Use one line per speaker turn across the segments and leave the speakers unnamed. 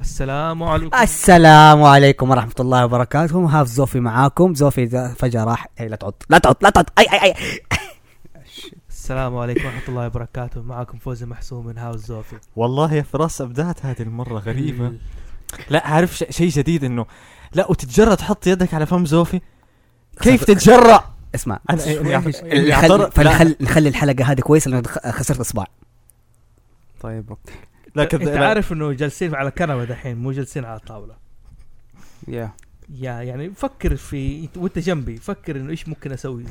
السلام عليكم
آه، السلام عليكم ورحمة الله وبركاته هاف زوفي معاكم زوفي ذا فجأة راح إيه، لا تعط لا تعط لا تعط أي أي أي
السلام عليكم ورحمه الله وبركاته معكم فوزي محسوم من هاوس زوفي
والله يا فراس ابدعت هذه المره غريبه لا عارف ش- شيء جديد انه لا وتتجرأ تحط يدك على فم زوفي كيف تتجرأ
اسمع
أنا- يعني- يعني
نخلي
أعترض- لا
فنخل- نخلي الحلقة هذه كويسة لأن خ- خسرت إصبع
طيب اوكي
لا
انت
كذا- لا.
عارف انه جالسين على كنبه دحين مو جالسين على طاوله
يا
يا يعني فكر في وانت جنبي فكر انه ايش ممكن اسوي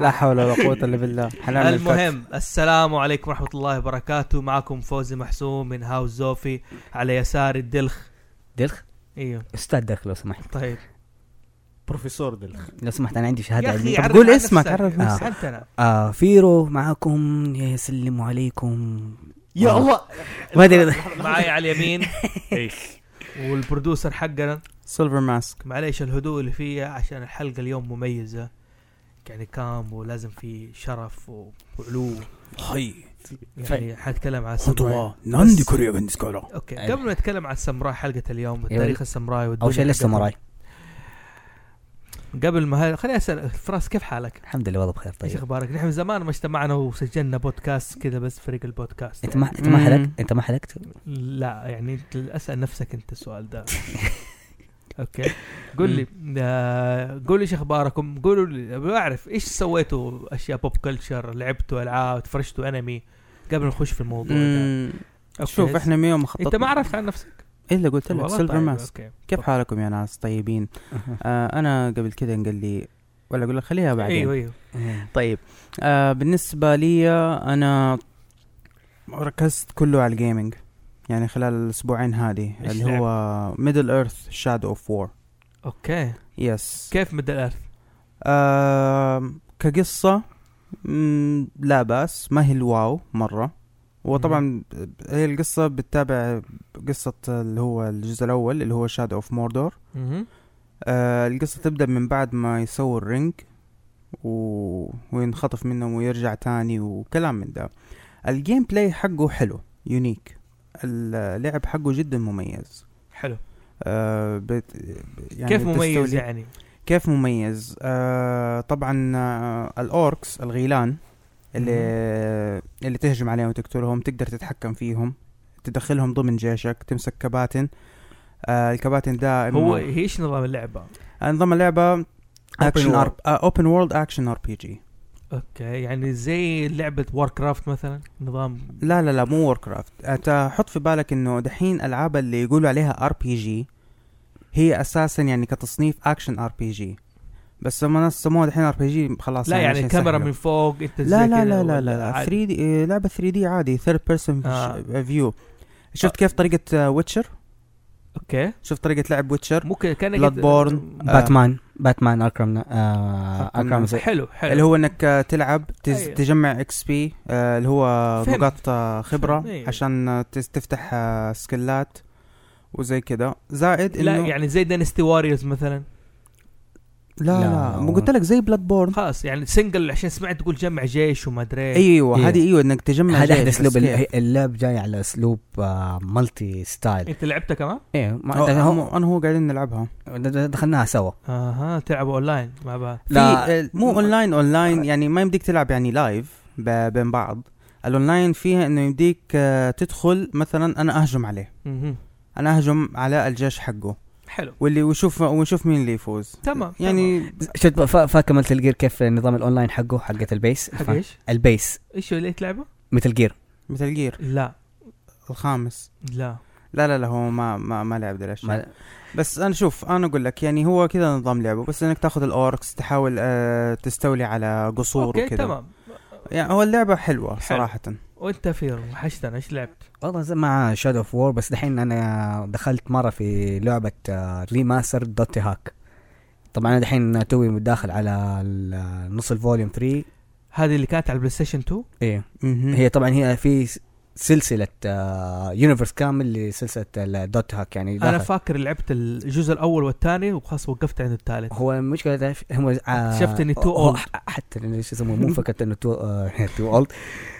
لا حول ولا قوه الا بالله حنان
المهم السلام عليكم ورحمه الله وبركاته معكم فوزي محسوم من هاوس زوفي على يسار الدلخ
دلخ
ايوه
أستاذ دلخ لو سمحت
طيب
بروفيسور دلخ
لو سمحت أنا عندي شهادة
يا
علمية
اخي
طب
عرف
قول
عن
اسمك،
نفسك.
عرف
نفسك.
انت انا
آه فيرو معاكم يسلم عليكم
يا
آه.
الله
ما أدري
معي على اليمين والبرودوسر حقنا
سيلفر ماسك
معليش الهدوء اللي فيه عشان الحلقه اليوم مميزه يعني كام ولازم في شرف و- وعلو
هاي
يعني حنتكلم على السمراء
ناندي كوريا بنسكولا
اوكي
أيوة.
قبل ما نتكلم على السمراء حلقه اليوم
أيوة.
والتاريخ السمراء والدنيا
أول شيء ليش
حقتهم.
ساموراي
قبل ما ه- خليني اسال فراس كيف حالك؟
الحمد لله والله بخير
ايش
طيب
اخبارك؟ نحن من زمان ما اجتمعنا وسجلنا بودكاست كذا بس فريق البودكاست
أنت ما أنت ما
مم.
حلقت أنت ما حلقت
لا يعني انت اسال نفسك انت السؤال ده اوكي قول لي آه، قول لي ايش اخباركم قولوا لي ابغى اعرف ايش سويتوا اشياء بوب كلتشر لعبتوا العاب فرشتوا انمي قبل ما نخش في الموضوع ده أوكي.
شوف احنا مية مخطط
انت ما عرفت عن نفسك
الا قلت لك
والله
سيلفر
طيب،
ماسك
اوكي
كيف حالكم يا ناس طيبين آه انا قبل كذا قال لي ولا اقول لك خليها بعدين
ايوه ايوه
طيب آه بالنسبة لي انا ركزت كله على الجيمنج يعني خلال الاسبوعين هذه
إيش
اللي هو ميدل ايرث شادو اوف وور
اوكي
يس
كيف مدى الارث
آه كقصة مم، لا بأس ما هي الواو مرة وطبعا هي القصة بتتابع قصة اللي هو الجزء الأول اللي هو شاد اوف موردور
مهم.
آه القصة تبدأ من بعد ما يسوي الرينج و... وينخطف منهم ويرجع تاني وكلام من ده الجيم بلاي حقه حلو يونيك اللعب حقه جدا مميز
حلو
آه بت... يعني
كيف مميز
تستولي-
يعني
كيف مميز آه طبعا آه الاوركس الغيلان اللي اللي تهجم عليهم وتقتلهم تقدر تتحكم فيهم تدخلهم ضمن جيشك تمسك كباتن آه الكباتن ده
هو هي ايش نظام اللعبه
نظام اللعبه اكشن
world.
اوبن وورلد اكشن ار بي جي
اوكي يعني زي لعبه وار كرافت مثلا نظام
لا لا لا مو وور كرافت انت حط في بالك انه دحين العاب اللي يقولوا عليها ار بي جي هي اساسا يعني كتصنيف اكشن ار بي جي بس لما ناس سموها دحين ار بي جي خلاص
لا يعني
شيء
الكاميرا
سهل.
من فوق انت
لا
زي كده
لا لا لا
ولا
لا
عادي؟
3 دي لعبه 3 دي عادي ثيرد بيرسون
آه.
فيو شفت كيف طريقه ويتشر
اوكي
شفت طريقه لعب ويتشر
ممكن كان
Bloodborne.
يقدر-
باتمان باتمان أكرم آه،
أكرم
أكرم
زي-
حلو حلو
اللي هو انك آه، تلعب تز
أيوه.
تجمع اكس بي اللي هو
فهمت.
نقاط آه، خبره
فهمت. أيوه.
عشان آه، تس- تفتح آه، سكلات وزي كده زائد انه
لا يعني زي دينستي واريوز مثلا
لا,
لا،
لا
هو-
مو قلت لك زي بلاد بورن
خلاص يعني سنجل عشان سمعت تقول جمع جيش وما ادري إيش.
ايوه هذه
إيه.
ايوه انك تجمع
هذا
جيش،
احد
بس
اسلوب
كيف؟
ال- اللعب جاي على اسلوب آه، مالتي ستايل
انت لعبتها كمان؟
ايه ما-
هو-
ده-
هم- انا هو قاعدين نلعبها
د- د- دخلناها سوا
اها تلعبوا اونلاين مع بعض
لا،
في آه، مو اونلاين اونلاين يعني ما يمديك تلعب يعني لايف ب- بين بعض الاونلاين فيها انه يمديك آه، تدخل مثلا انا اهجم عليه
مهم.
انا اهجم على الجيش حقه
حلو
واللي ويشوف ونشوف مين اللي يفوز
تمام
يعني
شفت فا- فاكر مثل جير كيف نظام الاونلاين حقه حقت البيس
تمام. حق ايش؟
البيس
ايش اللي تلعبه؟
مثل جير
مثل جير
لا
الخامس
لا
لا لا لا هو ما ما, ما لعب ذا الاشياء
ما-
بس انا شوف انا اقول لك يعني هو كذا نظام لعبه بس انك تاخذ الاوركس تحاول آه تستولي على قصور
اوكي
وكذا
تمام
يعني هو اللعبه حلوه
حلو.
صراحه
وانت فير وحشتنا ايش لعبت؟
والله زي مع شادو اوف وور بس دحين انا دخلت مره في لعبه ريماستر دوت هاك طبعا انا دحين توي داخل على ال- نص الفوليوم 3
هذه اللي كانت على البلاي ستيشن 2
ايه
مهم.
هي طبعا هي في س- سلسله يونيفرس كامل لسلسله الدوت هاك يعني
انا
داخل.
فاكر لعبت الجزء الاول والثاني وخلاص وقفت عند الثالث
هو آه، المشكله تعرف هم
اكتشفت اني too old.
حتى إنه شو يسموه مو فكره انه تو تو اولد آه،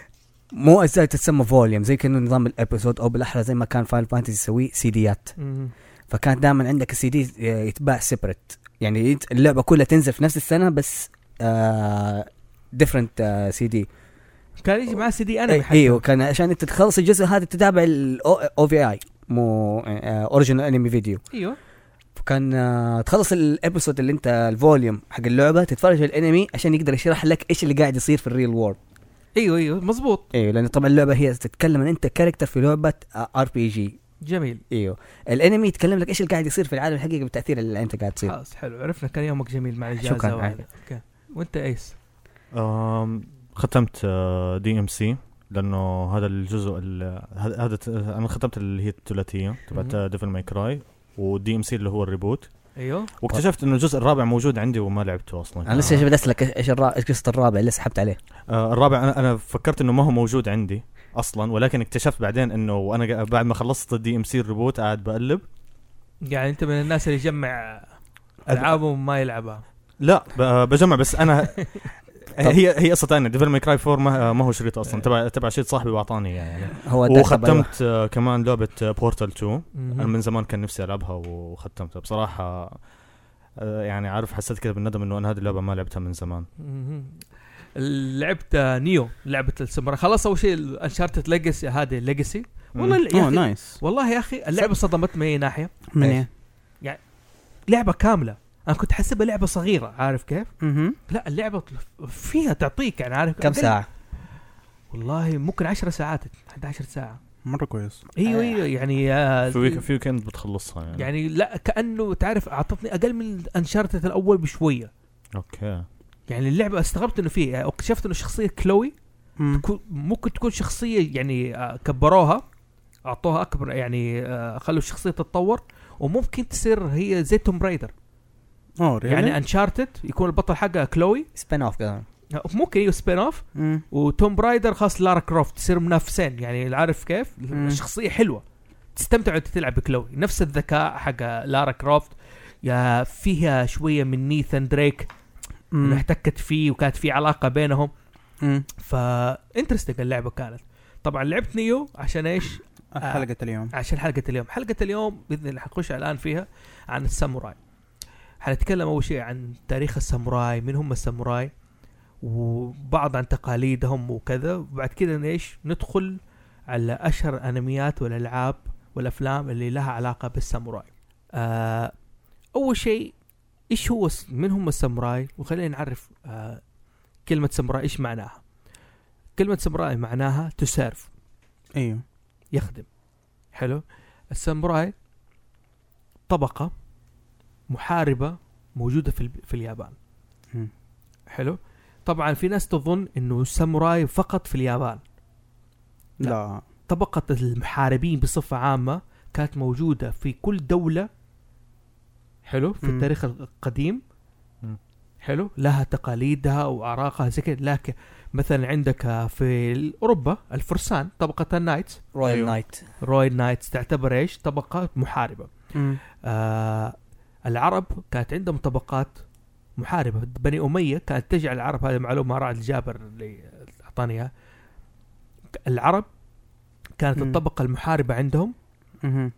مو اجزاء تتسمى فوليوم زي كانه نظام الابيسود او بالاحرى زي ما كان فاينل فانتسي يسويه سيديات
مم.
فكان دائما عندك السي دي يتباع سيبريت يعني يت- اللعبه كلها تنزل في نفس السنه بس ديفرنت سي دي
كان يجي معاه سي دي انا
إيه،
أي- ايوه كان عشان انت تخلص الجزء هذا تتابع الاو في اي مو آه، اوريجينال انمي فيديو
ايوه
فكان آه، تخلص الابيسود اللي انت الفوليوم حق اللعبه تتفرج الانمي عشان يقدر يشرح لك ايش اللي قاعد يصير في الريل وورد
ايوه ايوه مزبوط
ايوه لان طبعا اللعبه هي تتكلم ان انت كاركتر في لعبه ار بي جي
جميل
ايوه الانمي يتكلم لك ايش اللي قاعد يصير في العالم الحقيقي بالتاثير اللي انت قاعد تصير
خلاص حلو عرفنا كان يومك جميل مع الاجازه
طيب. شكراً،
وهذا.
عادي.
اوكي وانت ايس
آم، ختمت آه، دي ام سي لانه هذا الجزء ال- هذا هذا ت- انا ختمت اللي هي الثلاثيه تبعت آه،
مهم.
ديفل ماي كراي ودي ام سي اللي هو الريبوت
طيب.
ايوه
واكتشفت انه الجزء الرابع موجود عندي وما لعبته اصلا
انا لسه بدي اسالك ايش الرا- ايش قصه الرابع اللي سحبت عليه
آه الرابع انا انا فكرت انه ما هو موجود عندي اصلا ولكن اكتشفت بعدين انه وانا قا- بعد ما خلصت الدي ام سي الريبوت قاعد بقلب
يعني انت من الناس اللي يجمع العابه وما يلعبها
لا ب- آه، بجمع بس انا هي هي قصة انا ديفل ماي كراي 4 ما ما هو شريط اصلا تبع تبع شريط صاحبي واعطاني اياه يعني
هو ده تبع-
وختمت آه، كمان لعبة بورتال 2 انا من زمان كان نفسي العبها وختمتها بصراحه آه، يعني عارف حسيت كذا بالندم انه انا هذه اللعبه ما لعبتها من زمان
مهم. لعبت نيو لعبه السمراء خلاص اول شيء انشارتد ليجاسي هذه ليجاسي والله
مم.
يا
اوه
أخي
نايس
والله يا اخي اللعبه صدمت من اي ناحيه
من
إيش؟
ايه
لعبه كامله انا كنت حسبها لعبه صغيره عارف كيف
مهم.
لا اللعبه فيها تعطيك يعني عارف
كم
أقل-
ساعه
والله ممكن 10 ساعات 11 ساعه
مره كويس
ايوه ايوه يعني آه،
في ويك في ويكند بتخلصها يعني,
يعني لا كانه تعرف اعطتني اقل من انشارتد الاول بشويه
اوكي
يعني اللعبه استغربت انه فيه يعني اكتشفت انه شخصيه كلوي
مم.
كو- ممكن تكون شخصيه يعني آه، كبروها اعطوها اكبر يعني آه، خلوا الشخصيه تتطور وممكن تصير هي زي توم برايدر
اوه Oh, really؟
يعني انشارتد يكون البطل حقها كلوي
سبين اوف كمان.
ممكن أيوة، يو سبين اوف
مم.
وتوم برايدر خاص لارا كروفت تصير منافسين يعني عارف كيف؟
مم.
شخصيه حلوه تستمتع وانت تلعب بكلوي نفس الذكاء حق لارا كروفت يا فيها شويه من نيثان دريك انه
مم.
احتكت فيه وكانت في علاقه بينهم
مم.
فانترستنج اللعبه كانت طبعا لعبت نيو عشان ايش؟
حلقه اليوم
عشان حلقه اليوم، حلقه اليوم باذن الله حنخش الان فيها عن الساموراي. حنتكلم اول شيء عن تاريخ الساموراي، من هم الساموراي؟ وبعض عن تقاليدهم وكذا، وبعد كذا ايش؟ ندخل على اشهر الانميات والالعاب والافلام اللي لها علاقه بالساموراي. آه اول شيء ايش هو الس- من هم الساموراي؟ وخلينا نعرف آه كلمه ساموراي ايش معناها. كلمه ساموراي معناها تسيرف
ايوه
يخدم حلو الساموراي طبقة محاربة موجودة في, ال- في اليابان
مم.
حلو طبعا في ناس تظن انه الساموراي فقط في اليابان لا.
لا
طبقة المحاربين بصفة عامة كانت موجودة في كل دولة حلو في
مم.
التاريخ القديم
مم.
حلو لها تقاليدها وأعراقها زي كده لكن مثلا عندك في أوروبا الفرسان طبقة النايتس
رويال نايت
رويال نايتس تعتبر ايش؟ طبقات محاربه.
مم.
آه العرب كانت عندهم طبقات محاربه، بني اميه كانت تجعل العرب هذه معلومه رعد الجابر اللي اعطاني اياها. العرب كانت
مم.
الطبقه المحاربه عندهم
مهم.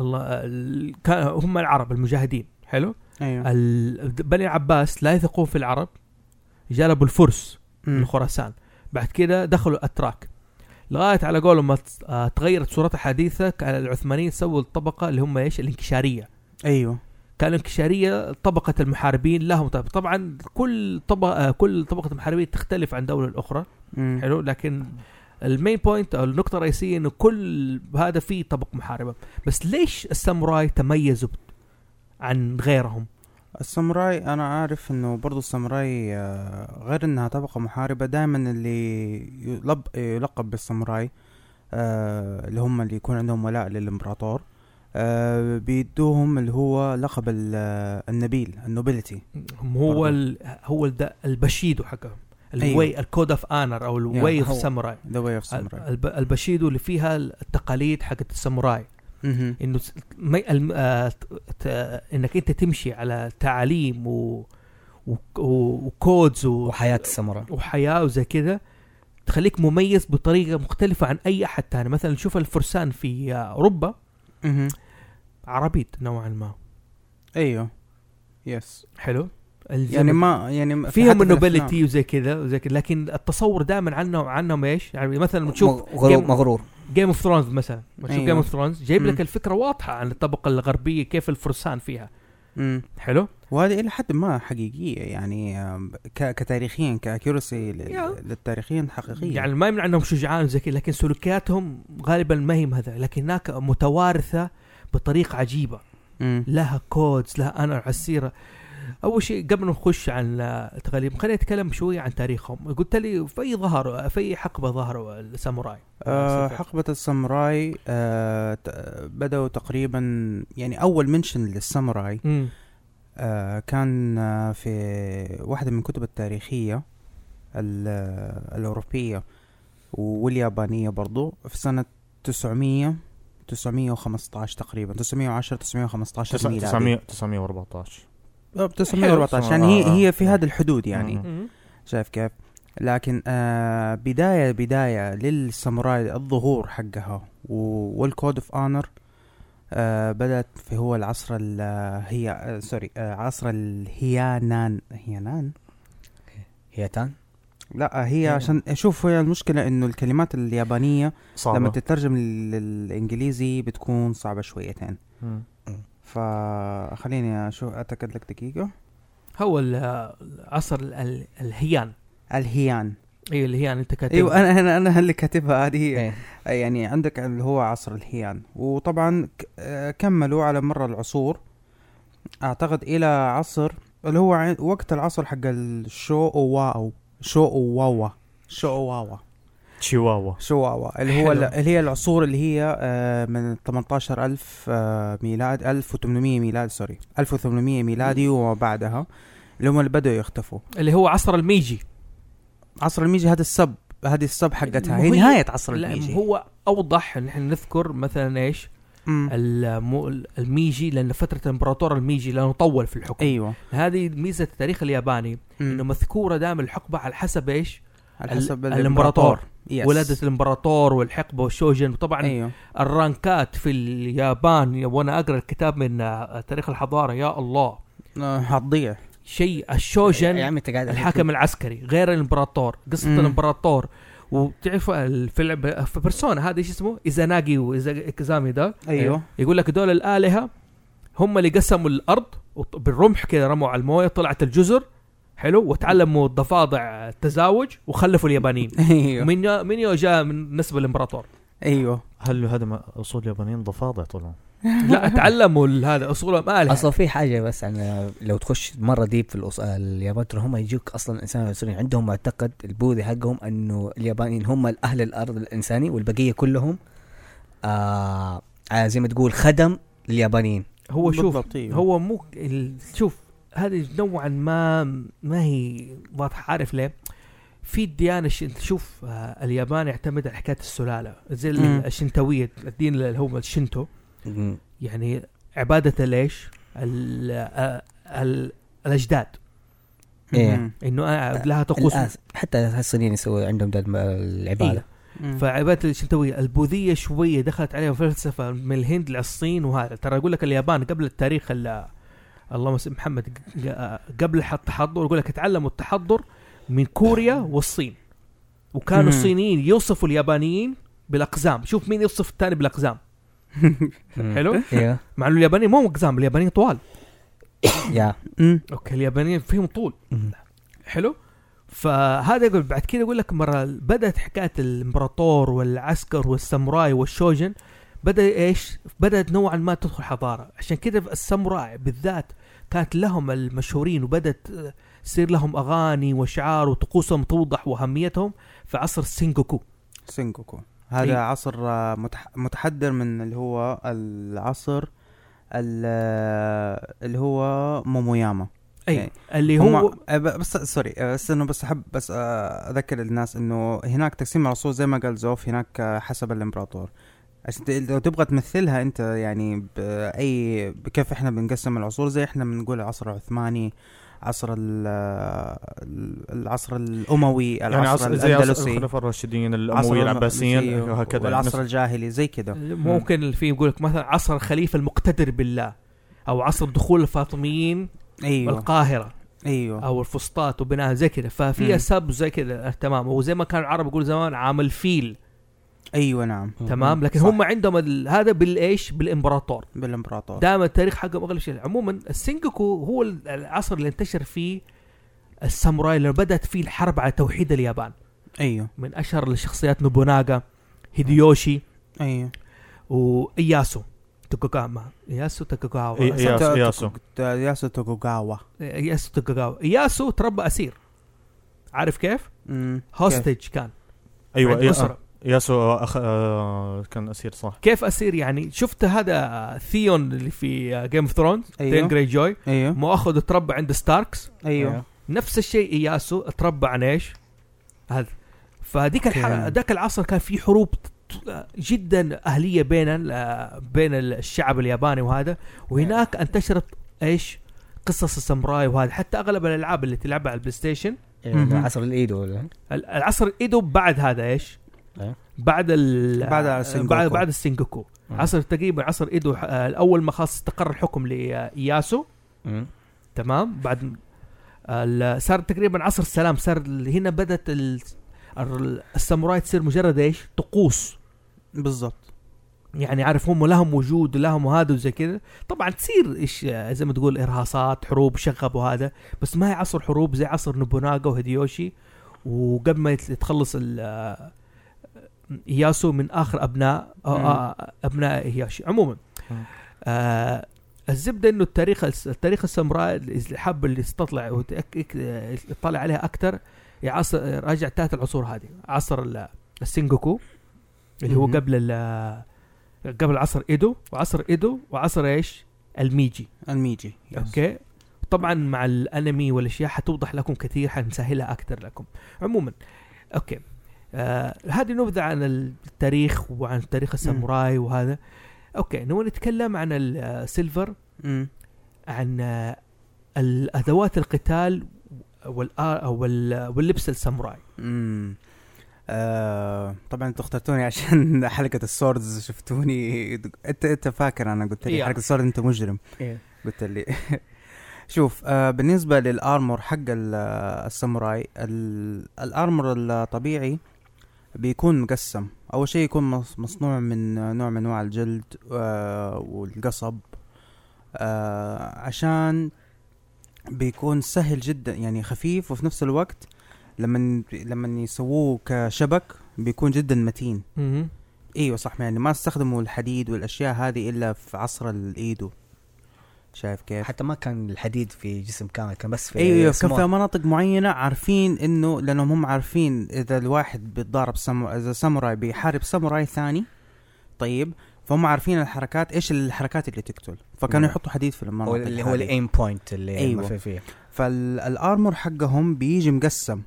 الله ال- كان هم العرب المجاهدين، حلو؟ آه،
ايوه
ال- بني العباس لا يثقون في العرب جلبوا الفرس
مم.
من خراسان بعد كده دخلوا الاتراك لغايه على قولهم ما تس- آه، تغيرت صورتها حديثه كان العثمانيين سووا الطبقه اللي هم ايش الانكشاريه
ايوه
كان الانكشاريه طبقه المحاربين لهم طب طبعا كل طبقه كل طبقه المحاربين تختلف عن دوله الاخرى
مم.
حلو لكن المين بوينت او النقطه الرئيسيه انه كل هذا فيه طبق محاربه بس ليش الساموراي تميزوا عن غيرهم
الساموراي انا عارف انه برضو الساموراي آه، غير انها طبقه محاربه دائما اللي يلب يلقب بالساموراي آه، اللي هم اللي يكون عندهم ولاء للامبراطور آه، بيدوهم اللي هو لقب ال- آه، النبيل النوبيلتي
هم هو
برضو.
ال هو ال- ده البشيدو حقهم
أيوه.
الواي الكود اوف انر او
يا،
الواي اوف
هو.
ساموراي
ذا واي اوف
الب-
ساموراي
الب- البشيدو اللي فيها التقاليد حقت الساموراي
مهم.
انه س- ما- الم- آه، ت- ت- انك انت تمشي على تعاليم و و- و- وكودز و-
وحياه الساموراي
وحياه وزي كذا تخليك مميز بطريقه مختلفه عن اي احد تاني مثلا شوف الفرسان في آه، اوروبا
مهم.
عربيد نوعا ما
ايوه يس
حلو
يعني ما يعني ما- في
فيهم
حتى في
النوبيلتي
الأفلام.
وزي كذا وزي كذا لكن التصور دائما عنهم عنهم ايش؟ يعني مثلا تشوف
مغ- غرور
Game-
مغرور
جيم اوف ثرونز مثلا تشوف جيم
أيوه.
اوف ثرونز جايب
مم.
لك الفكره واضحه عن الطبقه الغربيه كيف الفرسان فيها
مم.
حلو؟
وهذه الى حد ما حقيقيه يعني آم، ك- كتاريخيا كاكيورسي
يا.
للتاريخيين حقيقيه
يعني ما يمنع انهم شجعان وزي كذا لكن سلوكياتهم غالبا ما هي هذا لكن هناك متوارثه بطريقه عجيبه
مم.
لها كودز لها انا على السيره اول شيء قبل ما نخش عن آه، تغليب خلينا نتكلم شويه عن تاريخهم قلت لي في أي ظهر في أي حقبه ظهروا الساموراي
آه حقبة الساموراي آه ت- بدأوا تقريبا يعني أول منشن للساموراي
مم.
آه كان آه في واحدة من الكتب التاريخية ال- آه، الأوروبية واليابانية برضو في سنة 900 915 تقريبا 910 915
900
ميلادي
914
آه، 914 يعني
آه، آه.
هي هي في هذا الحدود يعني
مم.
مم.
شايف كيف؟ لكن آه بداية بداية للساموراي الظهور حقها و- والكود اوف اونر آه بدأت في هو العصر ال هي آه سوري آه عصر الهيانان هيانان؟
هيتان
لا آه، هي عشان شوف هي المشكلة انه الكلمات اليابانية
صعبة
لما تترجم للانجليزي بتكون صعبة شويتين
مم.
فخليني اشوف اتاكد لك دقيقة
هو ال- آه، عصر ال- ال- الهيان
الهيان
اي الهيان انت كاتب
ايوه انا انا انا اللي كاتبها هذه
إيه.
يعني عندك اللي هو عصر الهيان وطبعا ك- آه، كملوا على مر العصور اعتقد الى عصر اللي هو عن- وقت العصر حق الشو واو شو واوا شو واوا
تشيواوا
شو واوا اللي هو
حلو.
اللي هي العصور اللي هي آه، من 18000 آه، ميلاد 1800 ميلاد سوري 1800 ميلادي وما بعدها اللي هم اللي بدأوا يختفوا
اللي هو عصر الميجي
عصر الميجي هذا السب هذه السب حقتها
ما هي-
هي نهاية عصر
لا
الميجي
هو اوضح ان احنا نذكر مثلا ايش
مم.
المو الميجي لان فتره الامبراطور الميجي لانه طول في الحكم
ايوه
هذه ميزه التاريخ الياباني
مم.
انه مذكوره دائما الحقبه على حسب ايش
على
ال-
حسب
الإمبراطور.
يس.
ولاده الامبراطور والحقبه والشوجن طبعا
ايوه
الرانكات في اليابان وانا اقرا الكتاب من آه، تاريخ الحضاره يا الله
آه، حتضيع
شيء الشوجن
يعني
يا عمي انت قاعد
الحاكم العسكري غير الامبراطور قصه
مم.
الامبراطور وبتعرف ال- في لعبه في بيرسونا هذا ايش اسمه ايزاناجي وايزامي ده
ايوه
يقول لك دول الالهه هم اللي قسموا الارض وط- بالرمح كذا رموا على المويه طلعت الجزر حلو وتعلموا الضفادع التزاوج وخلفوا اليابانيين
ايوه
من من يو جاء من نسب الامبراطور
ايوه
هل هذا ما- اصول يابانيين ضفادع طلعوا
لا تعلموا ال- هذا اصولهم الهه
اصلا في حاجه بس عن لو تخش مره ديب في الأص... اليابان ترى هم يجوك اصلا الانسان العنصري عندهم معتقد البوذي حقهم انه اليابانيين هم اهل الارض الانساني والبقيه كلهم آه آه، زي ما تقول خدم لليابانيين
هو شوف
بالضبط، أيوه.
هو مو ال- شوف هذه نوعا ما ما هي واضحه عارف ليه؟ في الديانه الش- شوف آه، اليابان يعتمد على حكايه السلاله زي ال-
مم.
الشنتويه الدين اللي هو الشنتو يعني عباده ليش؟ ال- آه، ال- الاجداد
إيه.
مم.
انه آه، لها طقوس
الآس- حتى الصينيين يسووا عندهم ده الم- العباده
مم.
فعباده الشنتويه البوذيه شويه دخلت عليها فلسفه من الهند للصين وهذا ترى اقول لك اليابان قبل التاريخ ال- اللهم اسم محمد ق- قبل الح- التحضر يقول لك تعلموا التحضر من كوريا والصين وكانوا
مم.
الصينيين يوصفوا اليابانيين بالاقزام شوف مين يوصف الثاني بالاقزام حلو
ايوه
مع انه اليابانيين مو اقزام اليابانيين طوال
يا
مم.
اوكي اليابانيين فيهم طول
مم.
حلو فهذا يقول بعد كذا يقول لك مره بدات حكايه الامبراطور والعسكر والساموراي والشوجن بدا ايش؟ بدات نوعا ما تدخل حضاره، عشان كذا الساموراي بالذات كانت لهم المشهورين وبدت آه، تصير لهم اغاني واشعار وطقوسهم توضح واهميتهم في عصر السينجوكو.
سينجوكو هذا
أيوه.
عصر آه، متح- متحدر من اللي هو العصر ال- آه، اللي هو موموياما
اي
إيه.
اللي
هو
هو
بس سوري آه، بس انه بس احب بس آه، اذكر الناس انه هناك تقسيم العصور زي ما قال زوف هناك آه، حسب الامبراطور عشان ت- لو تبغى تمثلها انت يعني باي بكيف احنا بنقسم العصور زي احنا بنقول العصر العثماني عصر ال- آه، ال- العصر الاموي العصر
يعني عصر زي عصر
الاندلسي
الخلفاء الراشدين
عصر
الامويين العباسيين أيوة، وهكذا يعني.
والعصر
نفس-
الجاهلي زي كذا
ممكن في يقول لك مثلا عصر الخليفه المقتدر بالله او عصر دخول الفاطميين
ايوه
القاهره
ايوه
او الفسطاط وبناها زي كذا ففي
مم.
اسباب زي كذا آه، تمام وزي ما كان العرب يقول زمان عام الفيل
ايوه نعم
تمام لكن
صح.
هم عندهم ال- هذا بالايش بالامبراطور
بالامبراطور
دائما التاريخ حقهم اغلب شيء عموما السينجوكو هو ال- العصر اللي انتشر فيه الساموراي اللي بدات فيه الحرب على توحيد اليابان
ايوه
من اشهر الشخصيات نوبوناغا هيديوشي
ايوه
واياسو توكوغاما اياسو
إي-
توكوغاوا
إي- ياسو-
تا-
ياسو.
تا- ياسو توكوغاوا
اياسو توكوغاوا اياسو تربى اسير عارف كيف؟
أمم. كيف؟
هوستج كان
ايوه
عند
يا-
أسرة.
ياسو أخ... آه، كان اسير صح
كيف اسير يعني شفت هذا ثيون اللي في جيم اوف ثرونز تين
ايوه
جراي جوي
ايوه
مو اخذ تربى عند ستاركس
ايوه
نفس الشيء اياسو تربى عن ايش؟ هذا فهذيك
أوكي.
الح... ذاك العصر كان في حروب ت- جدا اهليه بين ال... بين الشعب الياباني وهذا وهناك انتشرت ايش؟ قصص الساموراي وهذا حتى اغلب الالعاب اللي تلعبها على البلاي ستيشن
مهم.
إيه، عصر الايدو ولا
ال- العصر الايدو بعد هذا ايش؟
إيه.
بعد ال
بعد السينجوكو.
بعد بعد السينجوكو
مم.
عصر تقريبا عصر ايدو ح- آه، اول ما خلاص استقر الحكم لاياسو تمام بعد ال- صار تقريبا عصر السلام صار ال- هنا بدات ال- ال- الساموراي تصير مجرد ايش؟ طقوس
بالضبط
يعني عارف هم لهم وجود لهم وهذا وزي كذا طبعا تصير ايش آه، زي ما تقول ارهاصات حروب شغب وهذا بس ما هي عصر حروب زي عصر نوبوناغا وهيديوشي وقبل ما يت- يتخلص ال- آه، اياسو من اخر ابناء آه،
مم.
آه، ابناء اياشي عموما
مم.
آه الزبده انه التاريخ التاريخ الساموراي اللي حب اللي استطلع وتأك- آه، يطلع عليها اكثر يعصر راجع ثلاث العصور هذه عصر ال- السينجوكو اللي هو
مم.
قبل ال- قبل عصر ايدو وعصر ايدو وعصر ايش؟ الميجي
الميجي
اوكي طبعا مع الانمي والاشياء حتوضح لكم كثير حنسهلها اكثر لكم عموما اوكي آه هذه نبذه عن التاريخ وعن تاريخ الساموراي وهذا اوكي نبغى نتكلم عن السيلفر
أمم.
عن آه، الادوات القتال والآ- وال- واللبس الساموراي
امم آه طبعا انتوا اخترتوني عشان حلقه السوردز شفتوني انت انت فاكر انا قلت لي
إيه.
حلقه السورد انت مجرم
إيه.
قلت لي شوف آه بالنسبه للارمور حق ال- الساموراي ال- الارمور الطبيعي بيكون مقسم اول شيء يكون مص- مصنوع من نوع من انواع الجلد آه والقصب آه عشان بيكون سهل جدا يعني خفيف وفي نفس الوقت لما لما يسووه كشبك بيكون جدا متين ايوه صح يعني ما استخدموا الحديد والاشياء هذه الا في عصر الايدو شايف كيف؟
حتى ما كان الحديد في جسم كامل كان بس في
ايوه ايوه كان
small.
في مناطق معينه عارفين انه لانهم هم عارفين اذا الواحد بيتضارب سامو... اذا ساموراي بيحارب ساموراي ثاني طيب فهم عارفين الحركات ايش الحركات اللي تقتل فكانوا
مم.
يحطوا حديد في
هو
المناطق
اللي هو
هذه.
الايم بوينت اللي
أيوة.
أيوة. في فيه
فالارمور حقهم بيجي مقسم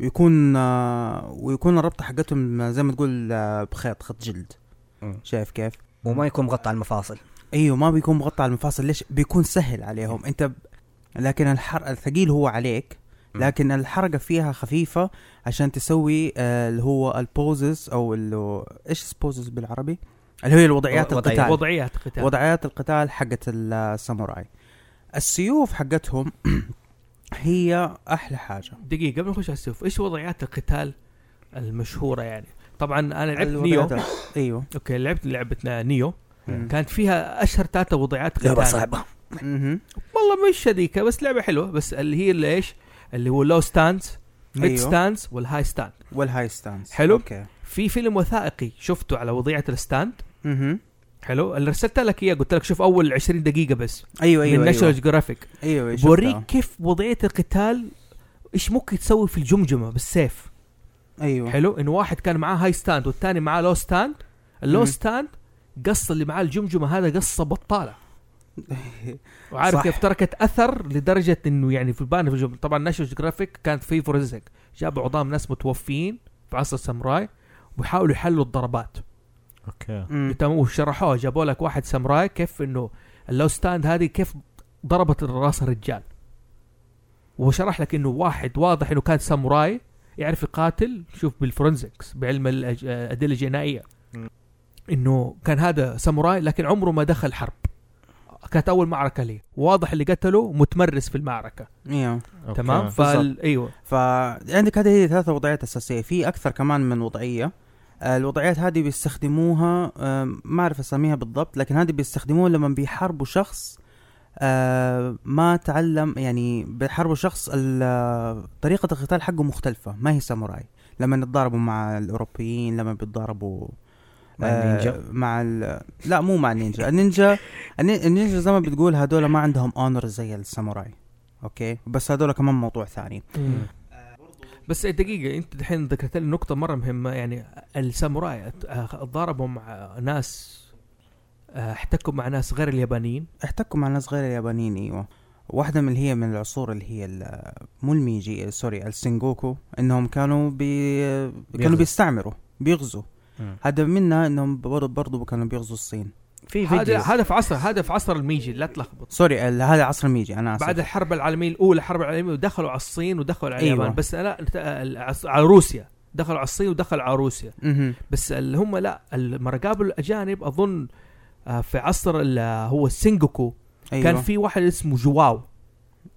ويكون آه، ويكون الربطه حقتهم زي ما تقول آه، بخيط خط جلد
مم.
شايف كيف؟
وما يكون مغطى على المفاصل
ايوه ما بيكون مغطى على المفاصل ليش؟ بيكون سهل عليهم انت ب... لكن الحر الثقيل هو عليك
مم.
لكن الحركه فيها خفيفه عشان تسوي آه، اللي هو البوزز او اللي... ايش بوزز بالعربي؟ اللي هي الوضعيات
وضعية-
القتال
وضعيات قتال
وضعيات القتال حقت الساموراي السيوف حقتهم هي احلى حاجه
دقيقه قبل ما نخش على السيوف ايش وضعيات القتال المشهوره يعني طبعا انا لعبت نيو
الوضعيات ال- ايوه
اوكي لعبت لعبتنا نيو
مم.
كانت فيها اشهر ثلاثة وضعيات قتال
مهم.
والله مش هذيك بس لعبه حلوه بس اللي هي اللي ايش اللي هو لو ستاندز ميد
أيوه.
ستاندز والهاي ستاند
والهاي ستانس
حلو.
اوكي
في فيلم وثائقي شفته على وضعيه الستاند
مهم.
حلو اللي ارسلت لك اياه قلت لك شوف اول 20 دقيقه بس
ايوه
أيوة من
ايوه
ناشونال
ايوه
جرافيك
ايوه أيوة، شفتها.
بوريك كيف وضعيه القتال ايش ممكن تسوي في الجمجمه بالسيف
ايوه
حلو انه واحد كان معاه هاي ستاند والثاني معاه لو ستاند اللو
مم.
ستاند قص اللي معاه الجمجمه هذا قصه بطاله وعارف
صح.
كيف تركت اثر لدرجه انه يعني في البان في الجمجمه طبعا ناشونال جرافيك كانت في فورنزيك جابوا عظام ناس متوفين في عصر الساموراي ويحاولوا يحلوا الضربات
اوكي
مم.
تمام وشرحوها جابوا لك واحد ساموراي كيف انه اللو ستاند هذه كيف ضربت راس الرجال وشرح لك انه واحد واضح انه كان ساموراي يعرف يقاتل شوف بالفورنزكس بعلم الأج- الادله الجنائيه
مم.
انه كان هذا ساموراي لكن عمره ما دخل حرب كانت اول معركه ليه واضح اللي قتله متمرس في المعركه
ايوه
أوكي.
تمام فال... ايوه
فعندك هذه هي ثلاث وضعيات اساسيه في اكثر كمان من وضعيه آه، الوضعيات هذه بيستخدموها آه، ما اعرف اسميها بالضبط لكن هذه بيستخدموها لما بيحاربوا شخص آه، ما تعلم يعني بيحاربوا شخص ال- آه، طريقه القتال حقه مختلفه ما هي ساموراي لما يتضاربوا مع الاوروبيين لما بيتضاربوا
مع
آه،
النينجا.
مع ال... لا مو مع النينجا النينجا الني- النينجا زي ما بتقول هذول ما عندهم اونر زي الساموراي اوكي بس هذول كمان موضوع ثاني
بس دقيقة أنت دحين ذكرت لي نقطة مرة مهمة يعني الساموراي ات- اه، ضاربوا مع ناس اه، احتكوا مع ناس غير اليابانيين
احتكوا مع ناس غير اليابانيين ايوه واحدة من اللي هي من العصور اللي هي ال- مو الميجي سوري السنجوكو انهم كانوا بي كانوا
بيغزوا.
بيستعمروا بيغزوا
مم.
هذا منها انهم برضو, برضو كانوا بيغزوا الصين
في
هذا
فيديو
هذا في عصر هذا في عصر الميجي لا تلخبط
سوري ال- هذا عصر الميجي انا اسف
بعد الحرب العالمية الأولى الحرب العالمية ودخلوا على الصين ودخلوا على
أيوة.
اليابان بس لا انت- ال- عص- على روسيا دخلوا على الصين ودخلوا على روسيا
مهم.
بس اللي هم لا لما قابلوا الأجانب أظن اه، في عصر ال- هو السنجوكو
أيوة.
كان في واحد اسمه جواو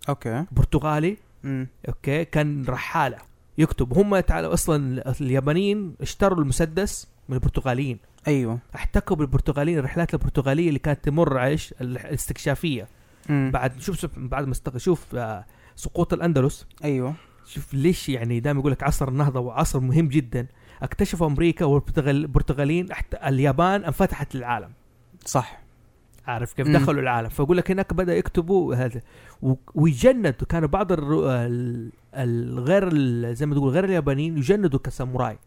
اوكي
برتغالي
مم.
اوكي كان رحاله يكتب هم تعالوا اصلا اليابانيين اشتروا المسدس من البرتغاليين
ايوه
احتكوا بالبرتغاليين الرحلات البرتغاليه اللي كانت تمر على ايش ال- الاستكشافيه
مم.
بعد شوف شوف- بعد ما استق... شوف آه، سقوط الاندلس
ايوه
شوف ليش يعني دائما يقول لك عصر النهضه وعصر مهم جدا اكتشفوا امريكا والبرتغاليين أحت... اليابان انفتحت للعالم
صح
عارف كيف
مم.
دخلوا العالم فاقول لك هناك بدا يكتبوا هذا و- ويجندوا كانوا بعض الر- ال- الغير ال- زي ما تقول غير اليابانيين يجندوا كساموراي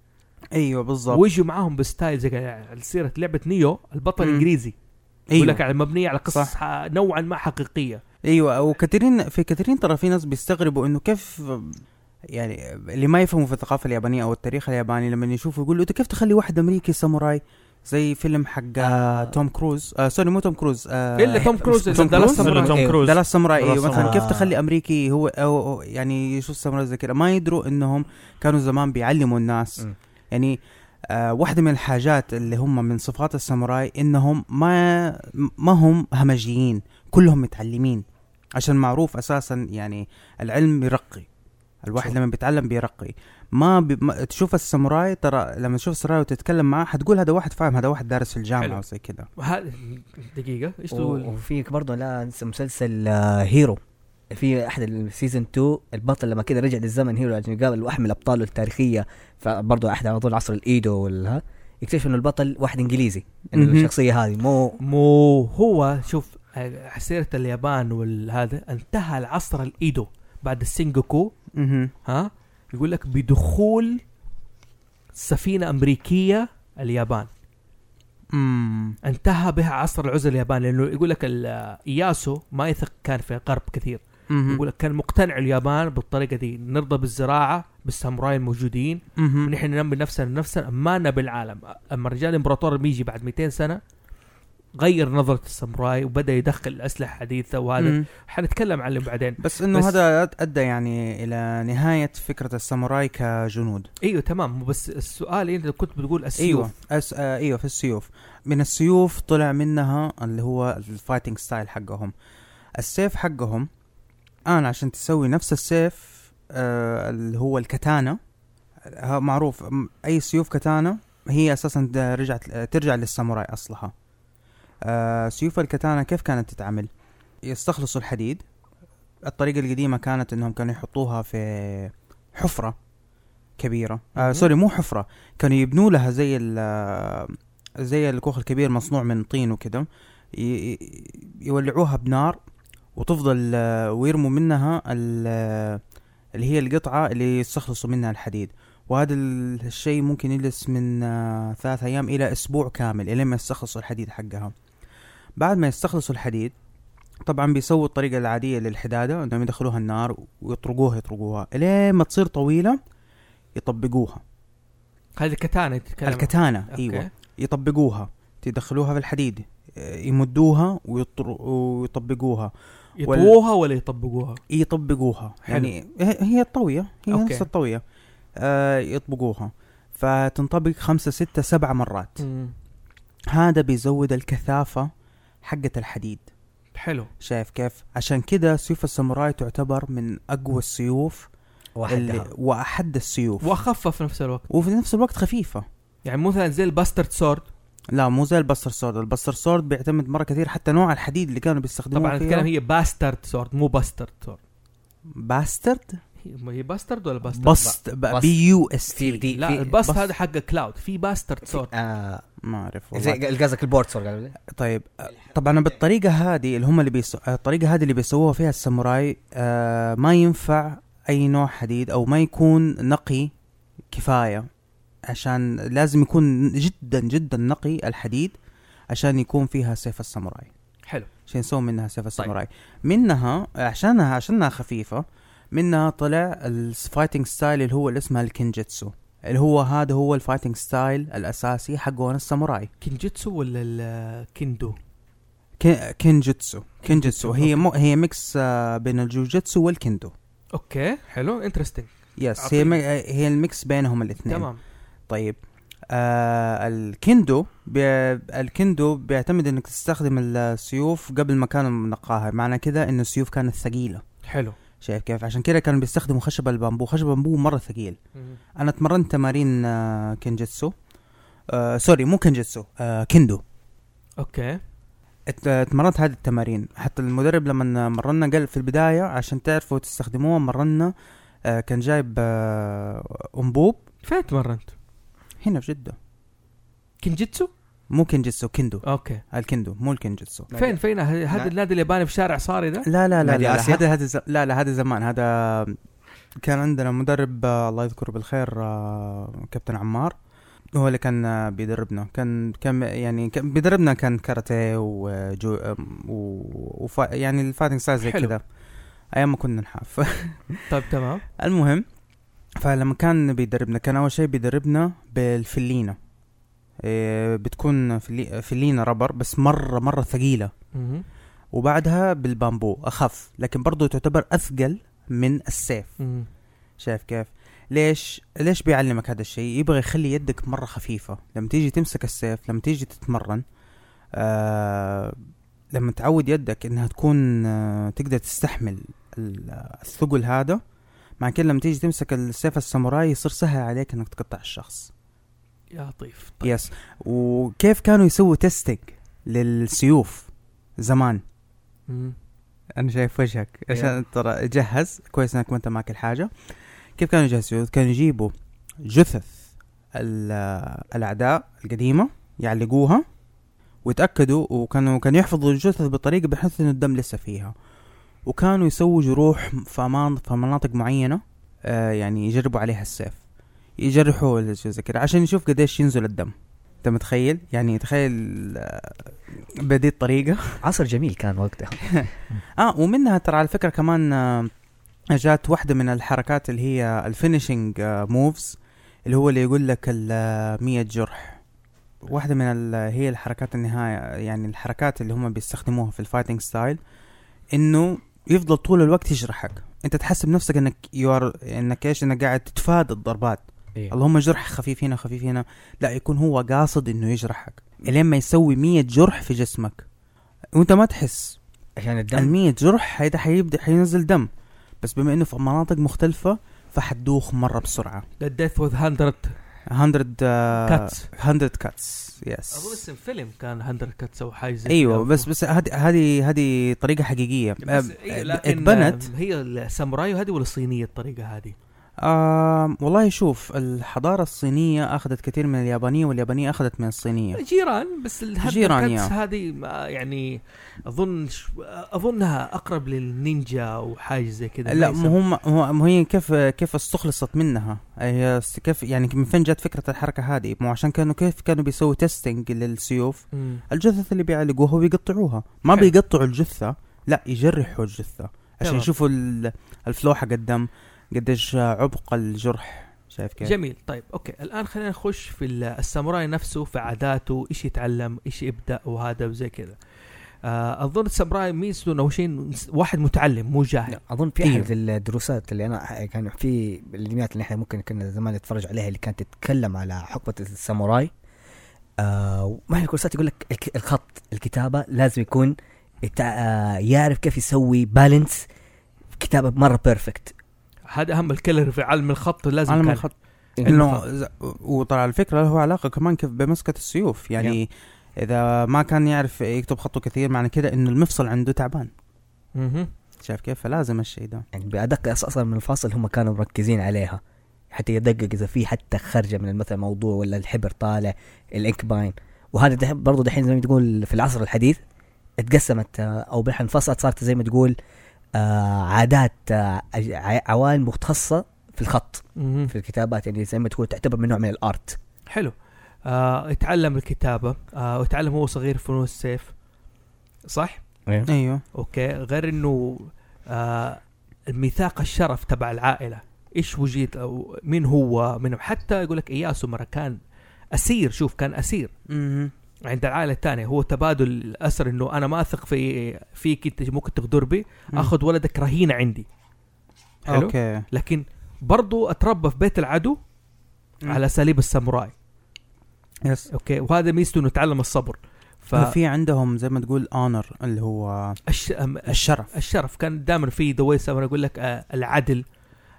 ايوه بالضبط
ويجوا معاهم بستايل زي كده- سيره لعبه نيو البطل
مم.
الانجليزي يقول لك
ايوه
على مبنيه على قصص ح- نوعا ما حقيقيه
ايوه وكثيرين في كثيرين ترى في ناس بيستغربوا انه كيف يعني اللي ما يفهموا في الثقافه اليابانيه او التاريخ الياباني لما يشوفوا يقولوا انت كيف تخلي واحد امريكي ساموراي زي فيلم حق آه توم كروز آه سوري مو توم كروز آه
الا توم كروز
توم
ده لا
كروز؟
ساموراي.
مثل توم
إيه،
كروز
دلاس ساموراي
دلاس
ايوه مثلا
ساموراي.
كيف
آه.
تخلي امريكي هو أو أو يعني يشوف ساموراي زي كذا ما يدروا انهم كانوا زمان بيعلموا الناس
م.
يعني آه واحده من الحاجات اللي هم من صفات الساموراي انهم ما ما هم همجيين كلهم متعلمين عشان معروف اساسا يعني العلم يرقي الواحد
صح.
لما بيتعلم بيرقي ما, بي... ما تشوف الساموراي ترى لما تشوف الساموراي وتتكلم معاه حتقول هذا واحد فاهم هذا واحد دارس في
حلو.
الجامعه وزي كذا
وه- دقيقه ايش
و-
تقول؟
وفيك برضه لا انسى مسلسل آه، هيرو في احد السيزون 2 البطل لما كده رجع للزمن هيرو عشان يقابل واحد من ابطاله التاريخيه فبرضه احد على طول عصر الايدو والها يكتشف انه البطل واحد انجليزي انه
مهم.
الشخصيه هذه مو
مو هو شوف آه، سيره اليابان والهذا انتهى العصر الايدو بعد السينجوكو
اها
ها يقول لك بدخول سفينة أمريكية اليابان
امم
انتهى بها عصر العزلة اليابان لأنه يقول لك ال- إياسو ما يثق كان في الغرب كثير يقول لك كان مقتنع اليابان بالطريقة دي نرضى بالزراعة بالساموراي الموجودين
مهم.
نحن ننمي نفسنا نفسنا أمانة بالعالم أما رجال الإمبراطور ميجي بعد 200 سنة غير نظرة الساموراي وبدأ يدخل الأسلحة الحديثة وهذا
مم.
حنتكلم عنه بعدين
بس انه
بس-
هذا أد- ادى يعني الى نهايه فكره الساموراي كجنود
أيوه تمام مو بس السؤال أنت كنت بتقول السيوف
ايوه أس... آه ايوه في السيوف من السيوف طلع منها اللي هو الفايتنج ستايل حقهم السيف حقهم انا عشان تسوي نفس السيف آه اللي هو الكتانا ها- معروف م- اي سيوف كتانا هي اساسا د- رجعت آه، ترجع للساموراي اصلها آه سيوف الكتانا كيف كانت تتعمل يستخلصوا الحديد الطريقة القديمة كانت انهم كانوا يحطوها في حفرة كبيرة آه
مهم.
سوري مو حفرة كانوا يبنوا لها زي ال آه، زي الكوخ الكبير مصنوع من طين وكده ي- ي- يولعوها بنار وتفضل آه، ويرموا منها ال- آه، اللي هي القطعة اللي يستخلصوا منها الحديد وهذا ال- الشيء ممكن يجلس من آه، ثلاث أيام إلى أسبوع كامل إلى ما يستخلصوا الحديد حقها بعد ما يستخلصوا الحديد طبعا بيسووا الطريقة العادية للحدادة انهم يدخلوها النار ويطرقوها يطرقوها الين ما تصير طويلة يطبقوها
هذه الكتانة تتكلم
الكتانة أيوة.
أوكي.
ايوه يطبقوها تدخلوها في الحديد آه، يمدوها ويطر- ويطبقوها
يطووها ولا يطبقوها؟
يطبقوها يعني هي هي الطوية هي
أوكي.
نفس الطوية آه يطبقوها فتنطبق خمسة ستة سبعة مرات هذا بيزود الكثافة حقة الحديد
حلو
شايف كيف عشان كده سيوف الساموراي تعتبر من أقوى السيوف
واحدة
اللي وأحد السيوف
واخفف في نفس الوقت
وفي نفس الوقت خفيفة
يعني مثلا زي الباسترد سورد
لا مو زي البستر سورد البستر سورد بيعتمد مرة كثير حتى نوع الحديد اللي كانوا بيستخدموه
طبعا الكلام هي باسترد سورد مو باسترد سورد
باسترد
هي- هي باسترد ولا باسترد؟
بست
بست.
بي يو اس
في
تي
دي
لا
في
الباست
بس-
هذا حق كلاود في باسترد سورد
آه
ما اعرف والله.
زي قصدك البورد سوري قالوا لي.
طيب آه، طبعا بالطريقه هذه اللي هم اللي بيسو... آه، الطريقه هذه اللي بيسووها فيها الساموراي آه ما ينفع اي نوع حديد او ما يكون نقي كفايه عشان لازم يكون جدا جدا نقي الحديد عشان يكون فيها سيف الساموراي
حلو
عشان يسووا منها سيف الساموراي منها عشانها عشانها خفيفه منها طلع الفايتنج ستايل اللي هو اللي اسمها الكنجتسو اللي هو هذا هو الفايتنج ستايل الاساسي حقون الساموراي
كينجيتسو ولا الكيندو؟
كي- كينجيتسو كينجيتسو
أوكي.
هي مو هي ميكس آه، بين الجوجيتسو والكندو
اوكي حلو انترستنج
يس
عطيني.
هي مي- هي الميكس بينهم الاثنين
تمام
طيب آه الكندو بي الكندو بيعتمد انك تستخدم السيوف قبل ما كانوا منقاها معنى كده ان السيوف كانت ثقيله
حلو
شايف كيف عشان كده كانوا بيستخدموا خشب البامبو خشب البامبو مره ثقيل
مم.
انا اتمرنت تمارين آه كينجيتسو آه سوري مو كينجيتسو آه كندو
اوكي
ات- اتمرنت هذه التمارين حتى المدرب لما مرنا قال في البدايه عشان تعرفوا تستخدموها مرنا آه، كان جايب آه، انبوب
فين تمرنت؟
هنا في جده
كينجيتسو؟
مو كنجتسو كندو
اوكي
الكندو مو الكنجتسو
نادي-
فين فين ه- هذا
نادي-
النادي الياباني في شارع صاري ده؟
لا لا لا
نادي
لا
آسيا؟
هذا هذا ز- لا لا هذا زمان هذا كان عندنا مدرب آه، الله يذكره بالخير آه، كابتن عمار هو اللي كان آه، بيدربنا كان كان يعني كان بيدربنا كان كاراتيه وجو آم، و وفا يعني الفايتنج سايز زي
حلو.
كذا ايام ما كنا نحاف
طيب تمام
المهم فلما كان بيدربنا كان اول شيء بيدربنا بالفلينه إيه بتكون فلي فلينه ربر بس مره مره ثقيله
مم.
وبعدها بالبامبو اخف لكن برضو تعتبر اثقل من السيف
مم.
شايف كيف ليش ليش بيعلمك هذا الشيء يبغى يخلي يدك مره خفيفه لما تيجي تمسك السيف لما تيجي تتمرن آه لما تعود يدك انها تكون آه تقدر تستحمل ال- الثقل هذا مع كده لما تيجي تمسك السيف الساموراي يصير سهل عليك انك تقطع الشخص
يا لطيف طيب.
يس وكيف كانوا يسووا تيستنج للسيوف زمان
مم.
انا شايف وجهك
إيه.
عشان ترى جهز كويس انك ما انت معك الحاجه كيف كانوا يجهزوا كانوا يجيبوا جثث ال- الاعداء القديمه يعلقوها ويتاكدوا وكانوا كانوا يحفظوا الجثث بطريقه بحيث انه الدم لسه فيها وكانوا يسووا جروح في أمان- في مناطق معينه آه يعني يجربوا عليها السيف يجرحوا ولا شيء زي كده عشان يشوف قديش ينزل الدم انت متخيل يعني تخيل آه، بهذه الطريقه
عصر جميل كان وقتها
اه ومنها ترى على فكره كمان آه، جات واحده من الحركات اللي هي الفينيشنج موفز اللي هو اللي يقول لك ال 100 جرح واحده من ال- آه، هي الحركات النهايه يعني الحركات اللي هم بيستخدموها في الفايتنج ستايل انه يفضل طول الوقت يجرحك انت تحسب نفسك انك يور انك ايش انك قاعد تتفادى الضربات
إيه.
اللهم جرح خفيف هنا خفيف هنا لا يكون هو قاصد انه يجرحك الين ما يسوي 100 جرح في جسمك وانت ما تحس
عشان الدم
المية جرح هيدا حيبدا حينزل دم بس بما انه في مناطق مختلفة فحتدوخ مرة بسرعة آه،
The Death with 100
100
آه.
كاتس
كاتس
100 كاتس
اظن
يس
اسم فيلم كان 100 كاتس او حاجه زي
ايوه
كده.
بس بس هذه هذه هذه طريقة حقيقية
بس
آه،
أيوة لكن
اتبنت
آه، هي الساموراي هذه ولا الصينيه الطريقه هذه؟
آه والله شوف الحضارة الصينية اخذت كثير من اليابانية واليابانية اخذت من الصينية
طيب، جيران بس الهاند
جيران،
كاتس
يا.
هذه ما- يعني اظن ش- اظنها اقرب للنينجا او حاجه زي كذا
لا
ليس-
مو هم هو- ما هي كيف كيف استخلصت منها هي است- كيف يعني من فين جت فكرة الحركة هذه مو عشان كانوا كيف كانوا بيسووا تيستنج للسيوف
مم.
الجثث اللي بيعلقوها ويقطعوها ما
حلو.
بيقطعوا الجثه لا يجرحوا الجثه عشان
تمام.
يشوفوا ال- الفلو حق الدم قديش عمق الجرح شايف كيف؟
جميل طيب اوكي الان خلينا نخش في ال- الساموراي نفسه في عاداته ايش يتعلم ايش يبدا وهذا وزي كذا آه اظن الساموراي ميزته انه أول شيء واحد متعلم مو جاهل
لا، اظن في
أيوه.
احد الدروسات اللي انا كان في الانميات اللي احنا ممكن كنا زمان نتفرج عليها اللي كانت تتكلم على حقبه الساموراي آه ما هي الكورسات يقول لك الك- الخط الكتابه لازم يكون يتع- آه يعرف كيف يسوي بالانس كتابه مره بيرفكت
هذا اهم الكلر في علم الخط لازم
علم
كان.
الخط انه إذا- وطلع الفكره له علاقه كمان كيف بمسكه السيوف يعني اذا ما كان يعرف يكتب خطه كثير معنى كده انه المفصل عنده تعبان
مهم.
شايف كيف فلازم الشيء ده
يعني بادق أص- اصلا من الفاصل هم كانوا مركزين عليها حتى يدقق اذا في حتى خرجه من مثلا موضوع ولا الحبر طالع الانك باين وهذا ده برضه دحين زي ما تقول في العصر الحديث اتقسمت آه، او بالحين انفصلت صارت زي ما تقول آه، عادات آه، أج- ع- عوالم مختصه في الخط
مهم.
في الكتابات يعني زي ما تقول تعتبر من نوع من الارت
حلو آه اتعلم الكتابه آه اتعلم هو صغير فنون السيف صح
إيه.
ايوه
اوكي غير انه آه الميثاق الشرف تبع العائله ايش وجيت او مين هو من حتى يقول لك اياسو مره كان اسير شوف كان اسير
مهم.
عند العائله الثانيه هو تبادل الاسر انه انا ما اثق في فيك انت ممكن تغدر بي اخذ ولدك رهينه عندي حلو أوكي.
اوكي
لكن برضو اتربى في بيت العدو
مم.
على اساليب الساموراي
يس
اوكي وهذا ميزته انه تعلم الصبر ف
ففي عندهم زي ما تقول اونر اللي هو
الش... أم-
الشرف
الشرف كان دائما في ذا ساموراي يقول لك آه العدل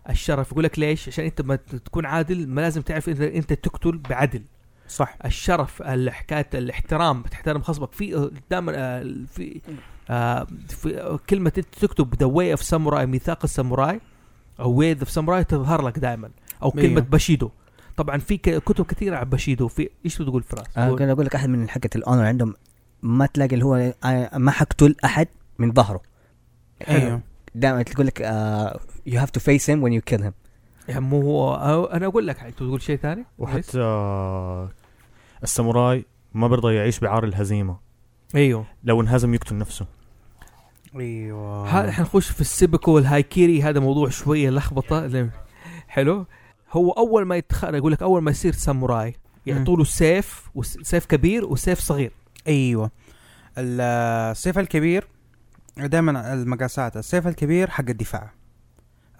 الشرف يقول لك ليش عشان انت ما ت- تكون عادل ما لازم تعرف انت, انت تقتل بعدل
صح
الشرف ال- حكايه الاحترام تحترم خصمك في دائما آه، في آه، في آه، كلمه انت تكتب ذا واي اوف ساموراي ميثاق الساموراي او واي اوف ساموراي تظهر لك دائما او
أيوه.
كلمه باشيدو طبعا في ك- كتب كثيره عن باشيدو في ايش تقول فراس؟
آه،
قول.
كنت اقول لك احد من حقه الاونر عندهم ما تلاقي اللي هو آه، ما حقتل احد من ظهره
ايوه
دائما تقول لك آه، يو هاف تو فيس هيم وين يو كيل هيم
يعني مو هو أو- انا اقول لك حاجة، تقول شيء ثاني؟
وحتى الساموراي ما برضى يعيش بعار الهزيمه
ايوه
لو انهزم يقتل نفسه
ايوه
ها- حنخش في السيبكو والهايكيري هذا موضوع شويه لخبطه لم- حلو هو اول ما يتخرج يقول لك اول ما يصير ساموراي يعطوا له سيف وس- سيف كبير وسيف صغير
ايوه السيف الكبير دائما المقاسات السيف الكبير حق الدفاع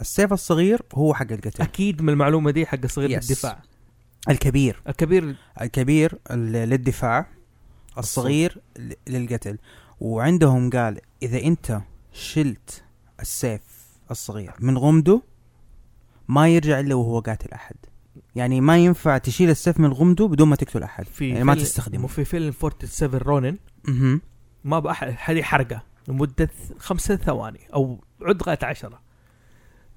السيف الصغير هو حق القتل
اكيد من المعلومه دي حق صغير
Yes.
الدفاع
الكبير
الكبير
الكبير ال- للدفاع الصغير ل- للقتل وعندهم قال اذا انت شلت السيف الصغير من غمده ما يرجع الا وهو قاتل احد يعني ما ينفع تشيل السيف من غمده بدون ما تقتل احد
في
يعني ما
فيلم-
تستخدمه
في فيلم 47 رونن
مهم.
ما بقى هذه حرقه لمده خمسة ثواني او عدقة عشرة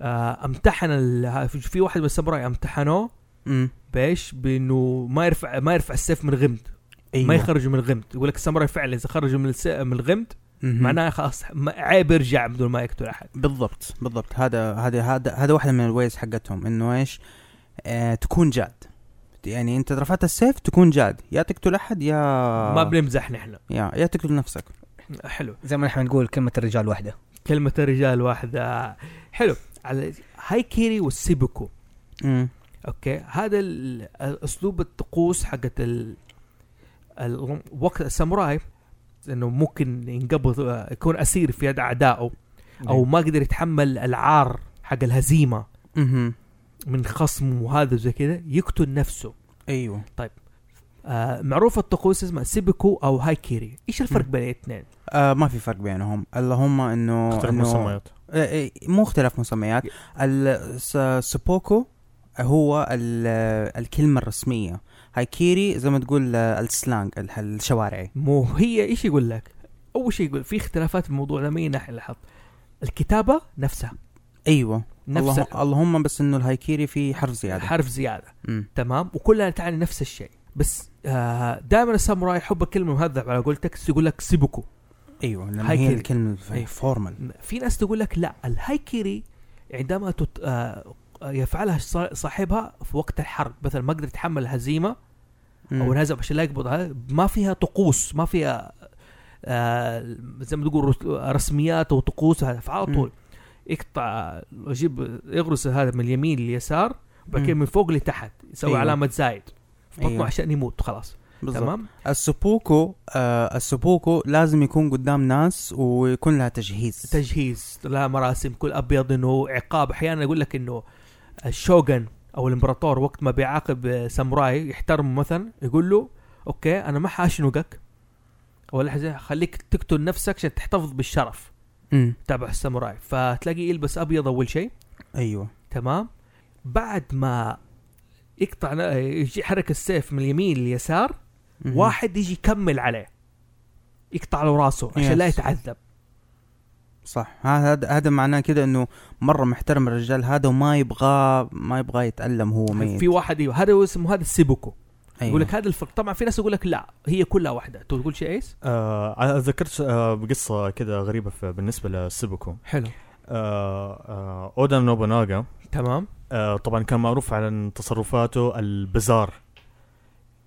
آه امتحن ال- ها- في- في واحد من الساموراي امتحنوه
مم.
بايش؟ بانه ما يرفع ما يرفع السيف من غمد
أيوة.
ما يخرجوا من الغمد يقول لك الساموراي فعلا اذا خرجوا من الس... من الغمد
مهم.
معناها خلاص ما- عيب يرجع بدون ما يقتل احد
بالضبط بالضبط هذا هذا هذا هذا واحده من الويز حقتهم انه ايش آه تكون جاد يعني انت رفعت السيف تكون جاد يا تقتل احد يا آه.
ما بنمزح نحن
يا يا تقتل نفسك
حلو
زي ما نحن نقول كلمه الرجال واحده
كلمة الرجال واحدة حلو على هاي كيري والسيبكو
امم
اوكي هذا ال- اسلوب الطقوس حقت ال... ال... وقت الساموراي انه ممكن ينقبض آه، يكون اسير في يد اعدائه
نعم.
او ما قدر يتحمل العار حق الهزيمه
اها
من خصمه وهذا زي كذا يقتل نفسه
ايوه
آه معروف الطقوس اسمها سيبكو او هايكيري ايش الفرق
مم.
بين الاثنين
آه ما في فرق بينهم اللهم انه
اختلف
إنه-
مسميات
آه، آه، مو اختلاف مسميات السبوكو هو ال- آه، الكلمه الرسميه هايكيري زي ما تقول آه، السلانج ال- الشوارعي
مو هي ايش يقول لك اول شيء يقول في اختلافات في الموضوع ده مين نحن لاحظ الكتابه نفسها
ايوه
نفس
الله- اللهم بس انه الهايكيري في حرف زياده
الحرف زياده
مم.
تمام وكلها تعني نفس الشيء بس آه دائما الساموراي يحب الكلمه المهذبه على قولتك يقول لك سيبكو
ايوه لما
هاي
هي
كده.
الكلمه
أيوة.
أيوة. فورمال
في ناس تقول لك لا الهايكيري عندما تت... آه يفعلها صا- صاحبها في وقت الحرب مثلا ما قدر يتحمل الهزيمه او انهزم عشان لا يقبض هذا ما فيها طقوس ما فيها آه زي ما تقول رس- رسميات او طقوس هذا فعلى
مم.
طول يقطع يجيب يغرس هذا من اليمين لليسار بعدين
مم.
من فوق لتحت يسوي
أيوة.
علامه زايد في بطنه
أيوة.
عشان يموت خلاص
بالضبط
تمام
السبوكو آه السبوكو لازم يكون قدام ناس ويكون لها تجهيز
تجهيز لها مراسم كل ابيض انه عقاب احيانا يقول لك انه الشوغن او الامبراطور وقت ما بيعاقب آه، ساموراي يحترمه مثلا يقول له اوكي انا ما حاشنقك ولا حاجة، خليك تقتل نفسك عشان تحتفظ بالشرف
مم.
تابع الساموراي فتلاقي يلبس ابيض اول شيء
ايوه
تمام بعد ما يقطع ن- يجي حرك السيف من اليمين لليسار
مم.
واحد يجي يكمل عليه يقطع له راسه عشان لا
Yes.
يتعذب
صح هذا هذا معناه كده انه مره محترم الرجال هذا وما يبغى ما يبغى يتالم هو ميت
في واحد ايوه هذا هو اسمه هذا السيبوكو
أيوة.
يقول لك هذا الفرق طبعا في ناس يقول لك لا هي كلها واحده تقول تقول شيء ايس
آه ذكرت آه بقصه كده غريبه في- بالنسبه للسبكو
حلو
آه آه اودا نوبوناغا
تمام
آه طبعا كان معروف عن تصرفاته البزار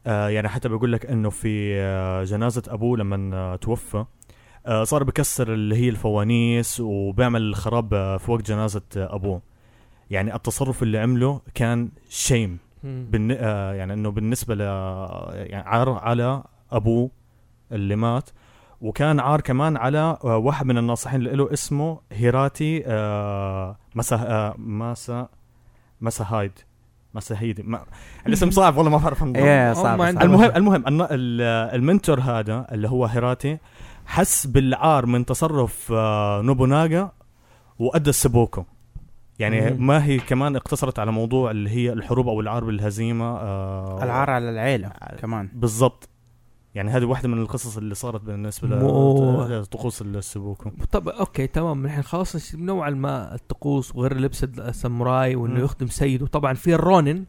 آه يعني حتى بيقول لك انه في آه جنازه ابوه لما آه توفى آه صار بكسر اللي هي الفوانيس وبيعمل خراب آه في وقت جنازه آه ابوه يعني التصرف اللي عمله كان شيم بالن... آه يعني انه بالنسبه ل يعني عار على ابوه اللي مات وكان عار كمان على آه واحد من الناصحين اللي له اسمه هيراتي آه مسا آه مسا مساهايد مساهيدي ما... الاسم صعب والله ما بعرف أنطقه.
ايه
هم
صعب,
عندهم-
صعب.
المهم المهم الن- ال- المنتور هذا اللي هو هيراتي حس بالعار من تصرف آه، نوبوناغا وادى السبوكو يعني
مم.
ما هي كمان اقتصرت على موضوع اللي هي الحروب او العار بالهزيمه آه،
العار على العيله كمان
بالضبط يعني هذه واحده من القصص اللي صارت بالنسبه
مو-
ل- لطقوس السبوكو
طب اوكي تمام نحن خلاص نوعا ما الطقوس وغير لبس الساموراي وانه
مم.
يخدم سيده طبعا في الرونن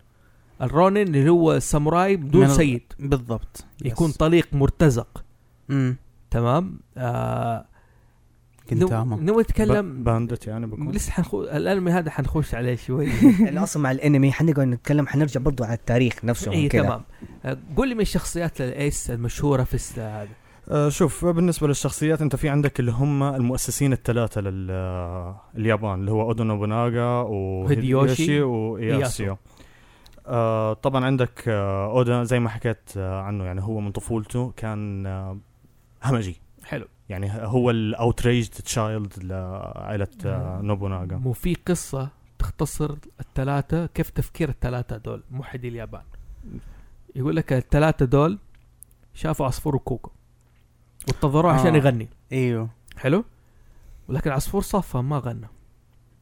الرونن اللي هو الساموراي بدون
من ال-
سيد
بالضبط
يكون
يس.
طليق مرتزق
امم
تمام آه
كنتاما
نو- نبغى نتكلم
ب- باندت يعني بكون
لسه حنخو... الانمي هذا حنخش عليه شوي
احنا اصلا مع الانمي حنقعد نتكلم حنرجع برضو على التاريخ نفسه
إيه،
اي
كده.
تمام آه، قول لي من الشخصيات الايس المشهوره في الس- هذا
آه، شوف بالنسبة للشخصيات انت في عندك اللي هم المؤسسين الثلاثة لليابان اللي هو اودو نوبوناغا
وهيديوشي
وهيديوشي واياسيو آه طبعا عندك آه اودا زي ما حكيت آه عنه يعني هو من طفولته كان آه همجي
حلو
يعني هو الاوتريجد تشايلد لعائلة آه نوبوناغا
مو في قصه تختصر الثلاثه كيف تفكير الثلاثه دول موحدي اليابان يقول لك الثلاثه دول شافوا عصفور وكوكو واتظروه عشان
آه.
يغني
ايوه
حلو ولكن عصفور صفى ما غنى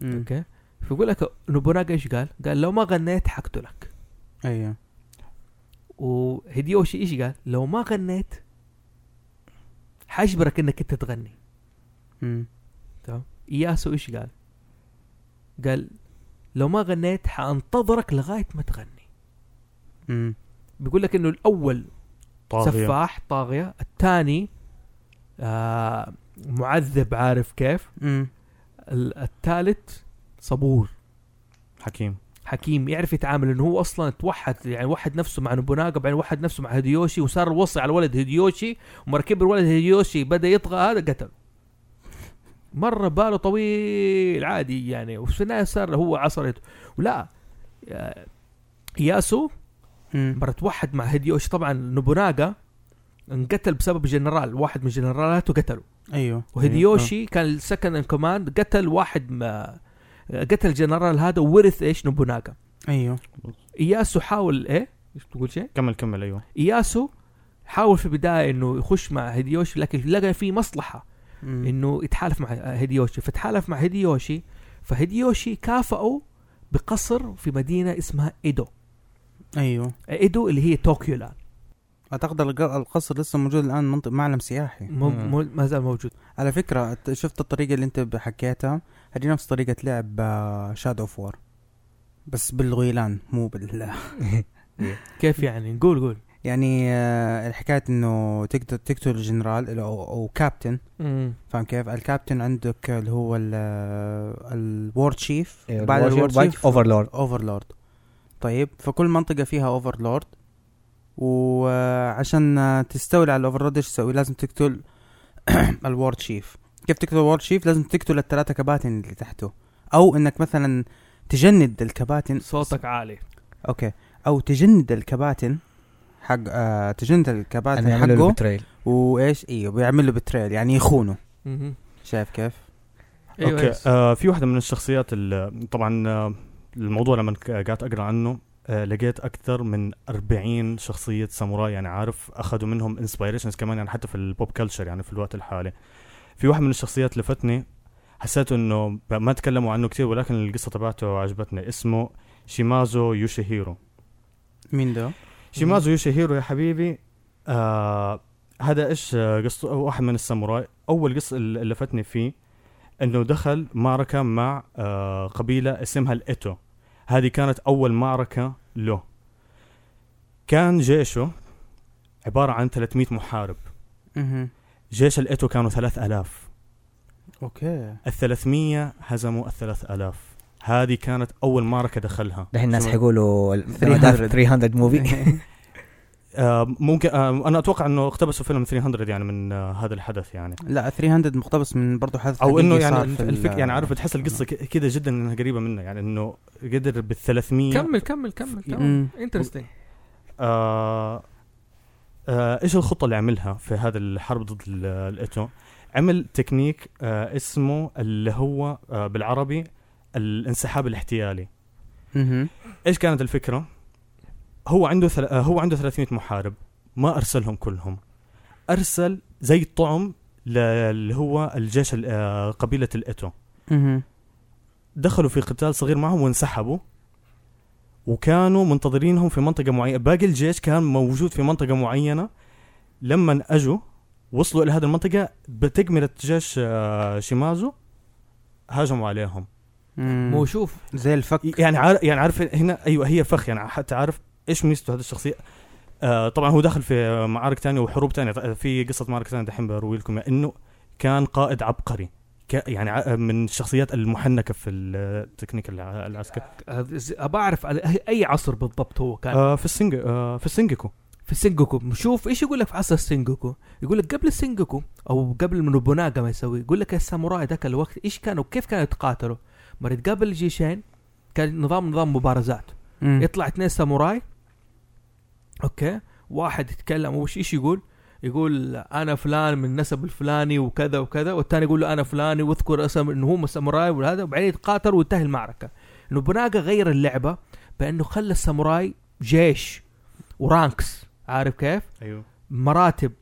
مم.
اوكي فيقول لك نوبوناغا ايش قال؟ قال لو ما غنيت حقتلك
ايوه
وهيديوشي ايش قال؟ لو ما غنيت حاجبرك انك انت تغني
مم.
اياسو ايش قال؟ قال لو ما غنيت حانتظرك لغايه ما تغني
مم.
بيقول لك انه الاول
طاغية
سفاح طاغيه الثاني آه معذب عارف كيف
مم.
ال- الثالث صبور
حكيم
حكيم يعرف يتعامل انه هو اصلا توحد يعني وحد نفسه مع نوبوناغا بعدين وحد نفسه مع هيديوشي وصار الوصي على ولد هيديوشي ومرة كبر ولد هيديوشي بدا يطغى هذا قتل مره باله طويل عادي يعني وفي النهايه صار هو عصرته ولا آه، ياسو
مم.
مرة توحد مع هيديوشي طبعا نوبوناغا انقتل بسبب جنرال واحد من جنرالاته قتله
ايوه
وهيديوشي كان السكند ان كوماند قتل واحد ما قتل الجنرال هذا وورث ايش نوبوناغا
ايوه
اياسو حاول ايه؟ ايش تقول شيء؟
كمل كمل ايوه
اياسو حاول في البدايه انه يخش مع هيديوشي لكن لقى في مصلحه
مم.
انه يتحالف مع هيديوشي فتحالف مع هيديوشي فهيديوشي كافئه بقصر في مدينه اسمها ايدو
ايوه
ايدو اللي هي طوكيو الان
اعتقد الق- القصر لسه موجود الان منطق معلم سياحي
مو-
مم.
مو- ما زال موجود
على فكره ت- شفت الطريقه اللي انت حكيتها هذه نفس طريقه لعب آه، شاد اوف وور بس بالغيلان مو بال
كيف يعني نقول قول
يعني آه، الحكايه انه تقدر تقتل الجنرال او او كابتن فاهم كيف؟ الكابتن عندك اللي هو آه، الورد تشيف
إيه،
بعد
الواشر-
الورد
وبعد
تشيف
اوفرلورد
اوفرلورد طيب فكل منطقه فيها اوفرلورد وعشان تستولي على الاوفرلورد ايش تسوي لازم تقتل الورد شيف كيف تقتل الورد شيف لازم تقتل الثلاثه كباتن اللي تحته او انك مثلا تجند الكباتن
صوتك عالي
اوكي او تجند الكباتن حق آه تجند الكباتن
أنا يعملوا له
حقه
بتريل
وايش ايوه بيعمل له بتريل يعني يخونه
مهم.
شايف كيف؟
ايوه
اوكي
يس.
آه في واحده من الشخصيات ال- طبعا آه، الموضوع لما ك- قعدت اقرا عنه آه لقيت اكثر من 40 شخصيه ساموراي يعني عارف اخذوا منهم انسبيريشنز كمان يعني حتى في البوب كلتشر يعني في الوقت الحالي في واحد من الشخصيات لفتني حسيت انه ب- ما تكلموا عنه كثير ولكن القصه تبعته عجبتني اسمه شيمازو يوشيهيرو
مين ده؟
شيمازو يوشيهيرو يا حبيبي آه هذا ايش آه، قصته هو واحد من الساموراي اول قصه اللي اللي لفتني فيه انه دخل معركه مع آه قبيله اسمها الايتو هذه كانت اول معركه له كان جيشه عباره عن 300 محارب
اها
جيش الايتو كانوا 3000
اوكي
ال 300 هزموا ال 3000 هذه كانت اول معركه دخلها
دحين الناس
شو-
حيقولوا ال-
300.
300 موفي
آه ممكن آه انا اتوقع انه اقتبسوا فيلم 300 يعني من آه هذا الحدث يعني
لا 300 مقتبس من برضه حدث
او انه
حقيقي
يعني
صار في ال-
الفك يعني عارف تحس القصه ك- كده جدا انها قريبه منه يعني انه قدر بال 300
كمل كمل كمل كمل
مم.
انترستنج
آه آه ايش الخطه اللي عملها في هذا الحرب ضد ال- الايتو عمل تكنيك آه اسمه اللي هو آه بالعربي الانسحاب الاحتيالي
مهم.
ايش كانت الفكره هو عنده ثل... آه، هو عنده 300 محارب ما ارسلهم كلهم ارسل زي طعم ل- اللي هو الجيش ال- آه، قبيله الايتو
مهم.
دخلوا في قتال صغير معهم وانسحبوا وكانوا منتظرينهم في منطقة معينة باقي الجيش كان موجود في منطقة معينة لما أجوا وصلوا إلى هذه المنطقة بتكملة جيش آه، شيمازو هاجموا عليهم
مم.
مو شوف
زي الفك
يعني عارف يعني عارف هنا ايوه هي فخ يعني حتى عارف ايش ميزته هذا الشخصيه آه طبعا هو دخل في معارك تانية وحروب تانية في قصه معارك تانية دحين بروي لكم انه كان قائد عبقري ك يعني ع- من الشخصيات المحنكه في التكنيك الع- العسكري
ابى اعرف على أي- اي عصر بالضبط هو كان
آه في السنج آه في السنجكو
في السنجوكو شوف ايش يقول لك في عصر السنجوكو يقول لك قبل السنجوكو او قبل من بوناغا ما يسوي يقول لك الساموراي ذاك الوقت ايش كانوا كيف كانوا يتقاتلوا مرة تقابل الجيشين كان نظام نظام مبارزات
مم.
يطلع اثنين ساموراي اوكي واحد يتكلم وش ايش يقول يقول انا فلان من النسب الفلاني وكذا وكذا والثاني يقول له انا فلاني واذكر اسم انه هم ساموراي وهذا وبعدين يتقاتل وانتهي المعركه انه بوناغا غير اللعبه بانه خلى الساموراي جيش ورانكس عارف كيف
أيوه.
ايوه
مراتب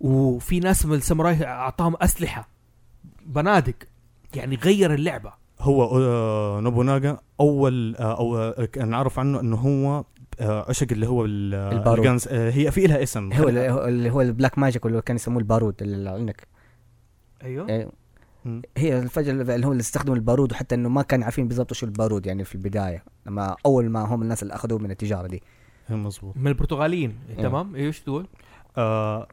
وفي ناس من الساموراي اعطاهم اسلحه بنادق يعني غير اللعبه
هو آه نوبوناغا اول آه او آه كان نعرف عنه انه هو آه عشق اللي هو ال- آه،
البارود.
الجانز- آه هي في لها اسم
هو ال- هو اللي هو البلاك ماجيك اللي كان يسموه البارود اللي عندك
ايوه
إيه.
مم.
هي الفجر اللي هو اللي استخدموا البارود وحتى انه ما كان عارفين بالضبط شو البارود يعني في البدايه لما اول ما هم الناس اللي اخذوه من التجاره دي
مضبوط
من البرتغاليين تمام ايش تقول
آه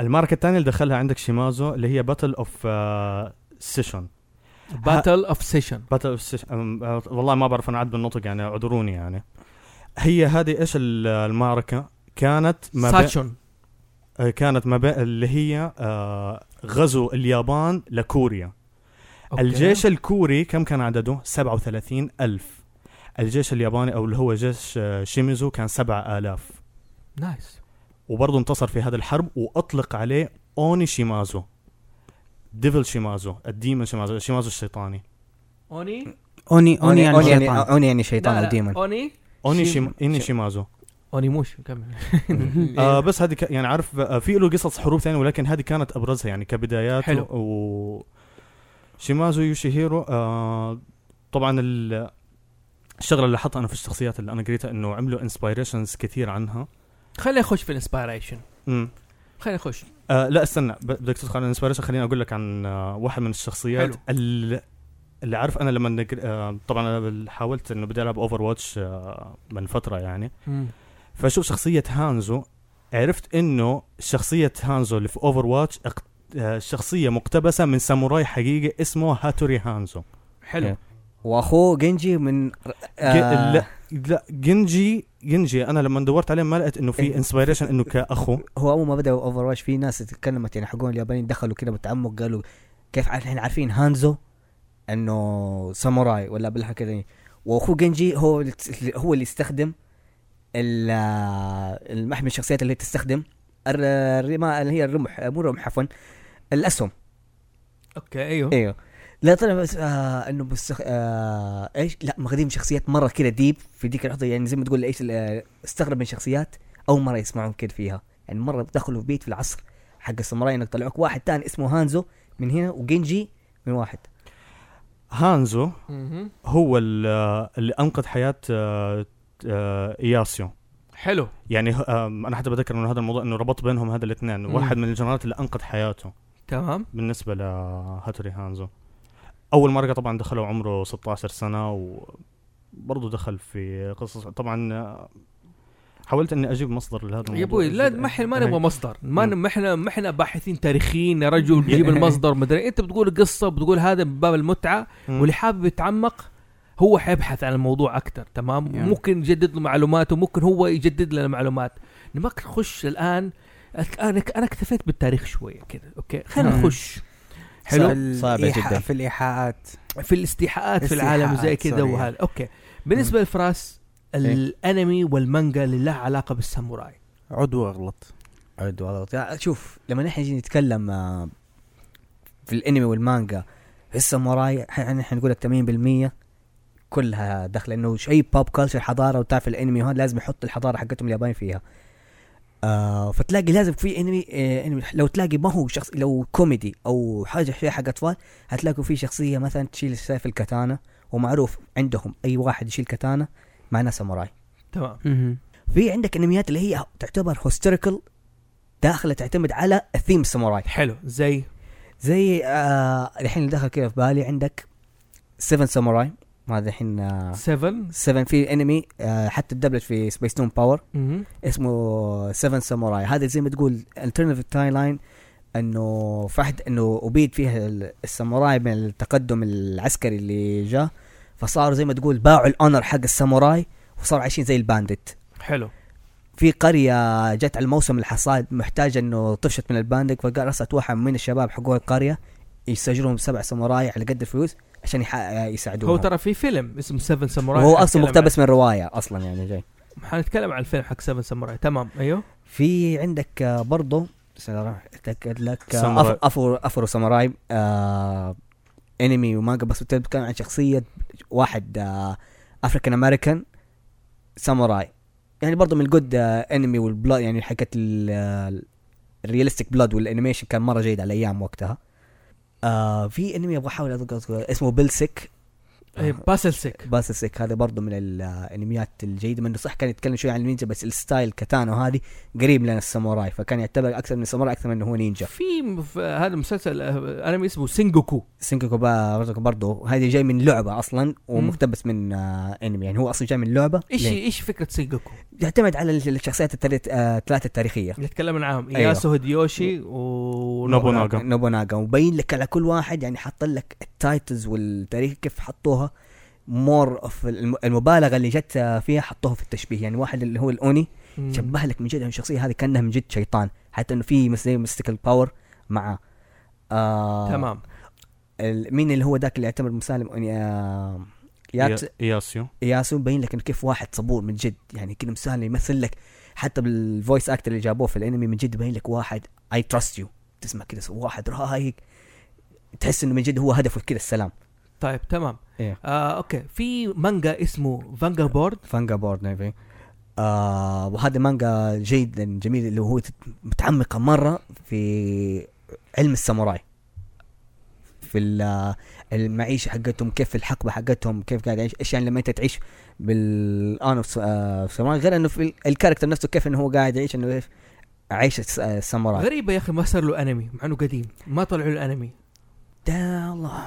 الماركة الثانية اللي دخلها عندك شيمازو اللي هي آه، باتل اوف سيشن
باتل اوف سيشن
باتل اوف سيشن آه، والله ما بعرف انا عاد بالنطق يعني اعذروني يعني هي هذه ايش ال- المعركة كانت ما بين
ساتشون
آه، كانت ما بين اللي هي آه غزو اليابان لكوريا
أوكي.
الجيش الكوري كم كان عدده 37 ألف الجيش الياباني او اللي هو جيش آه، شيميزو كان 7000
نايس
وبرضه انتصر في هذه الحرب واطلق عليه اوني شيمازو ديفل شيمازو الديمن شيمازو شيمازو الشيطاني
اوني
اوني اوني يعني
اوني يعني,
شيطان.
أوني يعني شيطان او ديمون
اوني
اوني
شيم-
شيم... إني
شيم-
شيمازو
اوني موش كمل إيه.
آه بس هذه ك... يعني عارف آه، في له قصص حروب ثانيه ولكن هذه كانت ابرزها يعني كبدايات
حلو.
و شيمازو يوشيهيرو آه طبعا ال... الشغله اللي حطها انا في الشخصيات اللي انا قريتها انه عملوا انسبيريشنز كثير عنها
خليني اخش في الانسبيريشن
امم
خليني اخش
آه لا استنى ب- بدك تدخل على الانسبيريشن خليني اقول لك عن آه واحد من الشخصيات
حلو.
ال- اللي عارف انا لما نقر... آه طبعا انا بال- حاولت انه بدي العب اوفر واتش آه من فتره يعني
Hmm.
فشوف شخصيه هانزو عرفت انه شخصيه هانزو اللي في اوفر واتش أق... آه شخصيه مقتبسه من ساموراي حقيقي اسمه هاتوري هانزو
حلو
واخوه جنجي من
آه.
آه
لا لا جنجي جنجي انا لما دورت عليه ما لقيت انه في
إيه.
انسبيريشن انه كاخو
هو اول ما بدا اوفر واتش في ناس اتكلمت يعني حقون اليابانيين دخلوا كده بتعمق قالوا كيف احنا عارفين هانزو انه ساموراي ولا بالحكي كذا واخوه جنجي هو اللي تس- هو اللي يستخدم ال- المحمي الشخصيات اللي تستخدم الر- الرما اللي هي الرمح مو الرمح عفوا الاسهم
اوكي ايوه
ايوه لا طلع بس آه انه بس آه ايش لا ماخذين شخصيات مره كذا ديب في ديك اللحظه يعني زي ما تقول ايش ال- استغرب من شخصيات اول مره يسمعون كذا فيها يعني مره دخلوا في بيت في العصر حق الساموراي انك طلعوك واحد تاني اسمه هانزو من هنا وجينجي من واحد
هانزو
مهم.
هو ال- اللي انقذ حياه آه، آه، اياسيو
حلو
يعني ه- آم، انا حتى بذكر انه هذا الموضوع انه ربط بينهم هذا الاثنين
مم.
واحد من الجنرالات اللي انقذ حياته
تمام
بالنسبه لهاتوري هانزو اول مره طبعا دخله عمره 16 سنه وبرضه دخل في قصص طبعا آه، حاولت اني اجيب مصدر لهذا الموضوع
يا ابوي لا ما احنا ما نبغى مصدر ما ن- ما احنا ما احنا باحثين تاريخيين يا رجل تجيب المصدر مدري انت بتقول قصه بتقول هذا من باب المتعه
مم.
واللي حابب يتعمق هو حيبحث عن الموضوع اكثر تمام
يا.
ممكن يجدد له معلوماته ممكن هو يجدد لنا معلومات ما نخش الان أك- انا انا اكتفيت بالتاريخ شويه كده اوكي خلينا
مم.
نخش
في
حلو
ال-
صعبة
إيحاء-
جداً.
في الايحاءات
في الاستيحاءات في العالم
استيحاءات،
وزي كده
سوري.
وهذا اوكي بالنسبه للفراس الانمي والمانجا اللي لها علاقه بالساموراي
عضو اغلط
عد والله يعني شوف لما نحن نجي نتكلم آه، في الانمي والمانجا الساموراي ح- نحن نقول لك 80% كلها داخله انه شيء بوب كلتشر حضاره وتعرف الانمي وهذا لازم يحط الحضاره حقتهم اليابان فيها آه فتلاقي لازم في انمي آه انمي لو تلاقي ما هو شخص لو كوميدي او حاجه فيها حق اطفال هتلاقوا في شخصيه مثلا تشيل سيف الكتانه ومعروف عندهم اي واحد يشيل كتانه معناه ساموراي
تمام
في عندك انميات اللي هي تعتبر هيستوريكال داخله تعتمد على الثيم ساموراي
حلو زي
زي آه الحين اللي دخل كذا في بالي عندك 7 ساموراي ما هذا الحين آه
7
7 في انمي آه حتى دبلج في سبيس تون باور اسمه 7 ساموراي هذا زي ما تقول الترناتيف تايم لاين انه فحد انه ابيد فيها ال- الساموراي من التقدم العسكري اللي جاه فصاروا زي ما تقول باعوا الاونر حق الساموراي وصاروا عايشين زي البانديت
حلو
في قرية جت على الموسم الحصاد محتاجة انه طفشت من الباندق فقال رأست واحد من الشباب حقوق القرية يسجلهم سبع ساموراي على قد الفلوس عشان يح- يساعدوهم
هو ترى في فيلم اسمه 7 ساموراي
وهو اصلا
حنتكلم
مقتبس من رواية اصلا يعني جاي
عن- حنتكلم عن الفيلم حق 7 ساموراي تمام ايوه
في عندك آه، برضو سلام، اتاكد لك آه،
ساموراي.
أف- افرو افرو ساموراي آه انمي ومانجا بس بتتكلم عن شخصية واحد آه افريكان امريكان ساموراي يعني برضو من الجود آه انمي والبلاد يعني آه، حكت الريالستيك بلاد والانيميشن كان مره جيد على ايام وقتها آه في انمي ابغى احاول أذكر- أذكر آه، اسمه بيلسك
إيه، باسل سيك
باسل سيك هذا برضه من الانميات الجيده منه صح كان يتكلم شوي عن النينجا بس الستايل كاتانو هذه قريب لنا الساموراي فكان يعتبر اكثر من الساموراي اكثر من انه هو نينجا
في م- في هذا مسلسل آه، انمي اسمه سينجوكو
سينكوكو برضه هذه جاي من لعبه اصلا ومقتبس من آه انمي يعني هو اصلا جاي من لعبه
ايش
ليه؟
ايش فكره سينجوكو؟
يعتمد على ال- الشخصيات التلات- آه، الثلاثه التاريخيه
اللي تكلمنا عنهم
أيوه.
اياسو هيديوشي و
نوبوناغا. نوبوناغا.
نوبوناغا ومبين لك على كل واحد يعني حاط لك التايتلز والتاريخ كيف حطوها مور اوف المبالغه اللي جت آه، فيها حطوها في التشبيه يعني واحد اللي هو الاوني
مم.
شبه لك من جد إنه الشخصيه هذه كانها من جد شيطان حتى انه في مس- زي ميستيكال باور معاه آه
تمام
ال- مين اللي هو ذاك اللي يعتبر مسالم أني- آه يات
إيا- اياسيو
ياسو مبين لك انه كيف واحد صبور من جد يعني كذا مسالم يمثل لك حتى بالفويس اكتر اللي جابوه في الانمي من جد مبين لك واحد اي تراست يو تسمع كذا واحد رايق تحس انه من جد هو هدفه كذا السلام
طيب تمام
إيه.
آه اوكي في مانجا اسمه فانجا بورد
فانجا بورد نيفي آه وهذا مانجا جيد جميل اللي هو تت- متعمقة مرة في علم الساموراي في ال- المعيشة حقتهم كيف الحقبة حقتهم كيف قاعد يعيش ايش يعني لما انت تعيش بالان اوف ساموراي غير انه آه، في ال- الكاركتر نفسه كيف انه هو قاعد يعيش انه ايش عيشة الس- آه، الساموراي
غريبه يا اخي ما صار له انمي مع انه قديم ما طلعوا له انمي
ده الله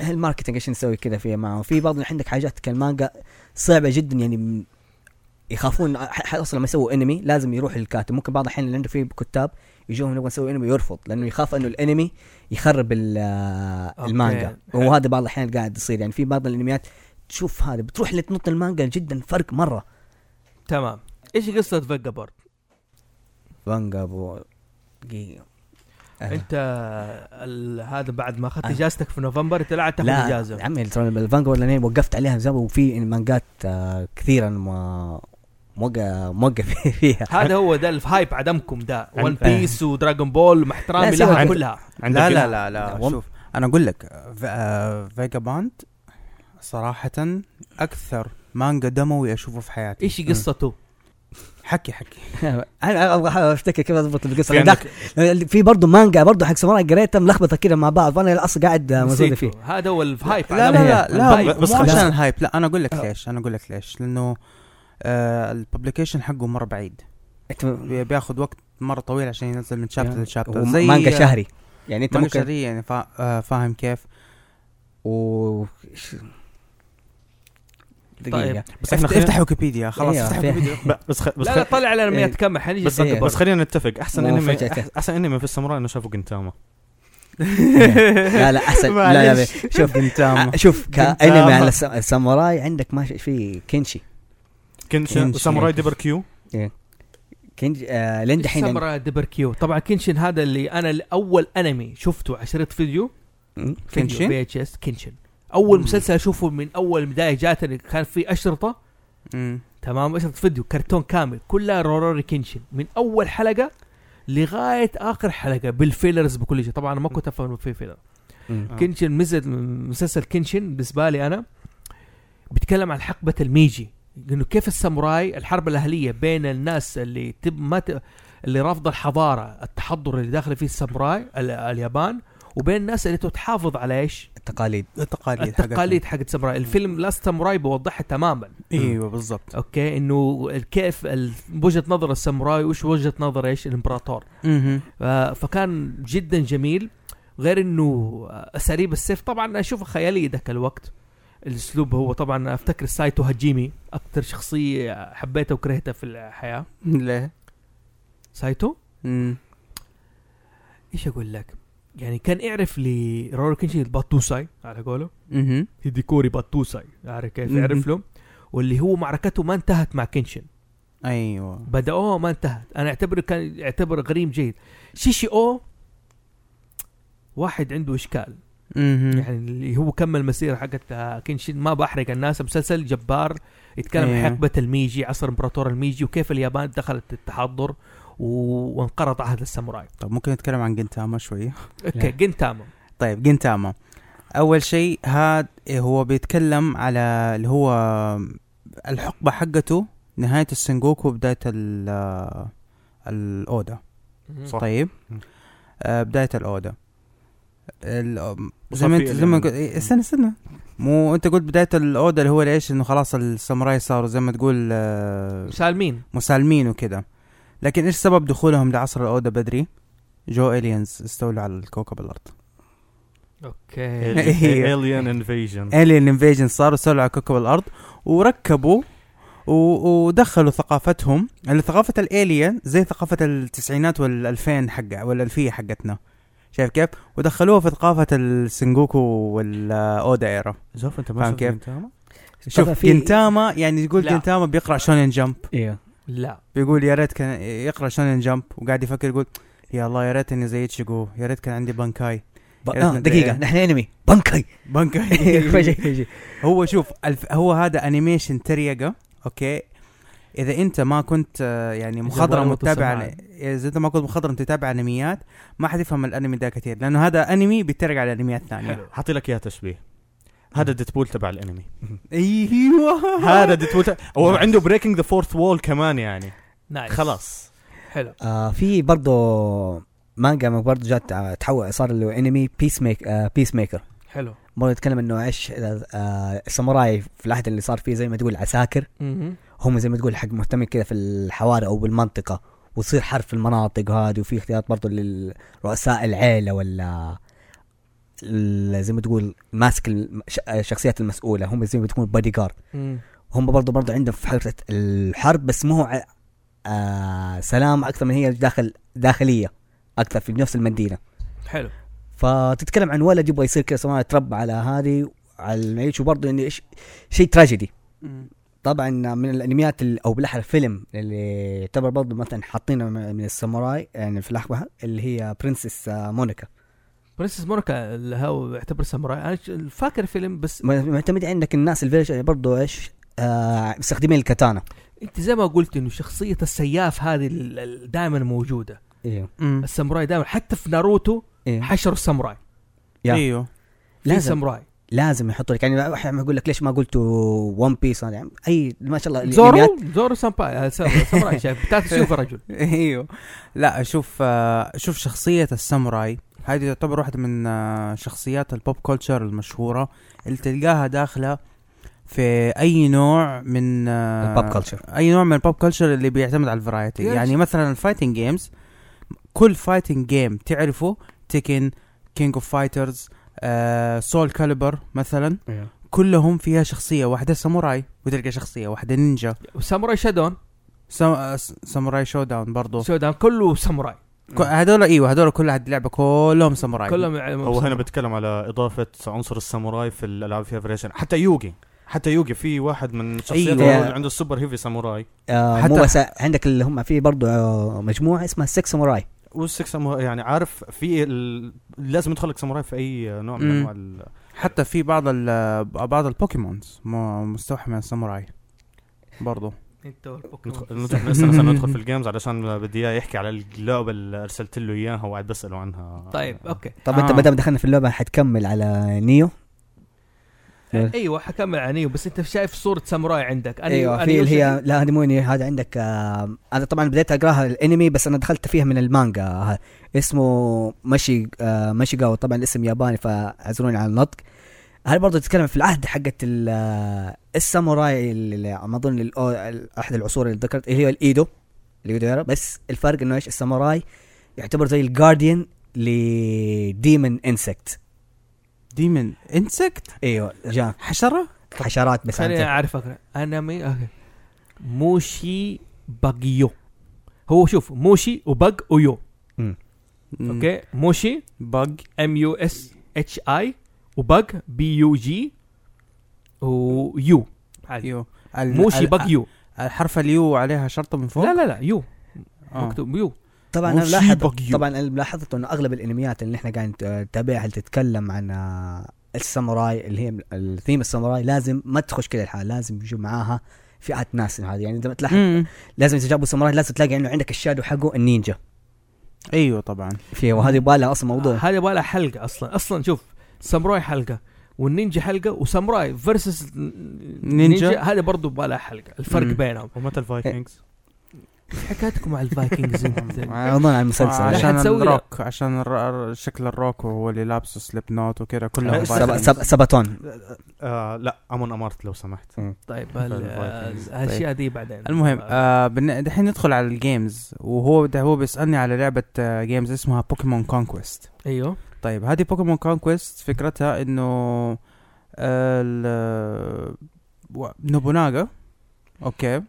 الماركتنج ايش نسوي كذا فيها معه في بعض عندك حاجات كالمانجا صعبه جدا يعني م- يخافون ح- ح- اصلا لما يسووا انمي لازم يروح للكاتب ممكن بعض الاحيان اللي عنده في كتاب يجوهم نبغى نسوي انمي يرفض لانه يخاف انه الانمي يخرب ال- آه،
أوكي.
المانجا وهذا بعض الاحيان قاعد يصير يعني في بعض الانميات تشوف هذا بتروح لتنط المانجا جدا فرق مره
تمام ايش قصه فانجا بورد؟
فانجا بو دقيقة. آه.
انت ال- هذا بعد ما اخذت
آه.
اجازتك في نوفمبر انت لا عاد تاخذ
لا أه.
اجازه
يا عمي الفانجورد لاني وقفت عليها من زمان وفي مانجات آه كثيرة أنا ما موقع موقف فيها
هذا هو ده الهايب عدمكم ده
عن-
ون بيس ودراجون بول مع احترامي
أه. لا، سيبك
لها
عن-
كلها
عندك
لا لا
ال-
لا لا
لا،
شوف انا اقول لك آه، فيجا باند صراحة اكثر مانجا دموي اشوفه في حياتي
أه.
ايش قصته؟
حكي حكي
انا ابغى افتكر كيف اضبط القصه
في
لأن
عندك
ذاك- في برضه مانجا برضه حق ساموراي قريتها ملخبطه كده مع بعض وانا اصلا قاعد آه، مزود
نسيته.
فيه
هذا هو الهايب
لا
عدمكم.
لا لا لا
الهايب.
بس
بس
مو
خلاص.
عشان آه. الهايب لا انا اقول لك ليش انا اقول لك ليش لانه آه الببليكيشن حقه مرة بعيد
أنت-
بي- بياخذ وقت مرة طويل عشان ينزل من شابتر لشابتر زي آه،
مانجا شهري يعني انت
مانجا
ممكن
شهرية يعني فا... آه فاهم كيف
و طيب. دقيقة
بس احنا
افتح,
خلينا-
افتح ويكيبيديا خلاص
إيه،
افتح
في-
ويكيبيديا
ب- بس خ- بس
لا لا
خ-
طلع علينا
إيه.
من كمل حنيجي
بس
نسكر.
بس خلينا نتفق احسن
مو
انمي
فجأة.
أح- احسن انمي في الساموراي انه شافه جنتاما
لا لا احسن لا لا
معلش.
شوف
جنتاما.
آه، شوف كانمي
جنتاما.
على الس- الساموراي عندك ما في كينشي
كنشن
كنشن.
وساموراي ديبر كيو
كينشي آه لين دحين عند-
سامورا دبر كيو طبعا كينشن هذا اللي انا اول انمي شفته عشرة فيديو
مم.
كينشن؟
بي اتش اس كينشن اول
مم.
مسلسل اشوفه من اول بدايه جاتني كان في اشرطه
مم.
تمام اشرطه فيديو كرتون كامل كلها روروري كينشن من اول حلقه لغايه اخر حلقه بالفيلرز بكل شيء طبعا أنا ما كنت افهم إنه في فيلر
مم.
آه.
كينشن مزد مسلسل كينشن بالنسبه لي انا بيتكلم عن حقبه الميجي انه كيف الساموراي الحرب الاهليه بين الناس اللي تب ما ت... اللي رافضه الحضاره التحضر اللي داخل فيه الساموراي ال... اليابان وبين الناس اللي تحافظ على ايش؟
التقاليد
التقاليد حقتهم.
التقاليد حقت الساموراي، الفيلم لاست ساموراي بوضحها تماما،
ايوه بالضبط
اوكي؟ انه كيف ال- وجهه نظر الساموراي وايش وجهه نظر ايش؟ الامبراطور.
مهم.
ف- فكان جدا جميل غير انه اساليب السيف طبعا اشوفها خياليه ذاك الوقت الاسلوب هو طبعا افتكر سايتو هاجيمي اكثر شخصيه حبيتها وكرهتها في الحياه
ليه؟
سايتو
مم.
ايش اقول لك يعني كان يعرف لي رورو كينشي باتوساي على قوله
مهم.
هيديكوري باتوساي عارف كيف
مهم.
يعرف له واللي هو معركته ما انتهت مع كينشن
ايوه
بدأوها ما انتهت انا اعتبره كان اعتبره غريم جيد شيشي او واحد عنده اشكال
مهم.
يعني اللي هو كمل مسيرة حقت آه، كينشين ما بحرق الناس مسلسل جبار يتكلم
إيه.
عن حقبة الميجي عصر امبراطور الميجي وكيف اليابان دخلت التحضر و- وانقرض عهد الساموراي
طب ممكن نتكلم عن جنتاما شويه
اوكي جنتاما
طيب جنتاما اول شيء هاد هو بيتكلم على اللي هو الحقبه حقته نهايه السنجوكو بدايه ال آه، الاودا
صح.
طيب
مم.
آه بدايه الاودا ال- آه، زي
وصار
ما
في
انت زي ما
ال-
قلت- إيه، استنى استنى مو انت قلت بدايه الاودا اللي هو ليش انه خلاص الساموراي صاروا زي ما تقول آه،
سالمين
مسالمين وكده لكن ايش سبب دخولهم لعصر الاودا بدري؟ جو الينز استولوا على الكوكب الارض
اوكي
إيه.
الين انفيجن
الين انفيجن صاروا استولوا على كوكب الارض وركبوا و- ودخلوا ثقافتهم اللي ثقافة الالين زي ثقافة التسعينات والألفين حق والألفية حقتنا شايف كيف؟ ودخلوها في ثقافة السنجوكو والأودا ايرا
زوف انت
فاهم
ما شفت
كيف؟
جنتاما؟
شوف
في-
جنتاما يعني تقول
لا.
جنتاما بيقرأ شونين جمب
ايوه
لا
بيقول يا ريت كان يقرا شونن جمب وقاعد يفكر يقول يا الله يا ريت اني زي تشيجو يا ريت كان عندي بانكاي
ب-
إيه،
آه، دقيقة
إيه.
نحن انمي بنكاي
بانكاي هو شوف الف هو هذا انيميشن تريقه اوكي اذا انت ما كنت آه، يعني مخضرم
ولا
متابع
متصل
اذا انت ما كنت مخضرم تتابع انميات ما حتفهم الانمي ده كثير لانه هذا انمي بيتريق على انميات ثانيه
حلو
حاطي لك اياه تشبيه هذا ديدبول تبع الانمي
ايوه
هذا ديدبول تبع- هو عنده بريكنج ذا فورث وول كمان يعني
نايس
خلاص
حلو
آه في برضه مانجا برضه جات آه، تحول صار له انمي بيس ميك آه بيس ميكر
حلو
برضه يتكلم انه عيش آه الساموراي في العهد اللي صار فيه زي ما تقول عساكر
مهم.
هم زي ما تقول حق مهتمين كذا في الحواري او بالمنطقه وتصير حرب في المناطق هذه وفي اختيارات برضه لرؤساء العيله ولا ال- زي ما تقول ماسك الم- ش- آه، الشخصيات المسؤوله هم زي ما تكون بادي جارد
مم.
هم برضو برضو عندهم في حرة الحرب بس مو ع... آه سلام اكثر من هي داخل داخليه اكثر في نفس المدينه
حلو
فتتكلم عن ولد يبغى يصير كذا سواء تربى على هذه على المعيش وبرضه يعني إيش- شيء تراجيدي طبعا من الانميات ال- او بالاحرى فيلم اللي يعتبر برضه مثلا حاطينه م- من الساموراي يعني في لحظه اللي هي آه، برنسس مونيكا
برنسس موركا اللي هو يعتبر ساموراي انا ش- فاكر فيلم بس
م- معتمد عندك الناس الفيلج برضه ايش آه مستخدمين الكاتانا
انت زي ما قلت انه شخصيه السياف هذه ال- ال- دائما موجوده
ايوه
مم.
الساموراي دائما حتى في ناروتو
إيه.
ايوه
حشروا الساموراي
يا.
ايوه
في
لازم
ساموراي
لازم يحطوا لك يعني احيانا يقول لك ليش ما قلتوا ون بيس يعني اي ما شاء الله
زورو
الأنميات-
زورو سامباي آه، سا- ساموراي شايف بتاعت سيوف الرجل
ايوه لا شوف آه، شوف شخصيه الساموراي هذه تعتبر واحده من آه، شخصيات البوب كولتشر المشهوره اللي تلقاها داخله في اي نوع من آه،
البوب كلتشر
اي نوع من البوب كلتشر اللي بيعتمد على الفرايتي
يس.
يعني مثلا الفايتنج جيمز كل فايتنج جيم تعرفه تيكن كينج اوف فايترز سول كاليبر مثلا كلهم فيها شخصيه واحده ساموراي وتلقى شخصيه واحده نينجا
ساموراي شادون
سا- س- ساموراي شو داون برضه
شادون كله ساموراي
ك- هذول ايوه هذول كل هاد اللعبه كلهم ساموراي
كلهم يع-
هو هنا بتكلم على اضافه عنصر الساموراي في الالعاب فيها فيريشن حتى يوغي حتى يوغي في واحد من الشخصيات
أيوة.
اللي عنده السوبر هيفي ساموراي
آه
حتى-
مو بس عندك اللي هم في برضه آه، مجموعه اسمها السكس ساموراي
والسكس ساموراي يعني عارف في ال... لازم يدخل لك ساموراي في اي نوع من
مم.
انواع ال-
حتى في بعض ال- بعض البوكيمونز م- مستوحى من الساموراي برضه
انت
ندخل
والبوكيمون.
ندخل- استنى استنى ندخل في الجيمز علشان بدي اياه يحكي على اللعبه اللي ارسلت له اياها وقاعد بساله عنها
طيب اوكي
طب انت
آه.
ما دام دخلنا في اللعبه حتكمل على نيو إيه.
ايوه حكمل عن نيو بس انت شايف صوره ساموراي عندك أنا
ايوه
أنا
في اللي هي
يوسف-
لا هذه مو نيو هذا عندك آه انا طبعا بديت اقراها الانمي بس انا دخلت فيها من المانجا آه، اسمه ماشي آه ماشيغاوا طبعا الاسم ياباني فاعذروني على النطق هل برضه تتكلم في العهد حقت ال- آه، الساموراي اللي ما اظن الأو- ال- احد العصور اللي ذكرت اللي هي الايدو الايدو يارا، بس الفرق انه ايش الساموراي يعتبر زي الجارديان لديمن انسكت
ديمن انسكت
ايوه جا
حشره
حشرات بس
خليني
عن
اعرفك انا مي اوكي موشي باجيو هو شوف موشي وبق ويو اوكي موشي
بج
ام يو اس اتش اي وبق بي يو جي ويو عادي
يو ال-
موشي
ال-
بق يو
الحرف اليو عليها شرطه من فوق
لا لا لا يو
آه.
مكتوب يو
طبعا انا
موشي
ملاحظ
باجيو.
طبعا انا ملاحظت انه اغلب الانميات اللي احنا قاعدين نتابعها اللي تتكلم عن آه، الساموراي اللي هي الثيم الساموراي لازم ما تخش كده الحال لازم يجوا معاها فئات ناس هذه يعني اذا تلاحظ
مم.
لازم اذا جابوا ساموراي لازم تلاقي انه عندك الشادو حقه النينجا
ايوه طبعا
في وهذه يبغى لها اصلا موضوع
هذا يبغى لها حلقه اصلا اصلا شوف ساموراي حلقه والنينجا حلقه وساموراي فيرسس نينجا هذا برضه يبغى لها حلقه الفرق
مم.
بينهم
ومتى الفايكنجز؟
ايش حكايتكم مع الفايكنجز انت؟
اظن على المسلسل
لا
آه، عشان
حتسوي لا.
الروك عشان الر- الر- شكل الروك وهو اللي لابسه سليب نوت وكذا كلهم
لا،
سب-
فايكنجز.
سب- سباتون
آه لا امون امارت لو سمحت
طيب ال-
الفايكنجز.
الاشياء دي بعدين
طيب. المهم آه بالن- دحين ندخل على الجيمز وهو ده هو بيسالني على لعبه آه جيمز اسمها بوكيمون كونكويست
ايوه
طيب هذه بوكيمون كونكويست فكرتها انه ال- و- نوبوناغا اوكي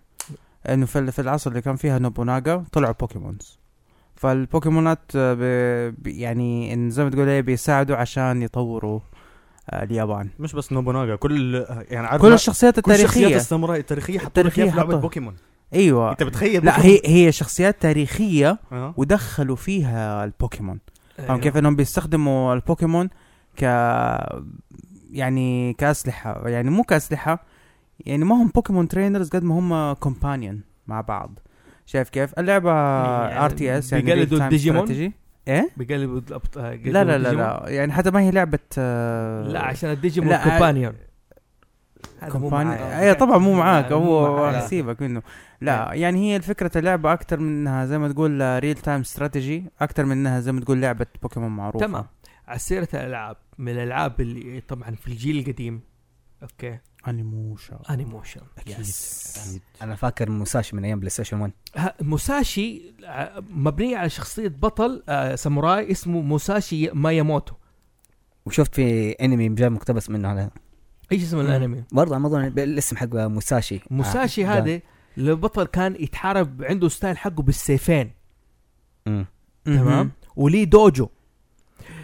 انه في ال- في العصر اللي كان فيها نوبوناغا طلعوا بوكيمونز فالبوكيمونات آه، ب- ب- يعني إن زي ما تقول إيه، بيساعدوا عشان يطوروا آه، اليابان
مش بس نوبوناغا كل يعني عارف
كل
ما-
الشخصيات
كل شخصيات
التاريخيه
الساموراي التاريخيه حطوا لك
التاريخية
إياها في لعبه
حطوها.
بوكيمون
ايوه
انت بتخيل
لا
بوكيمون؟
هي هي شخصيات تاريخيه
آه.
ودخلوا فيها البوكيمون فاهم
أيوه.
كيف انهم بيستخدموا البوكيمون ك يعني كاسلحه يعني مو كاسلحه يعني ما هم بوكيمون ترينرز قد ما هم كومبانيون مع بعض شايف كيف اللعبه
يعني
ار تي اس يعني
بيقلدوا
real time
الديجيمون؟
strategy. ايه
بقلب الأبط- آه، قلب
لا لا لا
الديجيمون.
لا يعني حتى ما هي لعبه آه،
لا عشان الديجيمون
لا، آه،
كومبانيون
كومبانيون اي طبعا إيه، مو معاك هو سيبك منه لا
إيه.
يعني هي الفكرة اللعبة أكتر من إنها زي ما تقول ريل تايم استراتيجي أكتر من إنها زي ما تقول لعبة بوكيمون معروفة
تمام على سيرة الألعاب من الألعاب اللي طبعا في الجيل القديم اوكي
أنيموشا
انيموشن
يس. انا فاكر موساشي من ايام بلاي ستيشن 1
ها- موساشي ع- مبنية على شخصية بطل آه، ساموراي اسمه موساشي ماياموتو
وشفت في انمي جاي مقتبس منه على
ايش اسم
مم.
الانمي؟
برضه على موضوع الاسم حقه موساشي
موساشي
آه،
هذا البطل كان يتحارب عنده ستايل حقه بالسيفين
مم.
تمام وليه دوجو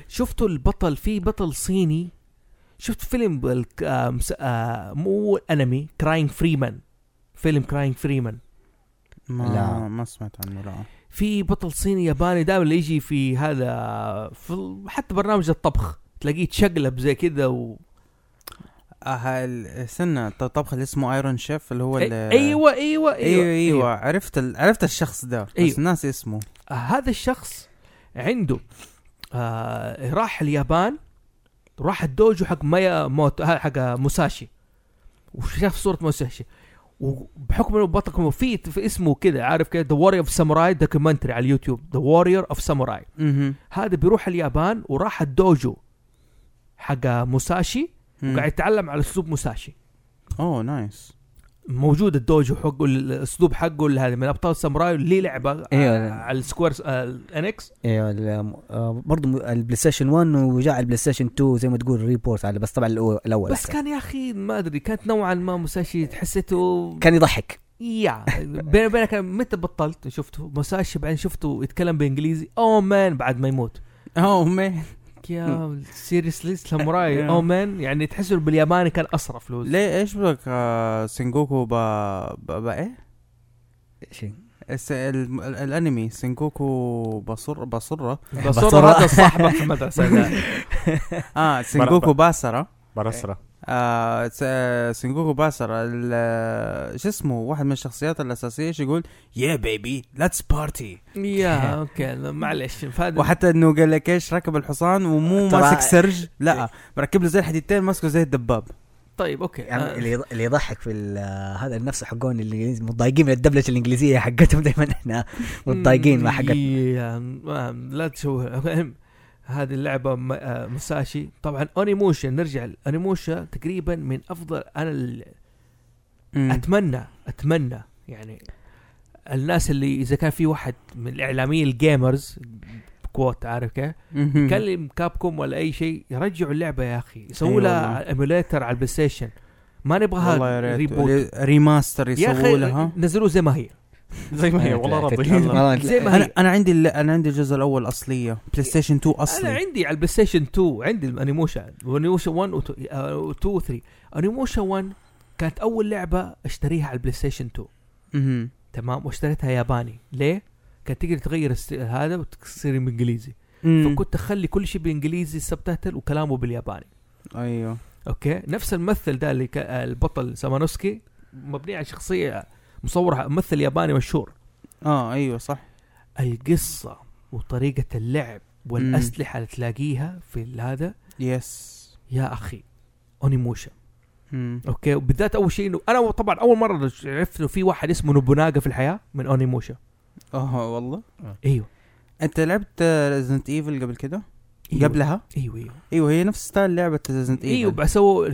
شفتوا البطل في بطل صيني شفت فيلم بالك- آه، مس- آه، مو انمي كراين فريمان فيلم كراينج فريمان
ما
لا.
لا. ما سمعت عنه لا
في بطل صيني ياباني دائما اللي يجي في هذا في ال- حتى برنامج الطبخ تلاقيه تشقلب زي كذا و...
آه هال- استنى الطبخ اللي اسمه ايرون شيف اللي هو ال-
أيوة, ايوه ايوه
ايوه ايوه عرفت ال... عرفت الشخص ده
أيوة.
بس ناسي اسمه
آه، هذا الشخص عنده آه راح اليابان راح الدوجو حق مايا موت آه، حق موساشي وشاف صوره موساشي وبحكم انه بطل في في اسمه كذا عارف كذا ذا واريور اوف ساموراي دوكيومنتري على اليوتيوب ذا واريور اوف ساموراي
اها
هذا بيروح اليابان وراح الدوجو حق موساشي وقاعد يتعلم على اسلوب موساشي
اوه نايس
موجود الدوجو حقه الاسلوب حقه اللي هذا من ابطال الساموراي ليه لعبه
أيوة.
آه، على السكوير آه، الانكس
ايوه ال- آه، برضو م- البلاي ستيشن 1 وجاء البلاي ستيشن 2 زي ما تقول ريبورت على بس طبعا الأو- الاول
بس
أحسن.
كان يا اخي ما ادري كانت نوعا ما موساشي حسيته
كان يضحك
يا بيني وبينك أنا متى بطلت شفته موساشي بعدين شفته يتكلم بانجليزي او مان بعد ما يموت
اوه مان
يا سيريسلي ساموراي
Yeah.
او مان يعني تحسه بالياباني كان اسرف له
ليه ايش بقولك آه سنجوكو با با, با ايه
شيء
الس... ال... ال... الانمي سنجوكو بصر بصرة
بصورة
بصورة.
هذا صاحبك في المدرسة لا.
اه سنجوكو باسرة
برسرة
آه س- سنجوكو باسرة ال- شو اسمه واحد من الشخصيات الاساسية ايش يقول يا بيبي ليتس بارتي
يا اوكي لا، معلش فهذا
وحتى انه قال لك ايش ركب الحصان ومو
ترى-
ماسك سرج
إيه.
لا مركب له زي الحديدتين ماسكه زي الدباب
طيب اوكي
يعني
آه،
اللي يض- اللي يضحك في ال- هذا نفسه حقون اللي متضايقين من الدبلجه الانجليزيه حقتهم دائما احنا متضايقين مع حقتنا
يا- ما- لا تشوه المهم هذه اللعبة م- آه، مساشي طبعا اونيموشن نرجع انيموشن تقريبا من افضل انا ال- اتمنى اتمنى يعني الناس اللي اذا كان في واحد من الاعلاميين الجيمرز كوت عارف كيف؟
مهم.
كلم كابكوم ولا اي شيء يرجعوا اللعبه يا اخي يسووا
أيوة
لها
والله.
ايميوليتر على البلاي ستيشن ما
والله
نبغاها
يا ريت
ريبوت
ري- ريماستر
يا
يسووا
اخي
لها
نزلوه زي ما هي
زي
آه،
آه،
ما هي والله راضي
والله
زي ما
انا
هي
انا عندي ال- انا عندي الجزء الاول اصليه بلاي ستيشن 2
انا
اصلي
عندي على البلاي ستيشن 2 عندي الانيموشن وانيموشن 1 و 2 و 3 انيموشن 1 كانت اول لعبه اشتريها على البلاي ستيشن 2
مهم.
تمام واشتريتها ياباني ليه؟ كانت تقدر تغير الس- هذا وتصير بالانجليزي
مم.
فكنت اخلي كل شيء بالانجليزي السبتايتل وكلامه بالياباني
ايوه
اوكي نفس الممثل ده اللي كان البطل سامانوسكي مبني على شخصيه مصوره ممثل ياباني مشهور
اه ايوه صح
القصه وطريقه اللعب والاسلحه اللي تلاقيها في هذا
يس
يا اخي اونيموشا
مم.
اوكي وبالذات اول شيء انه انا طبعا اول مره عرفت انه في واحد اسمه نوبوناغا في الحياه من اونيموشا
اه والله
ايوه
انت لعبت ريزنت ايفل قبل كده؟
أيوة.
قبلها؟
ايوه ايوه
ايوه هي نفس ستايل لعبه ريزنت ايفل
ايوه بسووا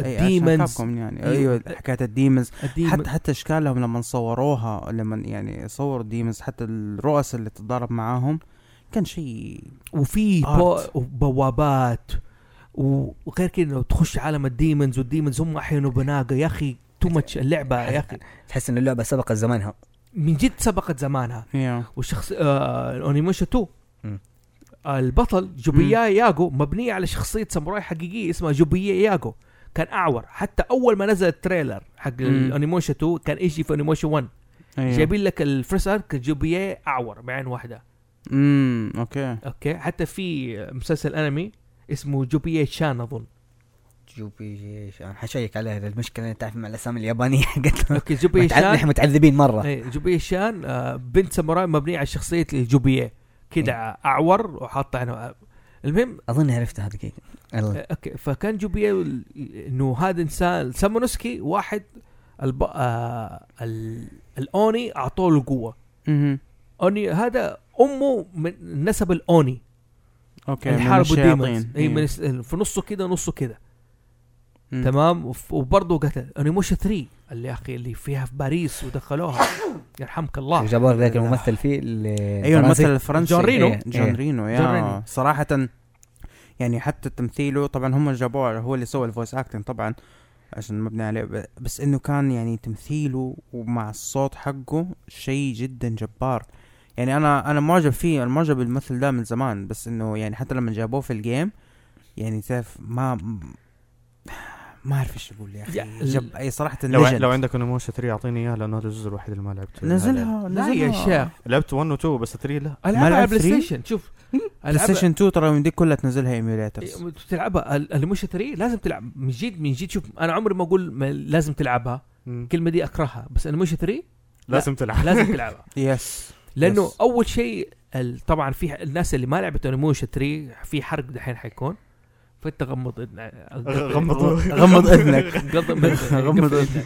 الديمنز
كابكم يعني
أيوة.
ايوه حكايه الديمنز حتى
الديمن
إيه، حتى اشكالهم لما صوروها لما يعني صوروا الديمنز حتى الرؤس اللي تتضارب معاهم كان شيء
وفي
Art.
بو- بوابات و- وغير كذا لو تخش عالم الديمنز والديمنز هم احيانا نوبوناغا يا اخي تو ماتش اللعبه يا اخي
تحس ان اللعبه سبقت زمانها
من جد سبقت زمانها
ايوه
والشخص آه اونيموشا 2
مم.
آه، البطل جوبيا ياجو مبنيه على شخصيه ساموراي حقيقيه اسمها جوبيا ياجو كان اعور حتى اول ما نزل التريلر حق الانيموشن 2 كان يجي في انيموشن 1
ايوه
جايبين لك الفرس ارك جوبيا اعور بعين واحده
امم اوكي
اوكي حتى في مسلسل انمي اسمه جوبيا شان اظن
جوبي جيش انا حشيك عليها المشكله انا تعرف مع الاسامي اليابانيه حقتنا
اوكي جوبيا
نحن
شان
متعذبين مره
إيه، جوبيا شان آه، بنت ساموراي مبنيه على شخصيه جوبيا كده اعور وحاطه عينه. المهم
اظن عرفتها دقيقه يلا
اوكي آه، فكان جوبيا ال- انه هذا انسان سامونوسكي واحد الب... آه... ال... الاوني اعطوه له قوه
اها
اوني هذا امه من نسب الاوني
اوكي
اللي
من
يعني حاربوا الديمونز
الشياطين. إيه.
اي إيه، من الس- في نصه كده نصه كده
مم.
تمام وف- وبرضه قتل انيموشا 3 اللي يا اخي اللي فيها في باريس ودخلوها يرحمك الله
جابوا لك ذاك الممثل فيه اللي
أيوة،
ايوه
فرنسي.
الممثل الفرنسي
جون رينو.
إيه،
أيوة، إيه.
جون رينو
جون
يا
رينو.
صراحة يعني حتى تمثيله طبعا هم جابوه هو اللي سوى الفويس اكتنج طبعا عشان مبني عليه ب- بس انه كان يعني تمثيله ومع الصوت حقه شيء جدا جبار يعني انا انا معجب فيه انا معجب بالممثل ده من زمان بس انه يعني حتى لما جابوه في الجيم يعني تعرف ما ما اعرف ايش اقول يا
يا-
اخي جب... اي صراحه
لو
legend.
لو عندك انيموشن 3 اعطيني اياه لانه هذا الجزء الوحيد اللي ما لعبته
نزلها
لا
نزلها
يا شيخ
لعبت 1 و 2 بس 3 لا
العبها على
ملعب
بلاي
فري؟
ستيشن شوف
بلاي
ألعبها-
ستيشن 2 ترى من دي كلها تنزلها ايميوليترز
إيه، تلعبها ال- اللي مش 3 لازم تلعب من جد من جد شوف انا عمري ما اقول ما لازم تلعبها الكلمه دي اكرهها بس اللي مش 3
لازم تلعب
لازم تلعبها
يس
لانه
Yes.
اول شيء ال- طبعا في الناس اللي ما لعبت انيموشن 3 في حرق دحين حيكون فانت غمض إذن-
غمض
غمض اذنك
غمض غمض
غمض
إذنك.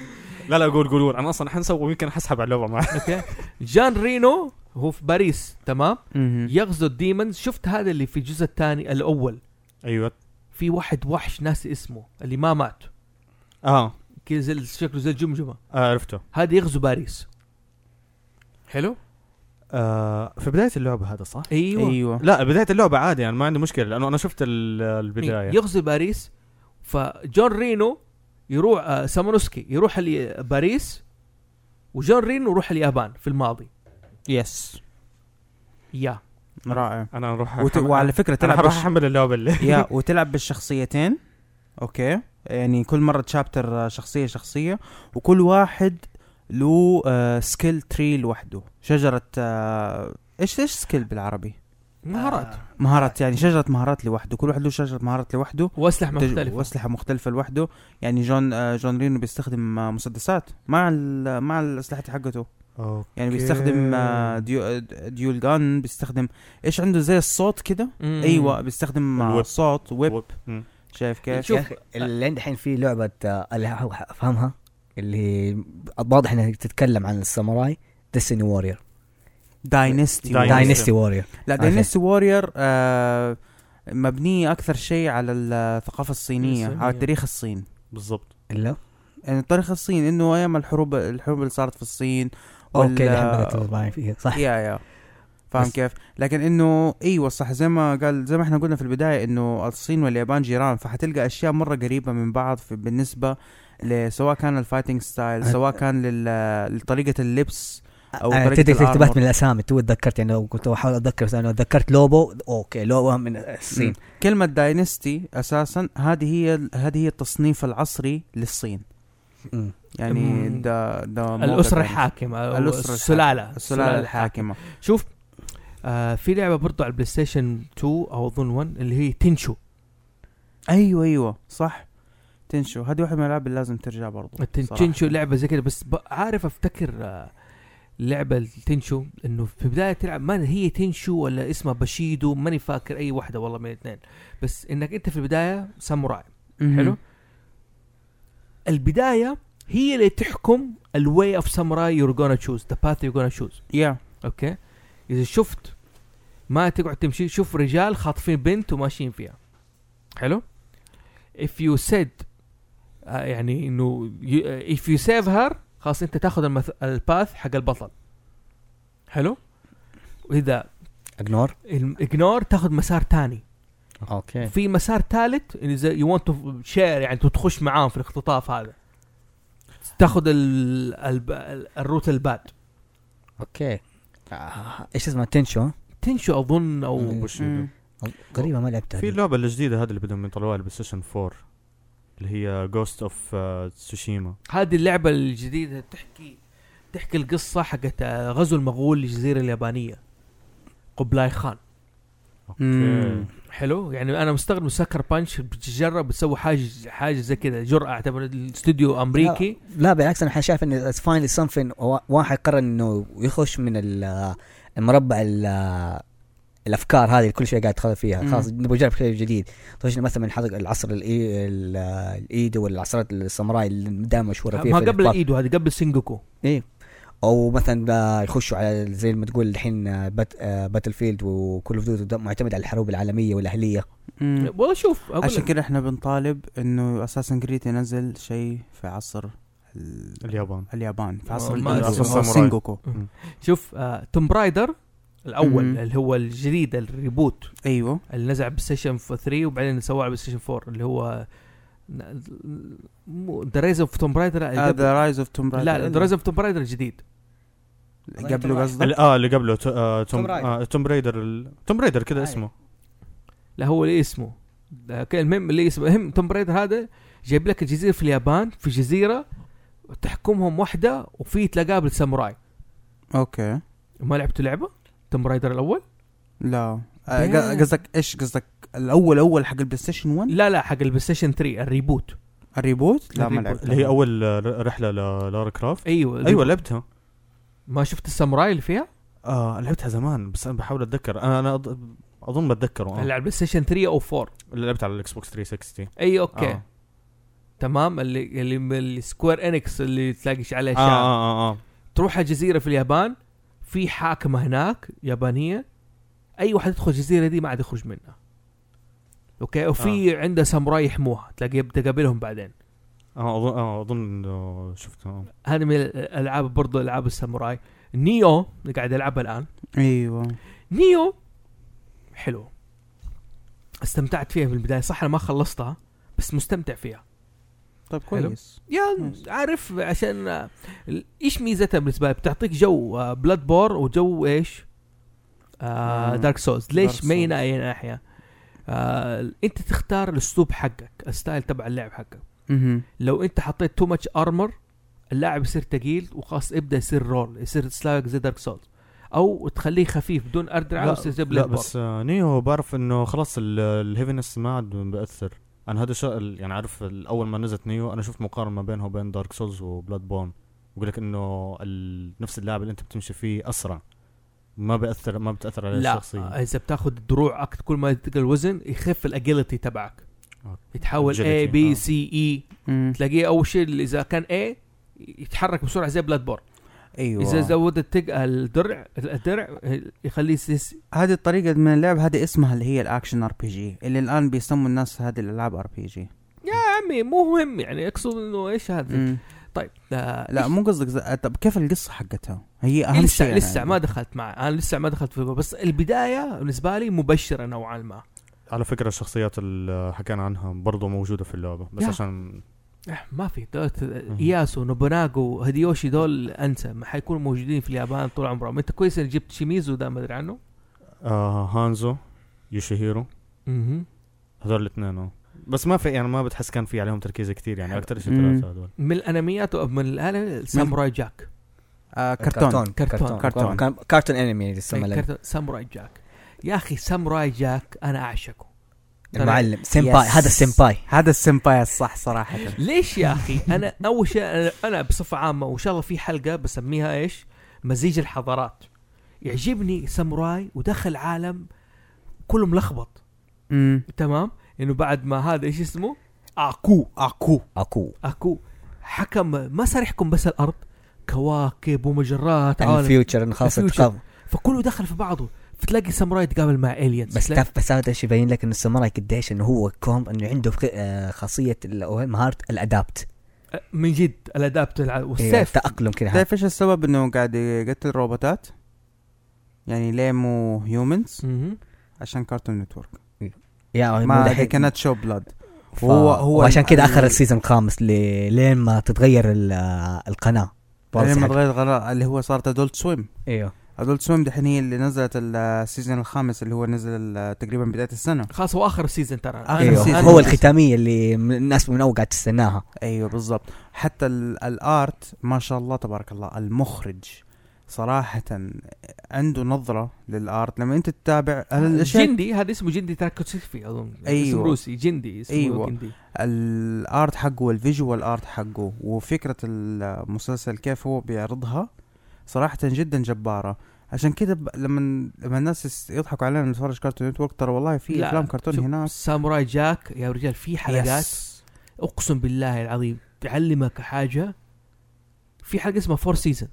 لا لا قول قول قول انا اصلا حنسوي ويمكن حسحب على اللعبه معك
اوكي جان رينو هو في باريس تمام
مهم.
يغزو الديمونز شفت هذا اللي في الجزء الثاني الاول
ايوه
في واحد وحش ناسي اسمه اللي ما مات
آه.
اه
كذا زي- شكله زي الجمجمه
آه، عرفته
هذا يغزو باريس حلو
آه في بدايه اللعبه هذا صح؟
ايوه,
ايوه
لا بدايه اللعبه عادي انا ما عندي مشكله لانه انا شفت ال- البدايه
يغزو باريس فجون رينو يروح آه سامونوسكي يروح ل- باريس وجون رينو يروح اليابان في الماضي
يس
يا
رائع
انا اروح
وت... وعلى فكره
تلعب
تلعب
راح
بالش...
احمل اللعبه اللي
يا وتلعب بالشخصيتين اوكي يعني كل مره تشابتر آه، شخصيه شخصيه وكل واحد له آه سكيل تري لوحده شجره آه ايش ايش سكيل بالعربي
مهارات آه.
مهارات يعني شجره مهارات لوحده كل واحد له شجره مهارات لوحده
واسلحه
تج-
مختلفه
واسلحه مختلفه لوحده يعني جون آه، جون رينو بيستخدم آه، مسدسات مع ال- مع الاسلحه حقته يعني بيستخدم آه، ديو آه، ديول جان بيستخدم ايش عنده زي الصوت كده
مم.
ايوه بيستخدم آه،
الويب.
صوت ويب
مم.
شايف كيف
شوف،
يا اخي اللي عندي الحين في لعبه آه، اللي هو افهمها اللي واضح انها تتكلم عن الساموراي ديستني وورير
داينستي
Dynasty.
داينستي وورير
لا داينستي وورير آه مبنيه اكثر شيء على الثقافه الصينيه
الصينية.
على تاريخ الصين
بالضبط
الا
يعني تاريخ الصين انه ايام الحروب الحروب اللي صارت في الصين وال- آه،
اوكي الحين بدات تطلع فيها صح
يا يا فاهم
بس-
كيف؟ لكن انه ايوه صح زي ما قال زي ما احنا قلنا في البدايه انه الصين واليابان جيران فحتلقى اشياء مره قريبه من بعض في بالنسبه ل- سواء كان الفايتنج ستايل
أت-
سواء كان لل- لطريقه اللبس أو
انا
طريقة
آه، تدري
الأعراض.
تثبت من الاسامي تو تذكرت يعني لو كنت احاول اتذكر بس انا تذكرت لوبو اوكي لوبو من الصين
كلمه داينستي اساسا هذه هي هذه هي التصنيف العصري للصين
مم.
يعني
مم.
ده ده موقع
الاسره
يعني.
الحاكمه
الأسرة الحاكمة.
السلاله
السلاله الحاكمه
شوف آه في لعبه برضو على البلاي ستيشن 2 او اظن 1 اللي هي تنشو
ايوه ايوه صح تنشو هذه واحده من الالعاب اللي لازم ترجع برضو
التن-
صراحة.
تنشو لعبه زي كده بس ب- عارف افتكر آه، لعبه التنشو انه في بدايه تلعب ما هي تنشو ولا اسمها بشيدو ماني فاكر اي واحده والله من الاثنين بس انك انت في البدايه ساموراي
مهم.
حلو البدايه هي اللي تحكم الواي اوف ساموراي يور جونا تشوز ذا باث يور جونا تشوز
يا
اوكي اذا شفت ما تقعد تمشي شوف رجال خاطفين بنت وماشيين فيها حلو if you said آه، يعني انه you- آه، if you save her خلاص انت تاخذ المث... الباث حق البطل حلو واذا
اجنور
اجنور تاخذ مسار تاني
اوكي
في مسار ثالث اذا يو ونت شير يعني تو تخش معاهم في الاختطاف هذا تاخذ ال... الب... ال- الروت الباد
اوكي آه، ايش اسمها تنشو
تنشو اظن او
مم.
وبوشيدو.
قريبه ما لعبتها
في
دي.
اللعبه الجديده هذه اللي بدهم يطلعوها على البلايستيشن 4 اللي هي آه، جوست اوف تسوشيما
هذه اللعبه الجديده تحكي تحكي القصه حقت آه، غزو المغول للجزيره اليابانيه قبلاي خان
مم.
حلو يعني انا مستغرب سكر بانش بتجرب بتسوي حاجه حاجه زي كده جرأه اعتبر الاستوديو امريكي
لا بالعكس انا شايف ان فاينلي سمثين واحد قرر انه يخش من ال- المربع ال- الافكار هذه اللي كل شوي قاعد يدخل فيها
مم.
خلاص نبغى نجرب شيء جديد خش مثلا من حلقه العصر الإي- ال- الايدو والعصرات الساموراي اللي دائما مشهوره فيها
ما
في
قبل
الأخبار.
ايدو هذه قبل سينجوكو
او مثلا آه، يخشوا على زي ما تقول الحين آه، بات آه، باتل فيلد وكل اوف ديوتي معتمد على الحروب العالميه والاهليه
مم.
والله شوف أقول
عشان
لك.
كده احنا بنطالب انه اساسا كريت ينزل شيء في عصر ال-
اليابان
اليابان في عصر
ما-
ال-
ما-
عصر
عصر
الساموراي.
سينجوكو
شوف آه، توم برايدر الاول
مم.
اللي هو الجديد الريبوت
ايوه
اللي نزل على بلاي ستيشن 3 وبعدين سواه على بلاي ستيشن 4 اللي هو ذا ريز اوف توم برايدر
ذا رايز اوف توم
لا ذا ريز اوف توم برايدر الجديد
قبله قصدك
ال- اه اللي قبله ت- آه، توم
توم رايدر.
آه، توم رايدر ال- توم رايدر كذا
أيوة.
اسمه
لا هو اللي اسمه ده كان المهم اللي اسمه المهم توم برايدر هذا جايب لك الجزيره في اليابان في جزيره تحكمهم واحده وفي تلاقاها بالساموراي
اوكي
ما لعبتوا لعبه؟ توم رايدر الاول؟
لا آه،
Damn.
قص- قصدك ايش قصدك الاول اول حق البلاي ستيشن 1
لا لا حق البلاي ستيشن 3 الريبوت
الريبوت لا ما
الريبوت.
لعبت
اللي هي اول آه، رحله للارا كرافت
ايوه
ايوه لعبتها
ما شفت الساموراي اللي فيها؟
آه لعبتها زمان بس انا بحاول اتذكر انا انا أض- اظن بتذكره
اللي
آه.
على البلاي ستيشن 3 او 4
اللي لعبت على الاكس بوكس 360
اي اوكي
آه.
آه. تمام اللي اللي من السكوير انكس اللي تلاقيش عليه
آه,
شعر
اه اه اه
تروح على جزيره في اليابان في حاكمه هناك يابانيه اي واحد يدخل الجزيره دي ما عاد يخرج منها اوكي وفي آه. عنده ساموراي يحموها تلاقي بتقابلهم بعدين
اه اظن اه اظن انه شفته آه.
هذه من الالعاب برضو العاب الساموراي نيو اللي قاعد العبها الان
ايوه
نيو حلو استمتعت فيها في البدايه صح انا ما خلصتها بس مستمتع فيها
طيب كويس
يا
ماشي.
عارف عشان آه، ال- ايش ميزتها بالنسبه لي بتعطيك جو آه، بلاد بور وجو ايش آه
مم.
دارك سولز
Dark
ليش
Souls.
مينا اي ناحيه آه انت تختار الاسلوب حقك الستايل تبع اللعب حقك
مهم.
لو انت حطيت تو ماتش ارمر اللاعب يصير ثقيل وخلاص ابدا يصير رول يصير سلايك زي دارك سولز او تخليه خفيف بدون اردرع
لا-
ويصير زي
لا
بلاد بور
بس آه، نيو بعرف انه خلاص ال- الهيفينس ما عاد بأثر انا هذا الشيء ال- يعني عارف ال- اول ما نزلت نيو انا شفت مقارنه بينها وبين دارك سولز وبلاد بون بقول لك انه ال- نفس اللاعب اللي انت بتمشي فيه اسرع ما بأثر ما بتاثر على
لا آه،
الشخصيه
اذا بتاخذ الدروع اكثر كل ما تقل الوزن يخف الاجيلتي تبعك
أوكي.
يتحول اي
Agility، آه.
بي سي اي
مم.
تلاقيه اول شيء اللي اذا كان ايه يتحرك بسرعه زي بلاد بور
ايوه
اذا زود التق الدرع الدرع يخليه سيس
هذه الطريقة من اللعب هذه اسمها اللي هي الاكشن ار بي جي اللي الان بيسموا الناس هذه الالعاب ار بي جي
يا عمي مو مهم يعني اقصد انه ايش هذا طيب آه
لا
إيش-
مو قصدك ز- طب كيف القصة حقتها؟ هي
إيه
اهم
لسه
شيء يعني.
لسه ما دخلت مع انا لسه ما دخلت في بس البدايه بالنسبه لي مبشره نوعا ما
على فكره الشخصيات اللي حكينا عنها برضه موجوده في اللعبه بس
يا.
عشان
آه، ما في دوت اياسو نوبوناغو هديوشي دول انسى ما حيكونوا موجودين في اليابان طول عمرهم انت كويس انك جبت شيميزو ده ما ادري عنه
آه هانزو يوشيهيرو
مهم.
هذول الاثنين آه. بس ما في يعني ما بتحس كان في عليهم تركيز كتير يعني اكثر شيء
مم.
ثلاثه هذول
من الانميات ومن الان ساموراي جاك
آه كرتون
كرتون.
كرتون
كرتون.
كرتون كان- كرتون انمي اللي
أي
يسمى لك.
كرتون ساموراي جاك يا اخي ساموراي جاك انا اعشقه ترى-
المعلم سيمباي
Yes.
هذا السيمباي
هذا السمباي الصح صراحة
ليش يا اخي انا اول شيء أنا- انا بصفه عامه وان شاء الله في حلقه بسميها ايش مزيج الحضارات يعجبني ساموراي ودخل عالم كله ملخبط
امم
تمام انه بعد ما هذا ايش اسمه
اكو اكو
اكو
اكو حكم ما صار يحكم بس الارض كواكب ومجرات
عن
عالم
الفيوتشر انه خلاص
الفيوتشر.
اتقام.
فكله دخل في بعضه فتلاقي ساموراي يتقابل مع الينز
بس تعرف بس هذا الشيء يبين لك انه الساموراي قديش انه هو كوم انه عنده خ- آه، خاصيه ال- أو مهاره الادابت
من جد الادابت الع-
إيه،
والسيف
التاقلم كذا
تعرف ايش طيب، السبب انه قاعد يقتل روبوتات؟ يعني ليه مو هيومنز؟
مهم.
عشان كارتون نتورك
يا
ما
مو دحين.
هي كانت شو بلاد
ف-
هو- هو
وعشان
ال-
كذا
ال-
اخر السيزون الخامس ل- لين ما تتغير ال- آه، القناه
بعدين ما
حق-
تغير غلا- اللي هو صارت ادولت سويم
ايوه
ادولت سويم دحين هي اللي نزلت السيزون الخامس اللي هو نزل ال- تقريبا بدايه السنه
خلاص هو اخر سيزون ترى
آخر
أنا-
ايوه
سيزون.
أنا-
هو الختاميه اللي من- الناس من اول قاعد تستناها
ايوه بالضبط حتى ال- الارت ما شاء الله تبارك الله المخرج صراحة عنده نظرة للارت لما انت تتابع
آه،
الاشياء
جندي هذا اسمه جندي تاكوتسيفي اظن
أيوة.
اسم روسي جندي اسمه
أيوة.
أيوة. جندي
الارت حقه والفيجوال ارت حقه وفكره المسلسل كيف هو بيعرضها صراحه جدا جباره عشان كده ب... لما لما الناس يس- يضحكوا علينا نتفرج كارتون نتورك ترى والله في
لا،
افلام كرتون
شوف،
هناك
ساموراي جاك يا رجال في حلقات
يس.
اقسم بالله العظيم تعلمك حاجه في حلقه اسمها فور سيزون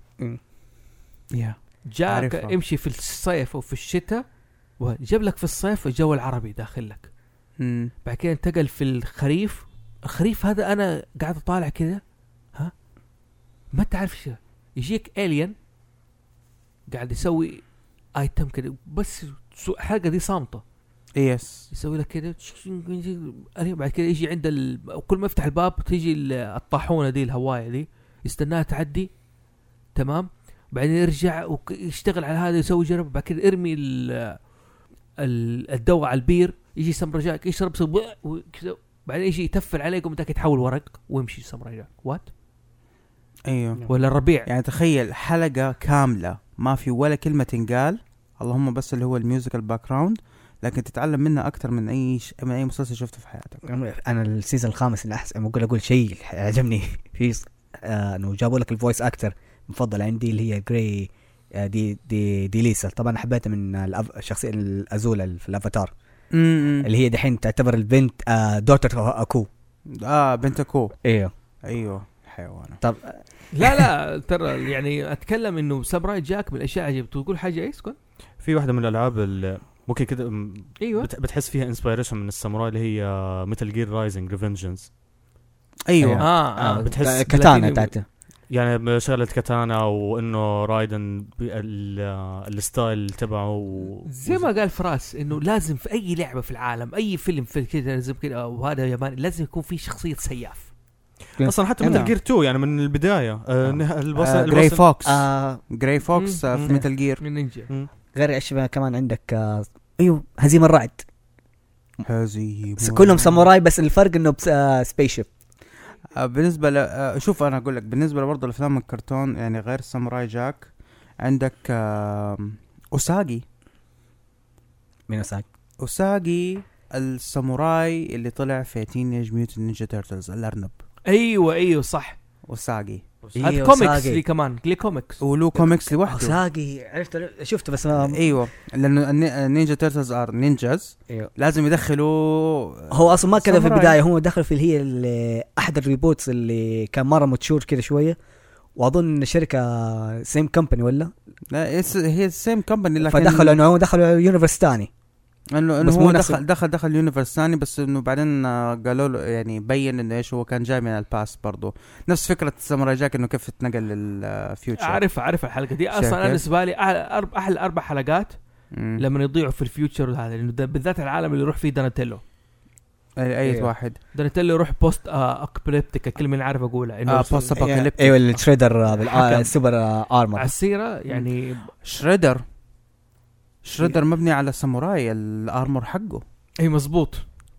يا.
جاك
أعرفها.
امشي في الصيف او في الشتاء وجاب لك في الصيف الجو العربي داخل لك
مم.
بعد كده انتقل في الخريف الخريف هذا انا قاعد اطالع كذا ها ما تعرف شو يجيك الين قاعد يسوي ايتم كده بس سو- الحلقه دي صامته
يس
يسوي لك كده ألين بعد كده يجي عند ال... كل ما يفتح الباب تيجي ال- الطاحونه دي الهوايه دي يستناها تعدي تمام بعدين يرجع ويشتغل على هذا يسوي جرب بعد كده ارمي ال... ال- الدواء على البير يجي سمرجاك يشرب سب- وكذا بعدين شيء يتفل عليكم تاك يتحول ورق ويمشي الساموراي وات
ايوه
ولا الربيع
يعني تخيل حلقه كامله ما في ولا كلمه تنقال اللهم بس اللي هو الميوزيكال باك جراوند لكن تتعلم منها اكثر من اي ش... من اي مسلسل شفته في حياتك
انا السيزون الخامس اللي احس اقول اقول شيء عجبني في ص- آه، انه جابوا لك الفويس اكتر مفضل عندي اللي هي جراي آه، دي دي دي ليسا طبعا حبيتها من آه، الأف- الشخصيه الازوله اللي في الافاتار اللي هي دحين تعتبر البنت آه، دوتر اكو
اه بنتكو
ايوه
ايوه حيوانه
طب
لا لا ترى يعني اتكلم انه ساموراي جاك من الاشياء عجيبه تقول حاجه ايش كنت
في واحده من الالعاب اللي ممكن كده م-
ايوه
بت- بتحس فيها انسبيريشن من الساموراي اللي هي ميتال جير رايزنج ريفنجنس
أيوه. أيوة.
ايوه
اه, آه.
بتحس
كاتانا
بلاتينيوم.
تاعته
يعني شغله كاتانا وانه رايدن ب- ال- آه، الستايل تبعه و-
زي ما قال فراس انه لازم في اي لعبه في العالم اي فيلم في كذا لازم كذا وهذا ياباني لازم يكون في شخصيه سياف
اصلا حتى
أنا-
ميتال جير 2 يعني من البدايه آه. نه- البص...
آه
البص...
جراي فوكس آه
آه
جراي فوكس آه
مم.
في ميتال جير
من نينجا
غير ايش بقى كمان عندك آه ايوه هزيم الرعد
هذه
بس
مرة.
كلهم ساموراي بس الفرق انه بس آه سبيس شيب
آه بالنسبه ل... آه شوف انا اقول لك بالنسبه برضه لافلام الكرتون يعني غير ساموراي جاك عندك آه اوساجي
من أوساكا.
اوساجي الساموراي اللي طلع في تينيج ميوت نينجا تيرتلز الارنب
ايوه ايوه صح
اوساجي
هذا
إيوه،
أيوة،
كوميكس
أوساكي.
لي كمان لي كوميكس
ولو كوميكس لوحده
اوساكي عرفت شفته بس ما
ايوه لانه الني- النينجا تيرتلز ار نينجاز
ايوه.
لازم يدخلوا
هو اصلا ما كذا في
ساموراي.
البدايه هو دخل في اللي هي ال- احد الريبوتس اللي كان مره متشور كذا شويه واظن شركه سيم كمباني ولا
لا it's- هي السيم كمباني لكن
فدخلوا انه هو دخلوا يونيفرس ثاني
انه
بس
انه
مو
هو
نفس
دخل دخل دخل يونيفرس ثاني بس انه بعدين آه، قالوا له يعني بين انه ايش هو كان جاي من الباس برضه نفس فكره ساموراي جاك انه كيف اتنقل للفيوتشر
اعرف اعرف الحلقه دي
شايف
اصلا انا
كيف؟
بالنسبه لي احلى أرب- أحلى اربع حلقات
لما
لما يضيعوا في الفيوتشر هذا لانه ده- بالذات العالم اللي يروح فيه داناتيلو
اي
أيوه.
أيوة. واحد
داناتيلو يروح بوست آه، اكبليبتيكا كلمه انا عارف اقولها انه
آه،
يوصل-
بوست أبوكاليبتيك. Apocalyptic.
ايوه التريدر
حكم.
بالسوبر
على
ارمر
السيره يعني
شريدر شريدر
إيه.
مبني على ساموراي الارمور حقه
اي مزبوط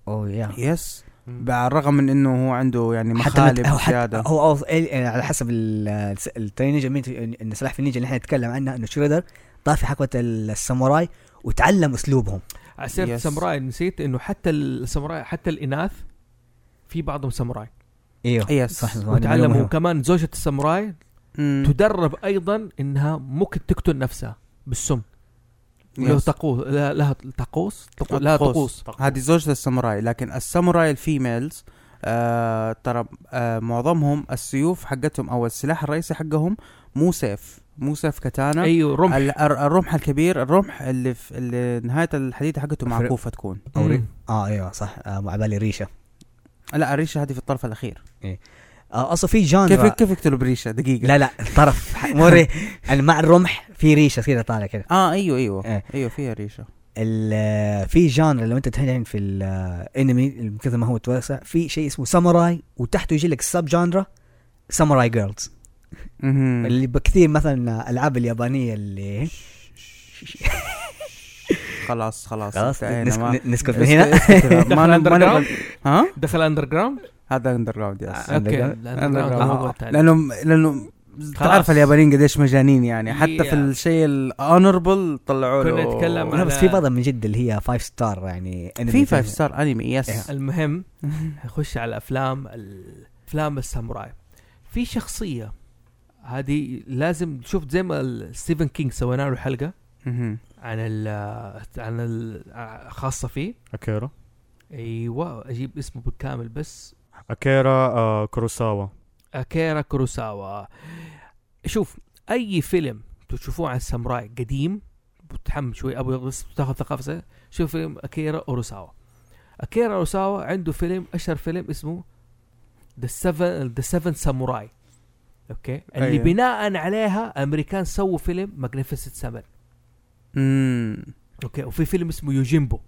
اوه يا
يس على الرغم من انه هو عنده يعني
آه. حتى مت-
مخالب
هو حتى
زياده
هو أو- ال- على حسب ال- الس- الترينيجا مين- ان سلاح في النينجا اللي احنا نتكلم عنه انه شريدر طاف في حقبه ال- الساموراي وتعلم اسلوبهم
على سيره
Yes.
الساموراي نسيت انه حتى الساموراي حتى الاناث في بعضهم ساموراي
ايوه
يس
صح هذه معلومة
وتعلموا
مهمة.
كمان زوجة الساموراي
مم.
تدرب ايضا انها ممكن تقتل نفسها بالسم له
يس.
طقوس لا- لها طقوس طقو- لها
طقوس.
طقوس
هذه زوجة الساموراي لكن الساموراي الفيميلز آه ترى آه معظمهم السيوف حقتهم او السلاح الرئيسي حقهم مو سيف مو سيف كتانا
ايوه رمح
ال- الر- الرمح الكبير الرمح اللي في اللي نهايه الحديده حقته
فرق.
معكوفه تكون
أو ري-
مم.
اه ايوه صح آه على بالي ريشه
لا الريشه هذه في الطرف الاخير
آه اصلا في جانرا
كيف كيف يقتلوا بريشه دقيقه
لا لا الطرف ح- مو ري- يعني مع الرمح في ريشه كذا طالع كذا
اه ايوه ايوه
إيه.
ايوه فيها ريشه
ال- في جانر لو انت تهين في الانمي كذا ما هو توسع في شيء اسمه ساموراي وتحته يجي لك سب جانرا ساموراي جيرلز
مهم.
اللي بكثير مثلا الالعاب اليابانيه اللي
خلاص خلاص إيه،
خلاص
انتهينا،
نسك-
ما-
نسكت من
اسكت-
هنا
اسكت، ما- ما
دخل
ما-
underground؟
ها
دخل اندر جراوند
هذا اندر جراوند يس
اوكي
underground.
الunderground
آه،
موضوع تاني.
لانه لانه تعرف اليابانيين قديش مجانين يعني حتى
Yeah.
في الشيء الاونربل طلعوا له
كنا نتكلم
لا بس في بعضها من جد اللي هي فايف ستار يعني انمي
في
كذا.
فايف ستار انمي يس
المهم نخش على افلام ال- افلام الساموراي في شخصيه هذه لازم شفت زي ما ال- ستيفن كينج سوينا له حلقه
مهم.
عن ال عن ال خاصه فيه
اكيرا
ايوه اجيب اسمه بالكامل بس
اكيرا آه كوروساوا
Oh,
اكيرا كوروساوا شوف اي فيلم تشوفوه عن الساموراي قديم وتحمل شوي ابو بس تاخذ ثقافه زي- شوف فيلم اكيرا اوروساوا اكيرا اوروساوا عنده فيلم اشهر فيلم اسمه ذا سفن ذا سفن ساموراي اوكي اللي
أيوه.
بناء عليها امريكان سووا فيلم ماجنيفيسنت سفن
مم.
اوكي وفي فيلم اسمه يوجيمبو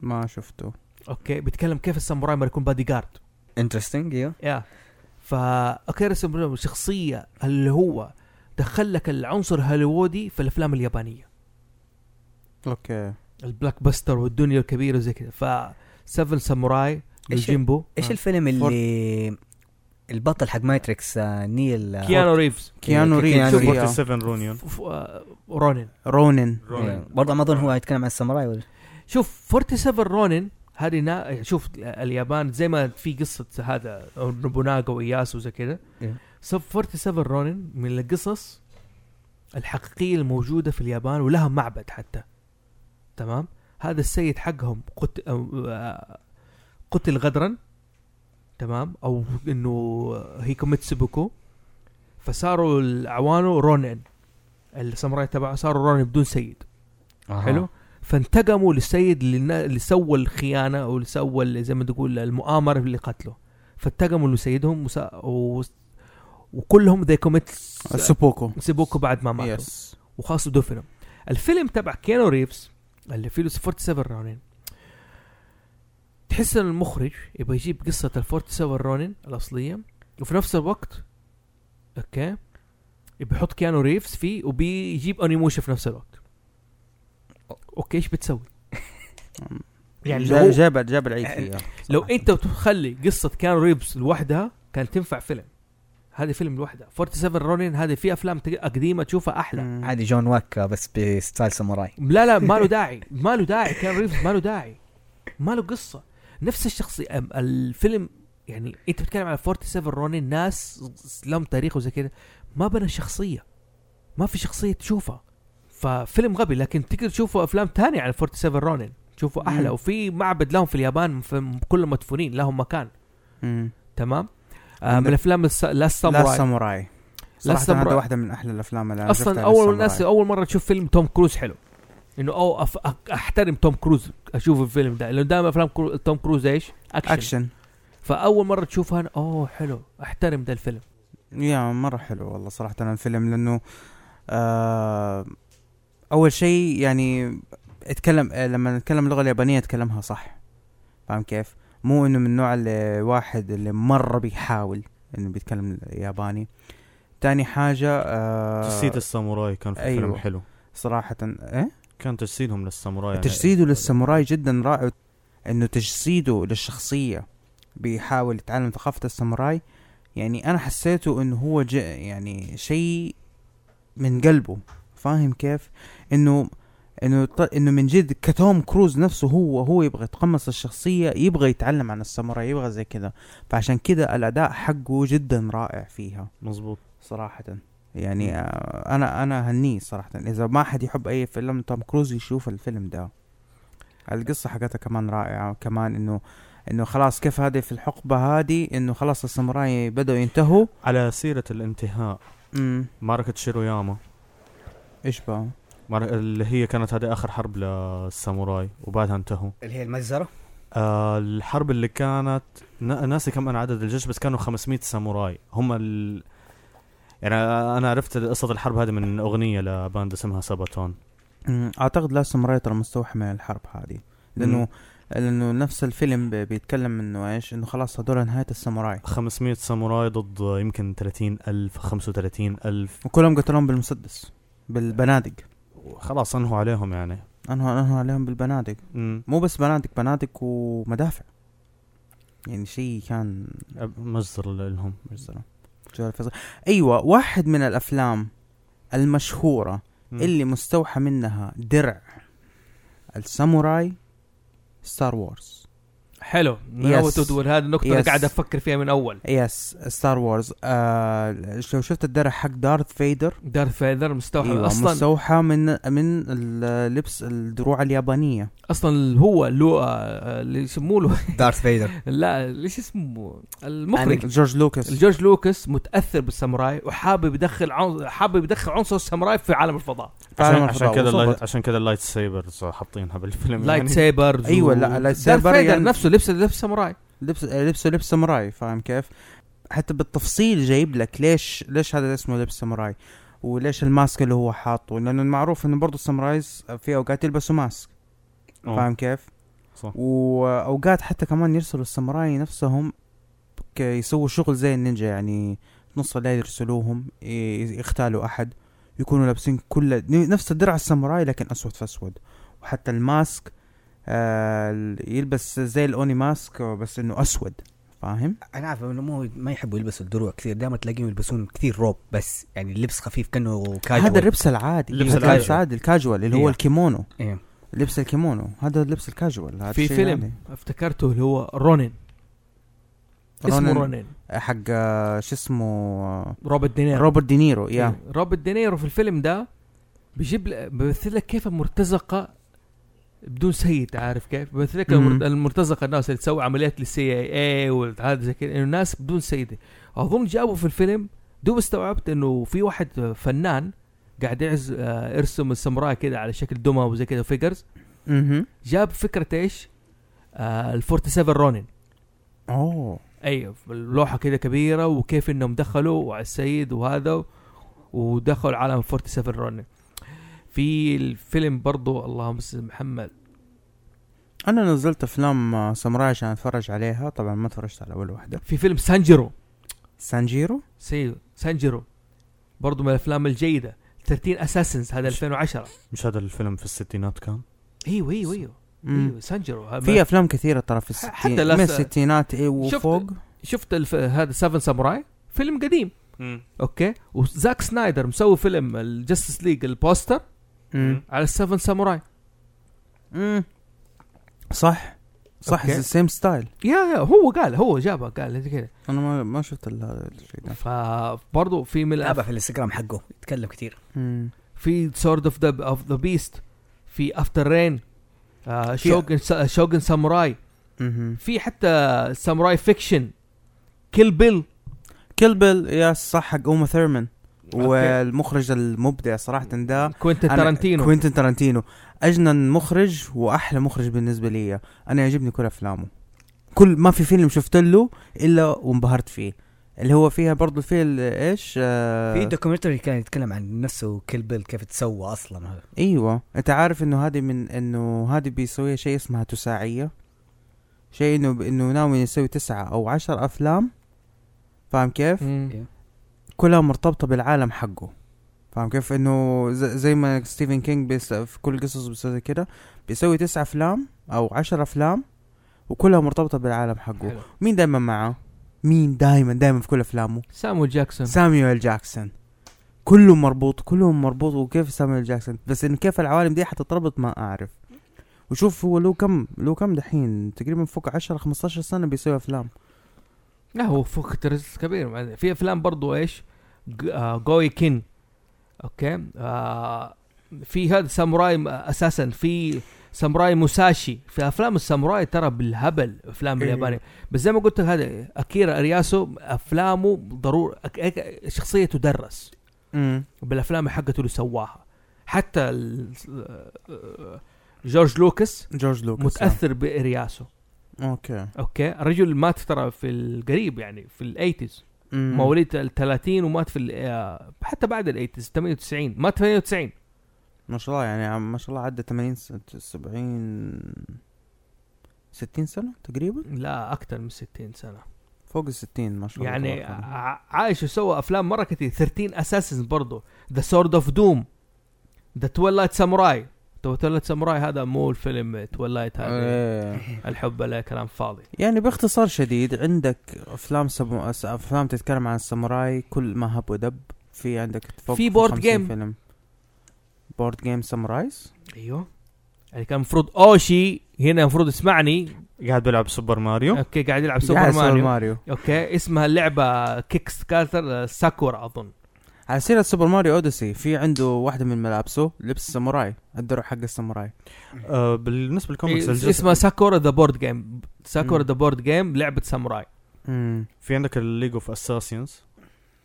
ما شفته
اوكي بيتكلم كيف الساموراي ما يكون بادي جارد
انترستنج ايوه
يا فا اكيرا ساموراي شخصيه اللي هو دخل لك العنصر الهوليوودي في الافلام اليابانيه
اوكي
البلاك باستر والدنيا الكبيره وزي كذا ف سفن ساموراي
إيش-
يوجيمبو
ايش الفيلم اللي البطل حق ماتريكس آه، نيل آه،
كيانو ريفز
كيانو ريفز.
كيانو
ريفز.
47 رونيون
ف- آه، رونين
رونن
إيه، برضه ما اظن هو يتكلم عن الساموراي ولا
شوف 47 رونين هذه نا... شوف اليابان زي ما في قصه هذا نوبوناغا وإياسو وزي كذا
إيه.
سب 47 رونين من القصص الحقيقيه الموجوده في اليابان ولها معبد حتى تمام هذا السيد حقهم قت... أو- آه، قتل غدرا تمام او انه هيكوميتسبوكو فصاروا العوانه رونين الساموراي تبعه صاروا رونين بدون سيد
آه.
حلو فانتقموا للسيد اللي, النا- اللي سوى الخيانه او اللي سوى اللي زي ما تقول المؤامره اللي قتله فانتقموا لسيدهم وسا... و... وكلهم ذي كوميت
سوبوكو
سيبوكو بعد ما ماتوا yes.
يس
وخاصة دفنوا الفيلم تبع كيانو ريفز اللي فيه 47 رونين تحس ان المخرج يبغى يجيب قصه ال 47 رونين الاصليه وفي نفس الوقت اوكي يبي يحط كيانو ريفز فيه وبيجيب انيموشا في نفس الوقت اوكي ايش بتسوي؟ يعني
جا-
لو
جاب جاب العيد
يعني
فيها
لو انت بتخلي قصه كيانو ريفز لوحدها كانت تنفع فيلم هذا فيلم لوحدها 47 رونين هذه في افلام تق- قديمه تشوفها احلى
مم.
عادي جون واك آه، بس بستايل ساموراي
لا لا ما له داعي ما له داعي كان ريفز ما له داعي ما له قصه نفس الشخصية أم- الفيلم يعني انت بتتكلم على 47 رونين ناس لهم تاريخ وزي كده ما بنى شخصيه ما في شخصيه تشوفها ففيلم غبي لكن تقدر تشوفوا افلام تانية عن 47 رونين تشوفوا احلى
مم.
وفي معبد لهم في اليابان في كلهم مدفونين لهم مكان
مم.
تمام آه
عندك-
من افلام الس... لا
لا
ساموراي
ساموراي صراحة
ساموراي.
هذا واحدة من أحلى الأفلام اللي أنا
اصلا
شفتها
اول
للساموراي.
الناس اول مره تشوف فيلم توم كروز حلو انه او أف... أ- احترم توم كروز اشوف الفيلم ده لانه دائما افلام كرو... توم كروز ايش؟ اكشن, أكشن.
أكشن
فاول مره تشوفها أنا اوه حلو احترم ده الفيلم
يا مرة حلو والله صراحة أنا الفيلم لأنه آه أول شيء يعني اتكلم آه، لما نتكلم اللغة اليابانية اتكلمها صح فاهم كيف؟ مو إنه من النوع اللي واحد اللي مرة بيحاول إنه بيتكلم ياباني تاني حاجة
تجسيد
آه
الساموراي كان في فيلم
أيوة.
حلو
صراحة إيه؟
كان تجسيدهم للساموراي يعني
تجسيده للساموراي جدا رائع انه تجسيده للشخصيه بيحاول يتعلم ثقافه الساموراي يعني انا حسيته انه هو ج... يعني شيء من قلبه فاهم كيف انه انه ط... انه من جد كتوم كروز نفسه هو هو يبغى يتقمص الشخصيه يبغى يتعلم عن الساموراي يبغى زي كذا فعشان كذا الاداء حقه جدا رائع فيها
مزبوط
صراحة يعني آه، انا انا هنيه صراحة اذا ما حد يحب اي فيلم توم كروز يشوف الفيلم ده القصة حقتها كمان رائعة كمان انه انه خلاص كيف هذه في الحقبة هذه انه خلاص الساموراي بدأوا ينتهوا
على سيرة الانتهاء
امم
معركة شيروياما
ايش بقى؟
معركة اللي هي كانت هذه آخر حرب للساموراي وبعدها انتهوا
اللي هي المجزره
آه الحرب اللي كانت نا- ناسي كم أنا عدد الجيش بس كانوا 500 ساموراي هم ال... يعني أنا عرفت قصة الحرب هذه من أغنية لباند اسمها ساباتون
أمم، اعتقد لا ساموراي ترى مستوحى من الحرب هذه لانه لانه نفس الفيلم بي- بيتكلم انه ايش انه خلاص هذول نهاية الساموراي
500 ساموراي ضد يمكن 30 ألف 35 ألف
وكلهم قتلوهم بالمسدس بالبنادق
خلاص أنهوا عليهم يعني
انهوا انهوا عليهم بالبنادق
مم.
مو بس بنادق بنادق ومدافع يعني شيء كان
مجزر لهم
مثلا جوال الفيصل ايوه واحد من الافلام المشهوره
مم.
اللي مستوحى منها درع الساموراي ستار وورز
حلو
Yes.
yes. تقول هذه النقطه yes. انا
Yes.
قاعد افكر فيها من اول
يس ستار وورز آه لو شفت الدرع حق دارث فيدر
دارث فيذر مستوحى
ايوه
اصلا
مستوحى من من ال- لبس الدروع اليابانيه
اصلا هو لو آه، اللي يسموه له
دارث فيدر
لا ليش اسمه المخرج
يعني جورج لوكاس
جورج لوكس متاثر بالساموراي وحابب يدخل عنصر حابب يدخل عنصر الساموراي في عالم الفضاء
فعلا
عشان, عشان
الفضاء
كذا اللايت-
وصبت.
عشان كذا اللايت سيبرز حاطينها بالفيلم
لايت سيبرز
أيوة، لا، لايت سيبر
فيدر
يعني-
نفسه لبس لبس ساموراي
لبس آه، لبسه لبس ساموراي فاهم كيف؟ حتى بالتفصيل جايب لك ليش ليش هذا اسمه لبس ساموراي وليش الماسك اللي هو حاطه لانه المعروف انه برضه السامورايز آه، في اوقات يلبسوا ماسك
أوه.
فاهم كيف؟
آه. صح.
واوقات حتى كمان يرسلوا الساموراي نفسهم ك- يسووا شغل زي النينجا يعني نص الليل يرسلوهم ي- يختالوا احد يكونوا لابسين كل نفس الدرع الساموراي لكن اسود في اسود وحتى الماسك آه ال- يلبس زي الاوني ماسك بس انه اسود فاهم
انا عارف انه مو ما يحبوا يلبسوا الدروع كثير دائما تلاقيهم يلبسون كثير روب بس يعني اللبس خفيف كانه كاجوال
هذا اللبس العادي
اللبس
اللبس
العادي.
العادي الكاجوال اللي هو
إيه.
الكيمونو
إيه.
لبس الكيمونو هذا اللبس الكاجوال هذا
في
شيء يعني.
فيلم
عادي.
افتكرته اللي هو رونين اسمه
رونين-
رونين
حق آه، شو اسمه آه،
روبرت دينيرو
روبرت دينيرو يا
إيه. روبرت دينيرو في الفيلم ده بيجيب لك بيمثل لك كيف المرتزقه بدون سيد عارف كيف؟ بيمثل لك
مهم.
المر- المرتزقه الناس اللي تسوي عمليات للسي اي اي والعاده زي كذا انه الناس بدون سيده اظن جابوا في الفيلم دوب استوعبت انه في واحد فنان قاعد يعز آه، يرسم السمراء كده على شكل دمى وزي كده فيجرز
اها
جاب فكره ايش؟ آه ال 47 رونين
اوه
ايوه اللوحه كده كبيره وكيف انهم دخلوا على السيد وهذا ودخلوا عالم 47 رونن في الفيلم برضو اللهم استاذ محمد
انا نزلت افلام آه، ساموراي عشان اتفرج عليها طبعا ما اتفرجت على اول واحده
في فيلم سانجيرو
سانجيرو
سي سانجيرو برضو من الافلام الجيده 13 اساسنز هذا 2010
مش هذا الفيلم في الستينات كان
ايوه ايوه ايوه
مم.
ايوه سانجيرو ها-
في افلام كثيره ترى في الستين
حتى لا
من
س-
الستينات ايه
شفت-
وفوق
شفت الف... هذا 7 ساموراي فيلم قديم اوكي وزاك سنايدر مسوي فيلم الجستس ليج البوستر
مم.
على 7 ساموراي
مم. صح صح
أوكي.
سيم ستايل
يا يا هو قال هو جابها قال كذا
انا ما ما شفت ال- هذا الشيء ده
فبرضه في من
تابع
الأف...
في الانستغرام حقه يتكلم كثير
مم.
في سورد اوف ذا اوف ذا بيست في آه، افتر رين
في-
شوجن شوجن ساموراي
مهم.
في حتى ساموراي فيكشن كيل بيل
كيل بيل يا صح حق اوما ثيرمان والمخرج المبدع صراحه ده
كوينتن تارانتينو
كوينتن تارانتينو اجنن مخرج واحلى مخرج بالنسبه لي انا يعجبني كل افلامه كل ما في فيلم شفت له الا وانبهرت فيه اللي هو فيها برضو فيه ال- ايش آه
في دوكيومنتري كان يتكلم عن نفسه كيل بيل كيف تسوى اصلا هذا
ايوه انت عارف انه هذه من انه هذه بيسويها شيء اسمها تساعيه شيء انه انه ناوي يسوي تسعة او عشر افلام فاهم كيف
مم.
كلها مرتبطه بالعالم حقه فاهم كيف انه ز- زي ما ستيفن كينج بيس في كل قصصه بيسوي كده بيسوي تسعة افلام او عشر افلام وكلها مرتبطه بالعالم حقه
حلو.
مين دايما معاه مين دايما دايما في كل افلامه
سامو جاكسون
سامويل جاكسون كله مربوط كله مربوط وكيف سامويل جاكسون بس انه كيف العوالم دي حتتربط ما اعرف وشوف هو له كم له كم دحين تقريبا فوق 10 15 سنه بيسوي افلام
لا هو فوق ترس كبير مع- في افلام برضو ايش ج- آه، جوي كين اوكي آه، في هذا ساموراي م- اساسا في ساموراي موساشي في افلام الساموراي ترى بالهبل افلام
إيه.
اليابانيه بس زي ما قلت لك هذا اكيرا ارياسو افلامه ضروري أك- أك- شخصيه تدرس
امم
بالافلام حقته اللي سواها حتى ال- آه، آه، جورج لوكس
جورج لوكاس
متاثر بارياسو
اوكي
اوكي الرجل مات ترى في القريب يعني في الايتيز
مم.
مواليد ال 30 ومات في ال- آه، حتى بعد ال 80 98 مات 98
ما شاء الله يعني عم- ما شاء الله عدى 80 سنة 70 60 سنه تقريبا
لا اكثر من 60 سنه
فوق ال 60 ما شاء الله
يعني
تبارك الله.
ع- عايش وسوى افلام مره كثير 13 اساسن برضه ذا سورد اوف دوم ذا تولايت ساموراي تولايت ساموراي هذا مو الفيلم تولايت هذا
إيه.
الحب لا كلام فاضي
يعني باختصار شديد عندك افلام سمو... أس- افلام تتكلم عن الساموراي كل ما هب ودب في عندك فوق
في board
50
game.
فيلم بورد جيم سامورايز
ايوه يعني كان المفروض اوشي هنا المفروض يسمعني
قاعد بلعب سوبر ماريو
اوكي قاعد يلعب سوبر ماريو
ماريو
اوكي اسمها اللعبه كيكس كاتر ساكورا اظن
على سيرة سوبر ماريو اوديسي في عنده واحدة من ملابسه لبس ساموراي الدرع حق الساموراي
آه بالنسبه للكوميكس
إيه،
الجزء
اسمها ساكورا ذا بورد جيم ساكورا
مم.
ذا بورد جيم لعبه ساموراي
امم
في عندك الليج اوف اساسينز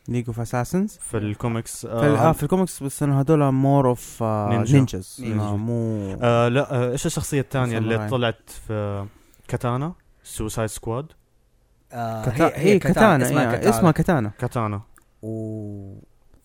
ليج اوف اساسنز
في الكوميكس
في, ال- آه
آه
في الكوميكس بس انه هذول مور اوف
نينجا.
نينجز
نينجا.
مو
آه لا آه، ايش الشخصيه الثانيه اللي
ساموراي.
طلعت في كاتانا سوسايد سكواد
آه
كتا... هي كاتانا إيه، اسمها كاتانا
كاتانا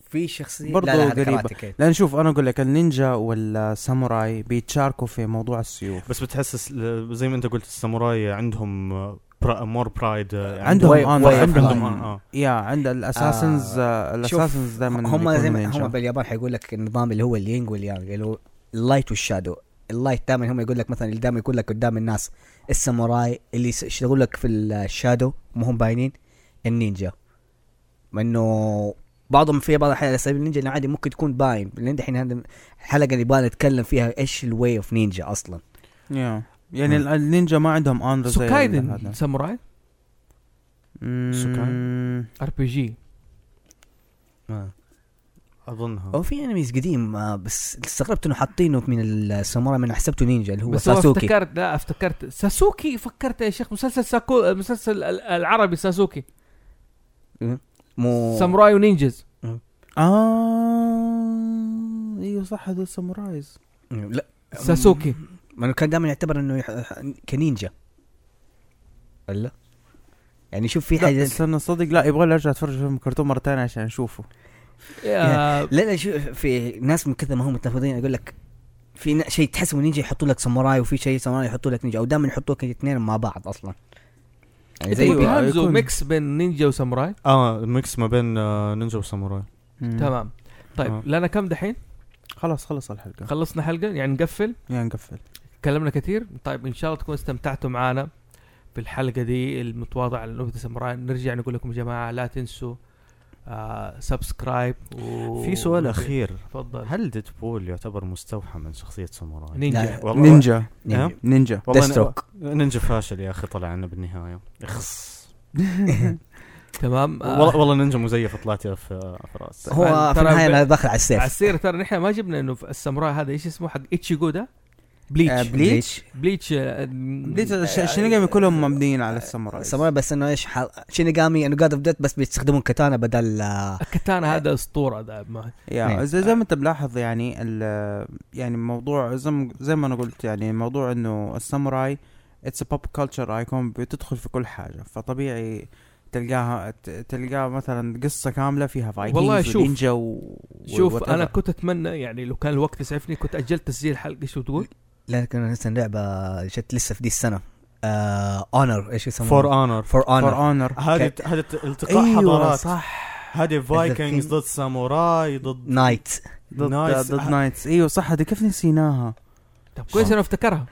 وفي شخصيه
برضو
لا لا هذا
قريبة.
كاراتيه كيد.
لان شوف انا اقول لك النينجا والساموراي بيتشاركوا في موضوع السيوف
بس بتحس الس- ل- زي ما انت قلت الساموراي عندهم آه، برا مور برايد آه،
عندهم
واي-
آن-
واي-
عندهم
آه، آه.
يا عند الاساسنز آه
شوف،
الاساسنز دائما
هم زي ما هم باليابان حيقول لك النظام اللي هو الينج واليانج اللي هو اللايت والشادو اللايت دائما هم يقول لك مثلا اللي دائما يقول لك قدام الناس الساموراي اللي يس- يشتغلوا لك في الشادو ما هم باينين النينجا مع انه بعضهم في بعض الاحيان اساليب النينجا انه عادي ممكن تكون باين لان دحين هذا الحلقه اللي يبغى نتكلم فيها ايش الواي اوف نينجا اصلا
يا. يعني ال- النينجا ما عندهم انر زي
سوكايدن ساموراي
سوكايدن
ار بي جي
اظنها
هو في انميز قديم آه، بس استغربت انه حاطينه من الساموراي من حسبته نينجا اللي هو
بس هو
ساسوكي
افتكرت لا افتكرت ساسوكي فكرت يا شيخ مسلسل ساكو مسلسل ال- العربي ساسوكي
مو
ساموراي ونينجز
اه ايوه صح هذول سامورايز
لا
ساسوكي
ما انه كان دائما يعتبر انه يح... كنينجا ولا يعني شوف في
لا
حاجه
استنى صدق لا يبغى لي ارجع اتفرج فيلم كرتون مره ثانيه عشان اشوفه
يا-
لا لا شوف في ناس من كثر ما هم متنافضين اقول لك في نا- شيء تحسبه نينجا يحطوا لك ساموراي وفي شيء ساموراي يحطوا لك نينجا او دائما يحطوا لك الاثنين مع بعض اصلا يعني
زي
زي
أيوة،
بيهانزو
يكون-
إيه، ميكس بين نينجا وساموراي
اه ميكس ما بين آه، نينجا وساموراي
تمام
آه.
طيب لنا كم دحين
خلاص خلص الحلقه
خلصنا حلقه يعني نقفل
يعني نقفل
تكلمنا كثير طيب ان شاء الله تكونوا استمتعتوا معنا في الحلقه دي المتواضعه عن نكته ساموراي نرجع نقول لكم يا جماعه لا تنسوا آه سبسكرايب و...
في سؤال اخير
تفضل
هل ديدبول يعتبر مستوحى من شخصيه ساموراي؟
نينجا
لا.
والله-
نينجا
نينجا.
نعم.
نينجا
والله
Deathstroke.
أنا- نينجا فاشل يا اخي طلع عنا بالنهايه اخس
تمام آه،
والله والله نينجا مزيف طلعت يا ف- فراس
هو في
ترى
النهايه
ب-
انا داخل على
على
السيف آه،
السيره ترى نحن ما جبنا انه في الساموراي هذا ايش اسمه حق ايتشيجو ده
آه،
بليتش
بليتش.
بليتش آه،
بديت
آه،
الش- الشينيجامي كلهم مبنيين على الساموراي
ساموراي بس انه ايش حل... شينيغامي انه جاد اوف ديت بس بيستخدمون كاتانا بدل آه،
الكتانا هذا اسطوره ده ما
نعم.
يا زي, زي ما انت ملاحظ يعني ال- يعني موضوع زي ما زي ما انا قلت يعني موضوع انه الساموراي اتس بوب كلتشر ايكون بتدخل في كل حاجه فطبيعي تلقاها ت- تلقاها مثلا قصه كامله فيها فايكنجز
والله شوف-
ونينجا و...
شوف
وwhatever.
انا كنت اتمنى يعني لو كان الوقت يسعفني كنت اجلت تسجيل الحلقه شو تقول؟
لكن لسه لعبه جت لسه في دي آه، السنه اونر ايش يسموها
فور اونر
فور
فور
اونر
اونر
هذه
ك-
هذه التقاء
ايوه
حضارات
صح
هذه فايكنجز
thing-
ضد ساموراي ضد
نايت
ضد
نايس.
ضد نايتس ايوه صح هذه كيف نسيناها
طب كويس انا افتكرها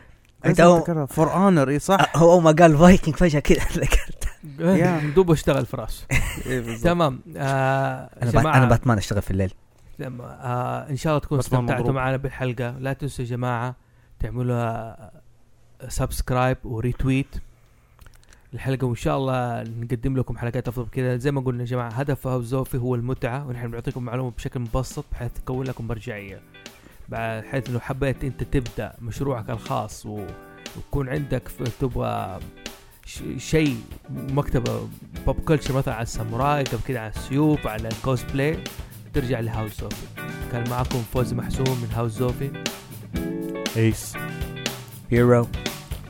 انت أول-
فور اونر اي صح
هو اول ما قال فايكنج فجاه كذا ذكرت
يا.
دوب اشتغل في راسه
إيه بالضبط.
تمام آه
انا بات
جماعة
انا باتمان اشتغل في الليل
تمام. آه ان شاء الله تكونوا
بس ما
استمتعتوا
مضروب.
معنا بالحلقه لا تنسوا يا جماعه تعملوا آه، سبسكرايب وريتويت الحلقه وان شاء الله نقدم لكم حلقات افضل كذا زي ما قلنا يا جماعه هدف هاوس زوفي هو المتعه ونحن بنعطيكم معلومه بشكل مبسط بحيث تكون لكم مرجعيه بحيث لو حبيت انت تبدا مشروعك الخاص و... ويكون عندك ف- تبغى ش... شيء مكتبه بوب كلتشر مثلا على الساموراي قبل كده على السيوف على الكوسبلاي ترجع لهاوس زوفي كان معكم فوز محسوم من هاوس زوفي
ايس
هيرو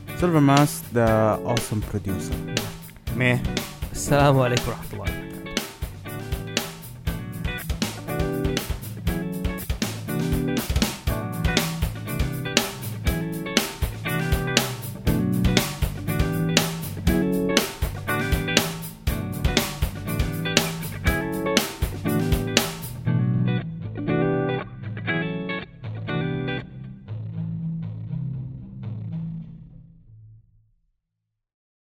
سيلفر ماس ذا اوسم بروديوسر
ميه
السلام عليكم ورحمه الله